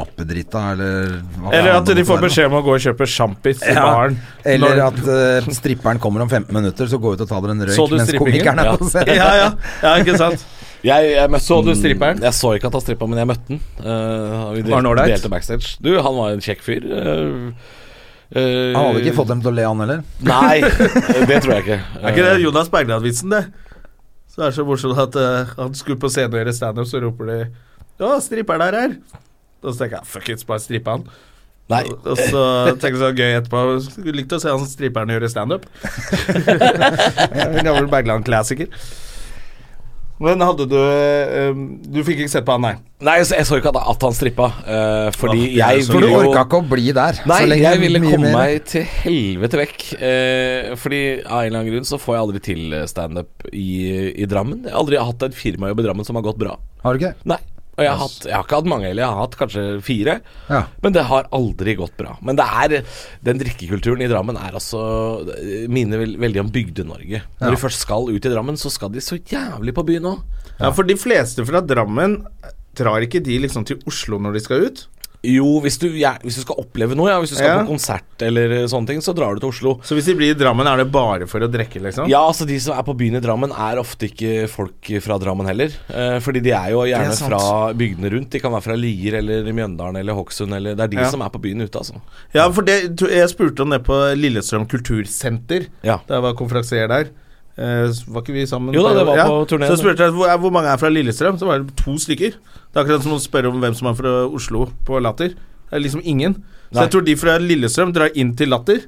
[SPEAKER 2] apedrita, eller hva
[SPEAKER 1] Eller
[SPEAKER 2] faen
[SPEAKER 1] at
[SPEAKER 2] det
[SPEAKER 1] de
[SPEAKER 2] måtte
[SPEAKER 1] får
[SPEAKER 2] være.
[SPEAKER 1] beskjed om å gå og kjøpe sjampis i
[SPEAKER 2] Ja,
[SPEAKER 1] baren.
[SPEAKER 2] Eller
[SPEAKER 1] Når-
[SPEAKER 2] at eh, stripperen kommer om 15 minutter, så gå ut og ta dere en
[SPEAKER 1] Så
[SPEAKER 2] røyk
[SPEAKER 1] du
[SPEAKER 2] mens
[SPEAKER 1] strippingen?
[SPEAKER 2] komikeren er på scenen.
[SPEAKER 1] Ja, ja. ja, ikke sant?
[SPEAKER 5] Jeg, jeg møtte
[SPEAKER 1] Så du
[SPEAKER 5] den-
[SPEAKER 1] stripperen?
[SPEAKER 5] Jeg så ikke at han strippa, men jeg møtte han. Eh, vi
[SPEAKER 1] Var han
[SPEAKER 5] delte,
[SPEAKER 1] ålreit?
[SPEAKER 5] delte backstage. Du, han var en kjekk fyr. eh, eh,
[SPEAKER 2] Han hadde ikke fått dem til å le, han heller.
[SPEAKER 5] Nei, det tror jeg ikke.
[SPEAKER 1] Er ikke det Jonas Bergland-vitsen, det? Så er det så morsomt at eh, han skulle på scenen og gjøre standup, så roper de 'Å, stripperen er her'. Da tenker jeg 'fuck it, bare strippe han'.
[SPEAKER 5] Nei.
[SPEAKER 1] Og og så tenker jeg så gøy etterpå Skulle likt å se han stripperen gjøre standup. En gammel Bergland-klassiker. Men hadde du eh, Du fikk ikke sett på han, nei?
[SPEAKER 5] Nei, så jeg så ikke at, at han strippa, eh,
[SPEAKER 1] Åh,
[SPEAKER 5] fordi
[SPEAKER 1] det er
[SPEAKER 5] jeg
[SPEAKER 1] så
[SPEAKER 2] For du
[SPEAKER 5] ville jo
[SPEAKER 2] orka ikke å bli der.
[SPEAKER 5] Nei,
[SPEAKER 2] så lenge
[SPEAKER 5] jeg ville
[SPEAKER 2] mye
[SPEAKER 5] komme
[SPEAKER 2] mer.
[SPEAKER 5] meg til helvete vekk. Eh, fordi av en eller annen grunn så får jeg aldri til eh, standup i, i Drammen. Jeg har aldri hatt et firmajobb i Drammen som har gått bra.
[SPEAKER 2] Har du ikke?
[SPEAKER 5] Nei. Og jeg har, hatt, jeg har ikke hatt mange heller, jeg har hatt kanskje fire.
[SPEAKER 2] Ja.
[SPEAKER 5] Men det har aldri gått bra. Men det er, den drikkekulturen i Drammen er altså det minner vel- veldig om Bygde-Norge. Når de først skal ut i Drammen, så skal de så jævlig på byen òg.
[SPEAKER 1] Ja, for de fleste fra Drammen drar ikke de liksom til Oslo når de skal ut?
[SPEAKER 5] Jo, hvis du, ja, hvis du skal oppleve noe, ja. Hvis du skal
[SPEAKER 1] Ja.
[SPEAKER 5] på konsert eller eh, sånne ting, så drar du til Oslo.
[SPEAKER 1] Så hvis de blir i Drammen, er det bare for å drikke, liksom?
[SPEAKER 5] Ja, altså De som er på byen i Drammen, er ofte ikke folk fra Drammen heller. Eh, fordi de er jo gjerne
[SPEAKER 1] sant.
[SPEAKER 5] fra bygdene rundt. De kan være fra Lier eller Mjøndalen eller Hokksund. Eller, det er de
[SPEAKER 1] Ja.
[SPEAKER 5] som er på byen ute, altså.
[SPEAKER 1] Ja, for det, to- jeg spurte om det på Lillestrøm kultursenter
[SPEAKER 5] Ja.
[SPEAKER 1] da jeg var konferansier der. Eh, var ikke vi sammen?
[SPEAKER 5] Jo da, det var
[SPEAKER 1] Ja.
[SPEAKER 5] på turnéen.
[SPEAKER 1] Så spurte jeg hvor, er- hvor mange er fra Lillestrøm. Så var det to stykker. Det er akkurat som å spørre om hvem som er fra Oslo på Latter. Det er liksom ingen. Så
[SPEAKER 5] Nei. Mm.
[SPEAKER 1] jeg tror de fra Lillestrøm drar inn til Latter.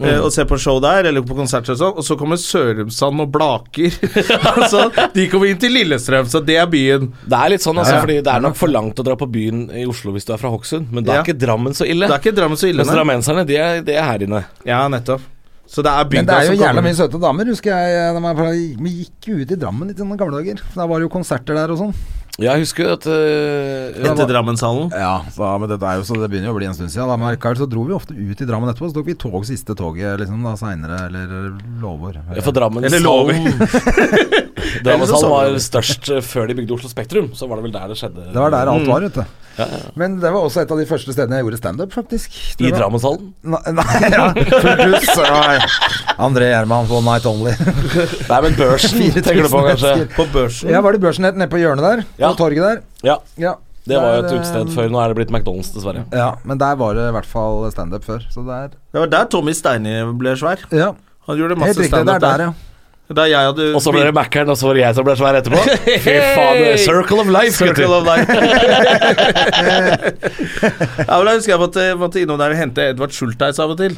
[SPEAKER 1] eh, Og ser på show der, eller på konserter og sånn. Og så kommer Sørumsand og Blaker. altså, de kommer inn til Lillestrøm, så det er byen.
[SPEAKER 5] Det er litt sånn, altså,
[SPEAKER 1] Ja, ja.
[SPEAKER 5] fordi det er nok for langt å dra på byen i Oslo hvis du er fra Hokksund, men da er
[SPEAKER 1] Ja.
[SPEAKER 5] ikke Drammen så ille.
[SPEAKER 1] Det er ikke Drammen så ille,
[SPEAKER 5] Mens
[SPEAKER 1] nei.
[SPEAKER 5] drammenserne, de er, de er her inne.
[SPEAKER 1] Ja, nettopp. Så det er bygda
[SPEAKER 2] Men det er jo
[SPEAKER 1] som kommer.
[SPEAKER 2] jævla mye søte damer, husker jeg. da man var- Vi gikk jo ut i Drammen litt i gamle dager. Da var det jo konserter der og sånn.
[SPEAKER 5] Jeg husker at øh,
[SPEAKER 1] Etter Drammenshallen.
[SPEAKER 2] Ja, da, men dette er jo så det begynner jo å bli en stund siden. Da, men likevel så dro vi ofte ut i Drammen etterpå. Så tok vi tog siste toget liksom da seinere, eller lovår.
[SPEAKER 5] Ja, For
[SPEAKER 1] Eller lover.
[SPEAKER 5] Drammenshallen Drammenshallen var størst eh, før de bygde Oslo Spektrum. Så var det vel der det skjedde.
[SPEAKER 2] Det var der alt var, vet du. Men det var også et av de første stedene jeg gjorde standup, faktisk.
[SPEAKER 5] I
[SPEAKER 2] Det var-
[SPEAKER 5] Drammenshallen.
[SPEAKER 2] Nei, nei, ja. Fullt hus. Nei. André Gjerman, One Night Only.
[SPEAKER 5] Nei, men Børsen tenker
[SPEAKER 2] 4000
[SPEAKER 5] du på, kanskje.
[SPEAKER 2] mennesker.
[SPEAKER 1] På børsen.
[SPEAKER 2] Ja, var det børsen het nede på hjørnet der?
[SPEAKER 5] Ja.
[SPEAKER 2] På torget der?
[SPEAKER 5] Ja,
[SPEAKER 2] Ja.
[SPEAKER 5] Det var jo et
[SPEAKER 2] Der,
[SPEAKER 5] utested
[SPEAKER 2] eh,
[SPEAKER 5] før. Nå er det blitt McDonald's, dessverre.
[SPEAKER 2] Ja, men der var det i hvert fall standup før. Så der
[SPEAKER 1] Det var der Tommy Steini ble svær.
[SPEAKER 2] Ja,
[SPEAKER 1] Han gjorde
[SPEAKER 2] helt
[SPEAKER 1] masse
[SPEAKER 2] riktig. Det er
[SPEAKER 1] standup
[SPEAKER 2] der,
[SPEAKER 1] der.
[SPEAKER 2] ja.
[SPEAKER 1] Da jeg hadde
[SPEAKER 5] Og så ble det Mækkern, og så var det jeg som ble svær etterpå. Fy faen, det er circle of life,
[SPEAKER 1] Circle
[SPEAKER 5] gutter.
[SPEAKER 1] of life. ja, men da husker jeg måtte, måtte innom der og hente Edvard Schultheis av og til.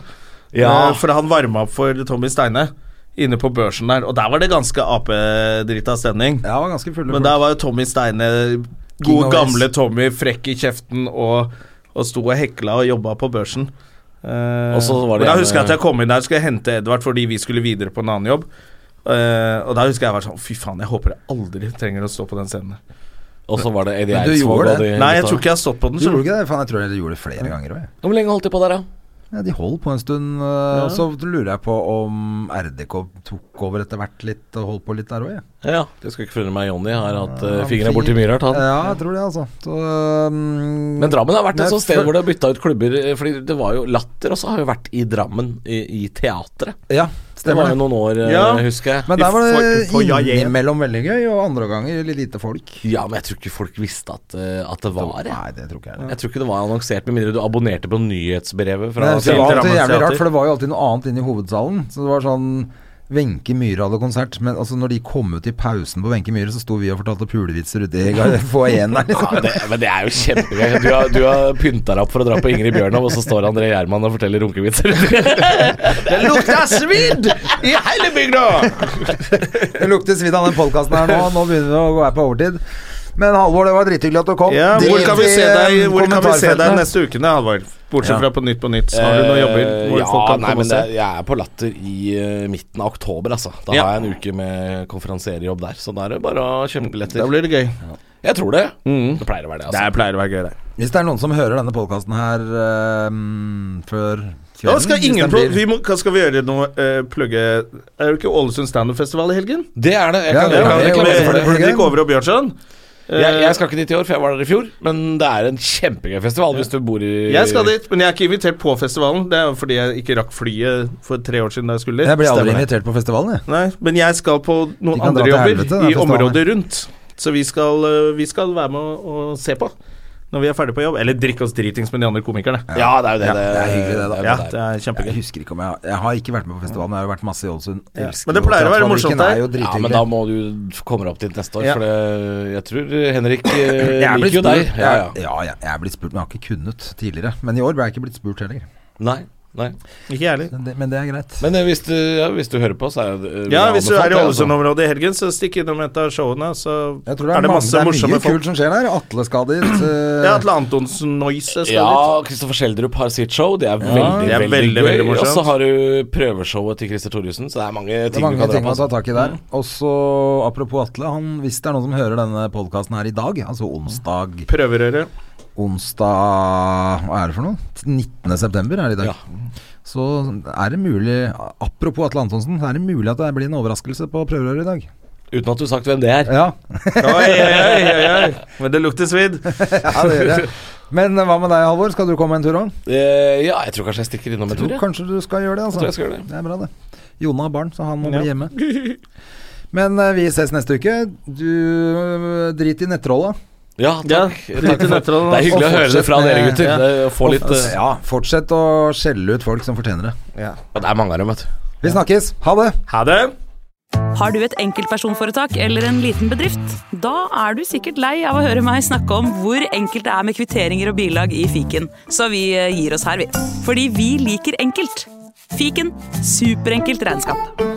[SPEAKER 5] Ja.
[SPEAKER 1] Eh, For han varma opp for Tommy Steine inne på børsen der. Og der var det ganske apedrita stemning.
[SPEAKER 2] Jeg var ganske full.
[SPEAKER 1] Men der var jo Tommy Steine,
[SPEAKER 2] King
[SPEAKER 1] gode
[SPEAKER 2] of
[SPEAKER 1] gamle
[SPEAKER 2] Wales.
[SPEAKER 1] Tommy, frekk i kjeften og, og sto og hekla og jobba på børsen. Eh,
[SPEAKER 5] Og så var
[SPEAKER 1] men
[SPEAKER 5] det
[SPEAKER 1] da
[SPEAKER 5] gjerne-
[SPEAKER 1] husker jeg at jeg kom inn der og skulle hente Edvard fordi vi skulle videre på en annen jobb. Eh, og da husker jeg jeg var sånn Fy faen, jeg håper jeg aldri trenger å stå på den scenen.
[SPEAKER 5] Og så var det Eddie
[SPEAKER 2] Men du
[SPEAKER 5] Eidsvåg.
[SPEAKER 2] gjorde
[SPEAKER 5] og de
[SPEAKER 2] det.
[SPEAKER 1] Nei, jeg
[SPEAKER 5] gutta.
[SPEAKER 1] tror ikke jeg har stått
[SPEAKER 5] sånn.
[SPEAKER 1] på den.
[SPEAKER 2] Du
[SPEAKER 1] så-
[SPEAKER 2] gjorde ikke det? Faen, jeg tror jeg gjorde det flere ganger òg.
[SPEAKER 5] Hvor lenge holdt de på der, da?
[SPEAKER 2] Ja, de holdt på en stund. øh, og Så lurer jeg på om RDK tok over etter hvert litt og holdt på litt der òg, jeg.
[SPEAKER 5] Ja, Det skal ikke forundre meg. Jonny har hatt eh,
[SPEAKER 2] Han
[SPEAKER 5] fingrene
[SPEAKER 2] fing-
[SPEAKER 5] borti mye rart, han.
[SPEAKER 2] Ja, jeg tror det, altså. Så, øhm,
[SPEAKER 5] Men Drammen har vært et
[SPEAKER 2] Nei,
[SPEAKER 5] sånt sted
[SPEAKER 2] for-
[SPEAKER 5] hvor det har bytta ut klubber. eh, Fordi det var jo Latter også har jo vært i Drammen, i, i teatret.
[SPEAKER 2] Ja,
[SPEAKER 5] Det
[SPEAKER 2] stemmer
[SPEAKER 5] var
[SPEAKER 2] det.
[SPEAKER 5] jo noen år, eh,
[SPEAKER 1] Ja.
[SPEAKER 5] husker jeg.
[SPEAKER 2] Men der var det
[SPEAKER 1] For- for jeg-
[SPEAKER 2] innimellom veldig gøy, og andre ganger litt lite folk.
[SPEAKER 5] Ja, men jeg tror ikke folk visste at, eh, at det var det.
[SPEAKER 2] Nei, det tror ikke jeg.
[SPEAKER 5] Jeg tror ikke det var annonsert, med mindre du abonnerte på nyhetsbrevet fra
[SPEAKER 2] Men jeg husker det var
[SPEAKER 1] Drammen
[SPEAKER 2] alltid jævlig
[SPEAKER 1] Teater.
[SPEAKER 2] rart, for det var jo alltid noe annet inne i hovedsalen. Så det var sånn Wenche Myhre hadde konsert, men altså når de kom ut i pausen på Wenche Myhre, så sto vi og fortalte pulevitser ute i gar- foajeen der, liksom.
[SPEAKER 5] Ja, det, men det er jo kjempegøy. Du har, du har pynta deg opp for å dra på Ingrid Bjørnov, og så står André Gjerman og forteller runkevitser.
[SPEAKER 1] Det lukter svidd i hele bygda!
[SPEAKER 2] Det lukter svidd av den podkasten her nå. Nå begynner vi å gå her på overtid. Men Halvor, det var drithyggelig at du kom.
[SPEAKER 1] Ja, hvor
[SPEAKER 2] Drit
[SPEAKER 1] kan vi
[SPEAKER 2] i,
[SPEAKER 1] se deg,
[SPEAKER 2] eh,
[SPEAKER 1] hvor kan vi se deg
[SPEAKER 2] kommentarfeltene.
[SPEAKER 1] neste uke, da, Halvor? Bortsett
[SPEAKER 2] Ja.
[SPEAKER 1] fra på Nytt på Nytt. Har du noen jobber?
[SPEAKER 5] Eh,
[SPEAKER 1] hvor
[SPEAKER 5] ja,
[SPEAKER 1] folk kan
[SPEAKER 5] nei,
[SPEAKER 1] komme
[SPEAKER 5] men
[SPEAKER 1] og
[SPEAKER 5] det,
[SPEAKER 1] se?
[SPEAKER 5] jeg er på Latter i eh, midten av oktober, altså. Da
[SPEAKER 1] Ja.
[SPEAKER 5] har jeg en uke med konferansierjobb der, så da er det bare å kjøpe billetter.
[SPEAKER 1] Da blir det gøy.
[SPEAKER 5] Jeg tror det. Det pleier å være det,
[SPEAKER 1] Mm. Det
[SPEAKER 5] altså.
[SPEAKER 1] pleier å være gøy, det.
[SPEAKER 2] Hvis det er noen som hører denne podkasten her eh, før kvelden
[SPEAKER 1] Da skal
[SPEAKER 2] hvis
[SPEAKER 1] ingen
[SPEAKER 2] den
[SPEAKER 1] pro
[SPEAKER 2] blir-
[SPEAKER 1] vi må, Hva skal vi gjøre nå? Eh, plugge Er det ikke Ålesund standup-festival i helgen?
[SPEAKER 5] Det er det. Jeg,
[SPEAKER 2] Ja,
[SPEAKER 5] kan,
[SPEAKER 2] det
[SPEAKER 1] Ja,
[SPEAKER 2] er
[SPEAKER 5] jeg,
[SPEAKER 2] det.
[SPEAKER 5] kan,
[SPEAKER 2] Ålesund
[SPEAKER 5] jeg,
[SPEAKER 2] for
[SPEAKER 1] med
[SPEAKER 2] det.
[SPEAKER 1] Henrik Over og Bjørnson? Eh,
[SPEAKER 5] jeg, jeg skal ikke dit i år, for jeg var der i fjor. Men det er en kjempegøy festival hvis du bor i
[SPEAKER 1] jeg skal dit, men jeg er ikke invitert på festivalen. Det er jo fordi jeg ikke rakk flyet for tre år siden da jeg skulle dit.
[SPEAKER 2] Jeg blir aldri
[SPEAKER 1] Stemmer det.
[SPEAKER 2] invitert på festivalen, jeg.
[SPEAKER 1] Nei, men jeg skal på
[SPEAKER 2] De kan
[SPEAKER 1] noen
[SPEAKER 2] dra
[SPEAKER 1] andre
[SPEAKER 2] til
[SPEAKER 1] jobber
[SPEAKER 2] helvete, den
[SPEAKER 1] i
[SPEAKER 2] festivalen.
[SPEAKER 1] området rundt. Så vi skal, øh, vi skal være med og, og se på når vi er ferdig på jobb. Eller drikke oss dritings med de andre komikerne.
[SPEAKER 5] Ja, det er jo det.
[SPEAKER 2] Ja, det er hyggelig det, da.
[SPEAKER 5] er jo
[SPEAKER 1] Ja,
[SPEAKER 5] det er.
[SPEAKER 1] det er
[SPEAKER 2] Jeg
[SPEAKER 1] kjempegøy.
[SPEAKER 2] husker ikke om jeg Jeg har ikke vært med på festivalen, men jeg har jo vært masse i Ålesund. Elsker
[SPEAKER 1] Men det
[SPEAKER 2] jo
[SPEAKER 1] pleier å være
[SPEAKER 2] Teaterfabrikken,
[SPEAKER 1] morsomt der.
[SPEAKER 2] er jo
[SPEAKER 5] Ja, men
[SPEAKER 2] drithyggelig.
[SPEAKER 5] da må du komme deg opp dit neste år,
[SPEAKER 1] Ja.
[SPEAKER 5] for det, jeg tror Henrik
[SPEAKER 2] Jeg
[SPEAKER 5] eh,
[SPEAKER 2] er blitt
[SPEAKER 5] liker jo
[SPEAKER 2] spurt, jeg-
[SPEAKER 5] deg. Ja, ja.
[SPEAKER 2] ja, jeg- jeg er blitt spurt, men jeg har ikke kunnet tidligere. Men i år ble jeg ikke blitt spurt heller.
[SPEAKER 5] Nei, nei.
[SPEAKER 1] Ikke jeg heller.
[SPEAKER 2] Men det, men det er greit.
[SPEAKER 5] Men eh, hvis, du, ja, hvis du hører på, så er det eh,
[SPEAKER 1] Ja,
[SPEAKER 5] vil jeg
[SPEAKER 1] hvis du er
[SPEAKER 5] anbefale
[SPEAKER 1] i
[SPEAKER 5] det,
[SPEAKER 1] Ålesund-området i helgen, så stikk innom et av showene.
[SPEAKER 2] altså.
[SPEAKER 1] Så
[SPEAKER 2] Jeg tror det er, masse mange, det er mye kult som skjer der. Atle skal dit. eh,
[SPEAKER 1] Ja, Atle Antonsen Noise skal
[SPEAKER 5] Ja,
[SPEAKER 1] dit.
[SPEAKER 5] Kristoffer Schjelderup har sitt show. Det er veldig,
[SPEAKER 1] det er
[SPEAKER 5] veldig,
[SPEAKER 1] veldig, veldig
[SPEAKER 5] gøy. Og
[SPEAKER 1] morsomt.
[SPEAKER 5] så har du prøveshowet til Christer Thorjussen, så det er mange
[SPEAKER 2] det er
[SPEAKER 5] ting du
[SPEAKER 2] mange
[SPEAKER 5] kan dra
[SPEAKER 2] ting
[SPEAKER 5] på.
[SPEAKER 2] å ta
[SPEAKER 5] altså.
[SPEAKER 2] tak i der. Og så, apropos Atle, han, hvis det er noen som hører denne podkasten her i dag, altså onsdag
[SPEAKER 1] Prøverøre.
[SPEAKER 2] Onsdag Hva er det for noe? 19. september er det i dag.
[SPEAKER 5] Ja.
[SPEAKER 2] Så er det mulig Apropos Atle Antonsen, så er det mulig at det blir en overraskelse på prøverøret i dag.
[SPEAKER 5] Uten at du har sagt hvem det er.
[SPEAKER 2] Ja,
[SPEAKER 1] Oi, oi, oi, oi. Men det lukter svidd.
[SPEAKER 2] ja det gjør jeg. Men eh, hva med deg, Halvor? Skal du komme en tur òg?
[SPEAKER 5] Eh, ja, jeg tror kanskje jeg stikker innom en tur.
[SPEAKER 2] tror
[SPEAKER 5] jeg.
[SPEAKER 2] kanskje du skal gjøre det, altså.
[SPEAKER 5] tror jeg skal gjøre det.
[SPEAKER 2] er bra, det. Jone har barn, så han må bli hjemme. Men eh, vi ses neste uke. Du eh, drit i nettrolla.
[SPEAKER 5] Ja,
[SPEAKER 1] Ja,
[SPEAKER 5] takk.
[SPEAKER 1] drit i nettrollen,
[SPEAKER 5] Det er hyggelig
[SPEAKER 2] og
[SPEAKER 5] å høre det
[SPEAKER 2] fortsett
[SPEAKER 5] fra dere,
[SPEAKER 2] med-
[SPEAKER 5] gutter.
[SPEAKER 2] Ja.
[SPEAKER 5] Det- å Få litt eh,
[SPEAKER 2] Ja, fortsett å skjelle ut folk som fortjener det.
[SPEAKER 5] Det er mange av dem, vet du.
[SPEAKER 2] Vi snakkes. Ha det!
[SPEAKER 1] Ha det.
[SPEAKER 5] Har du et enkeltpersonforetak eller en liten bedrift? Da er du sikkert lei av å høre meg snakke om hvor enkelt det er med kvitteringer og bilag i fiken, så vi eh, gir oss her, vi. Fordi vi liker enkelt. Fiken superenkelt regnskap.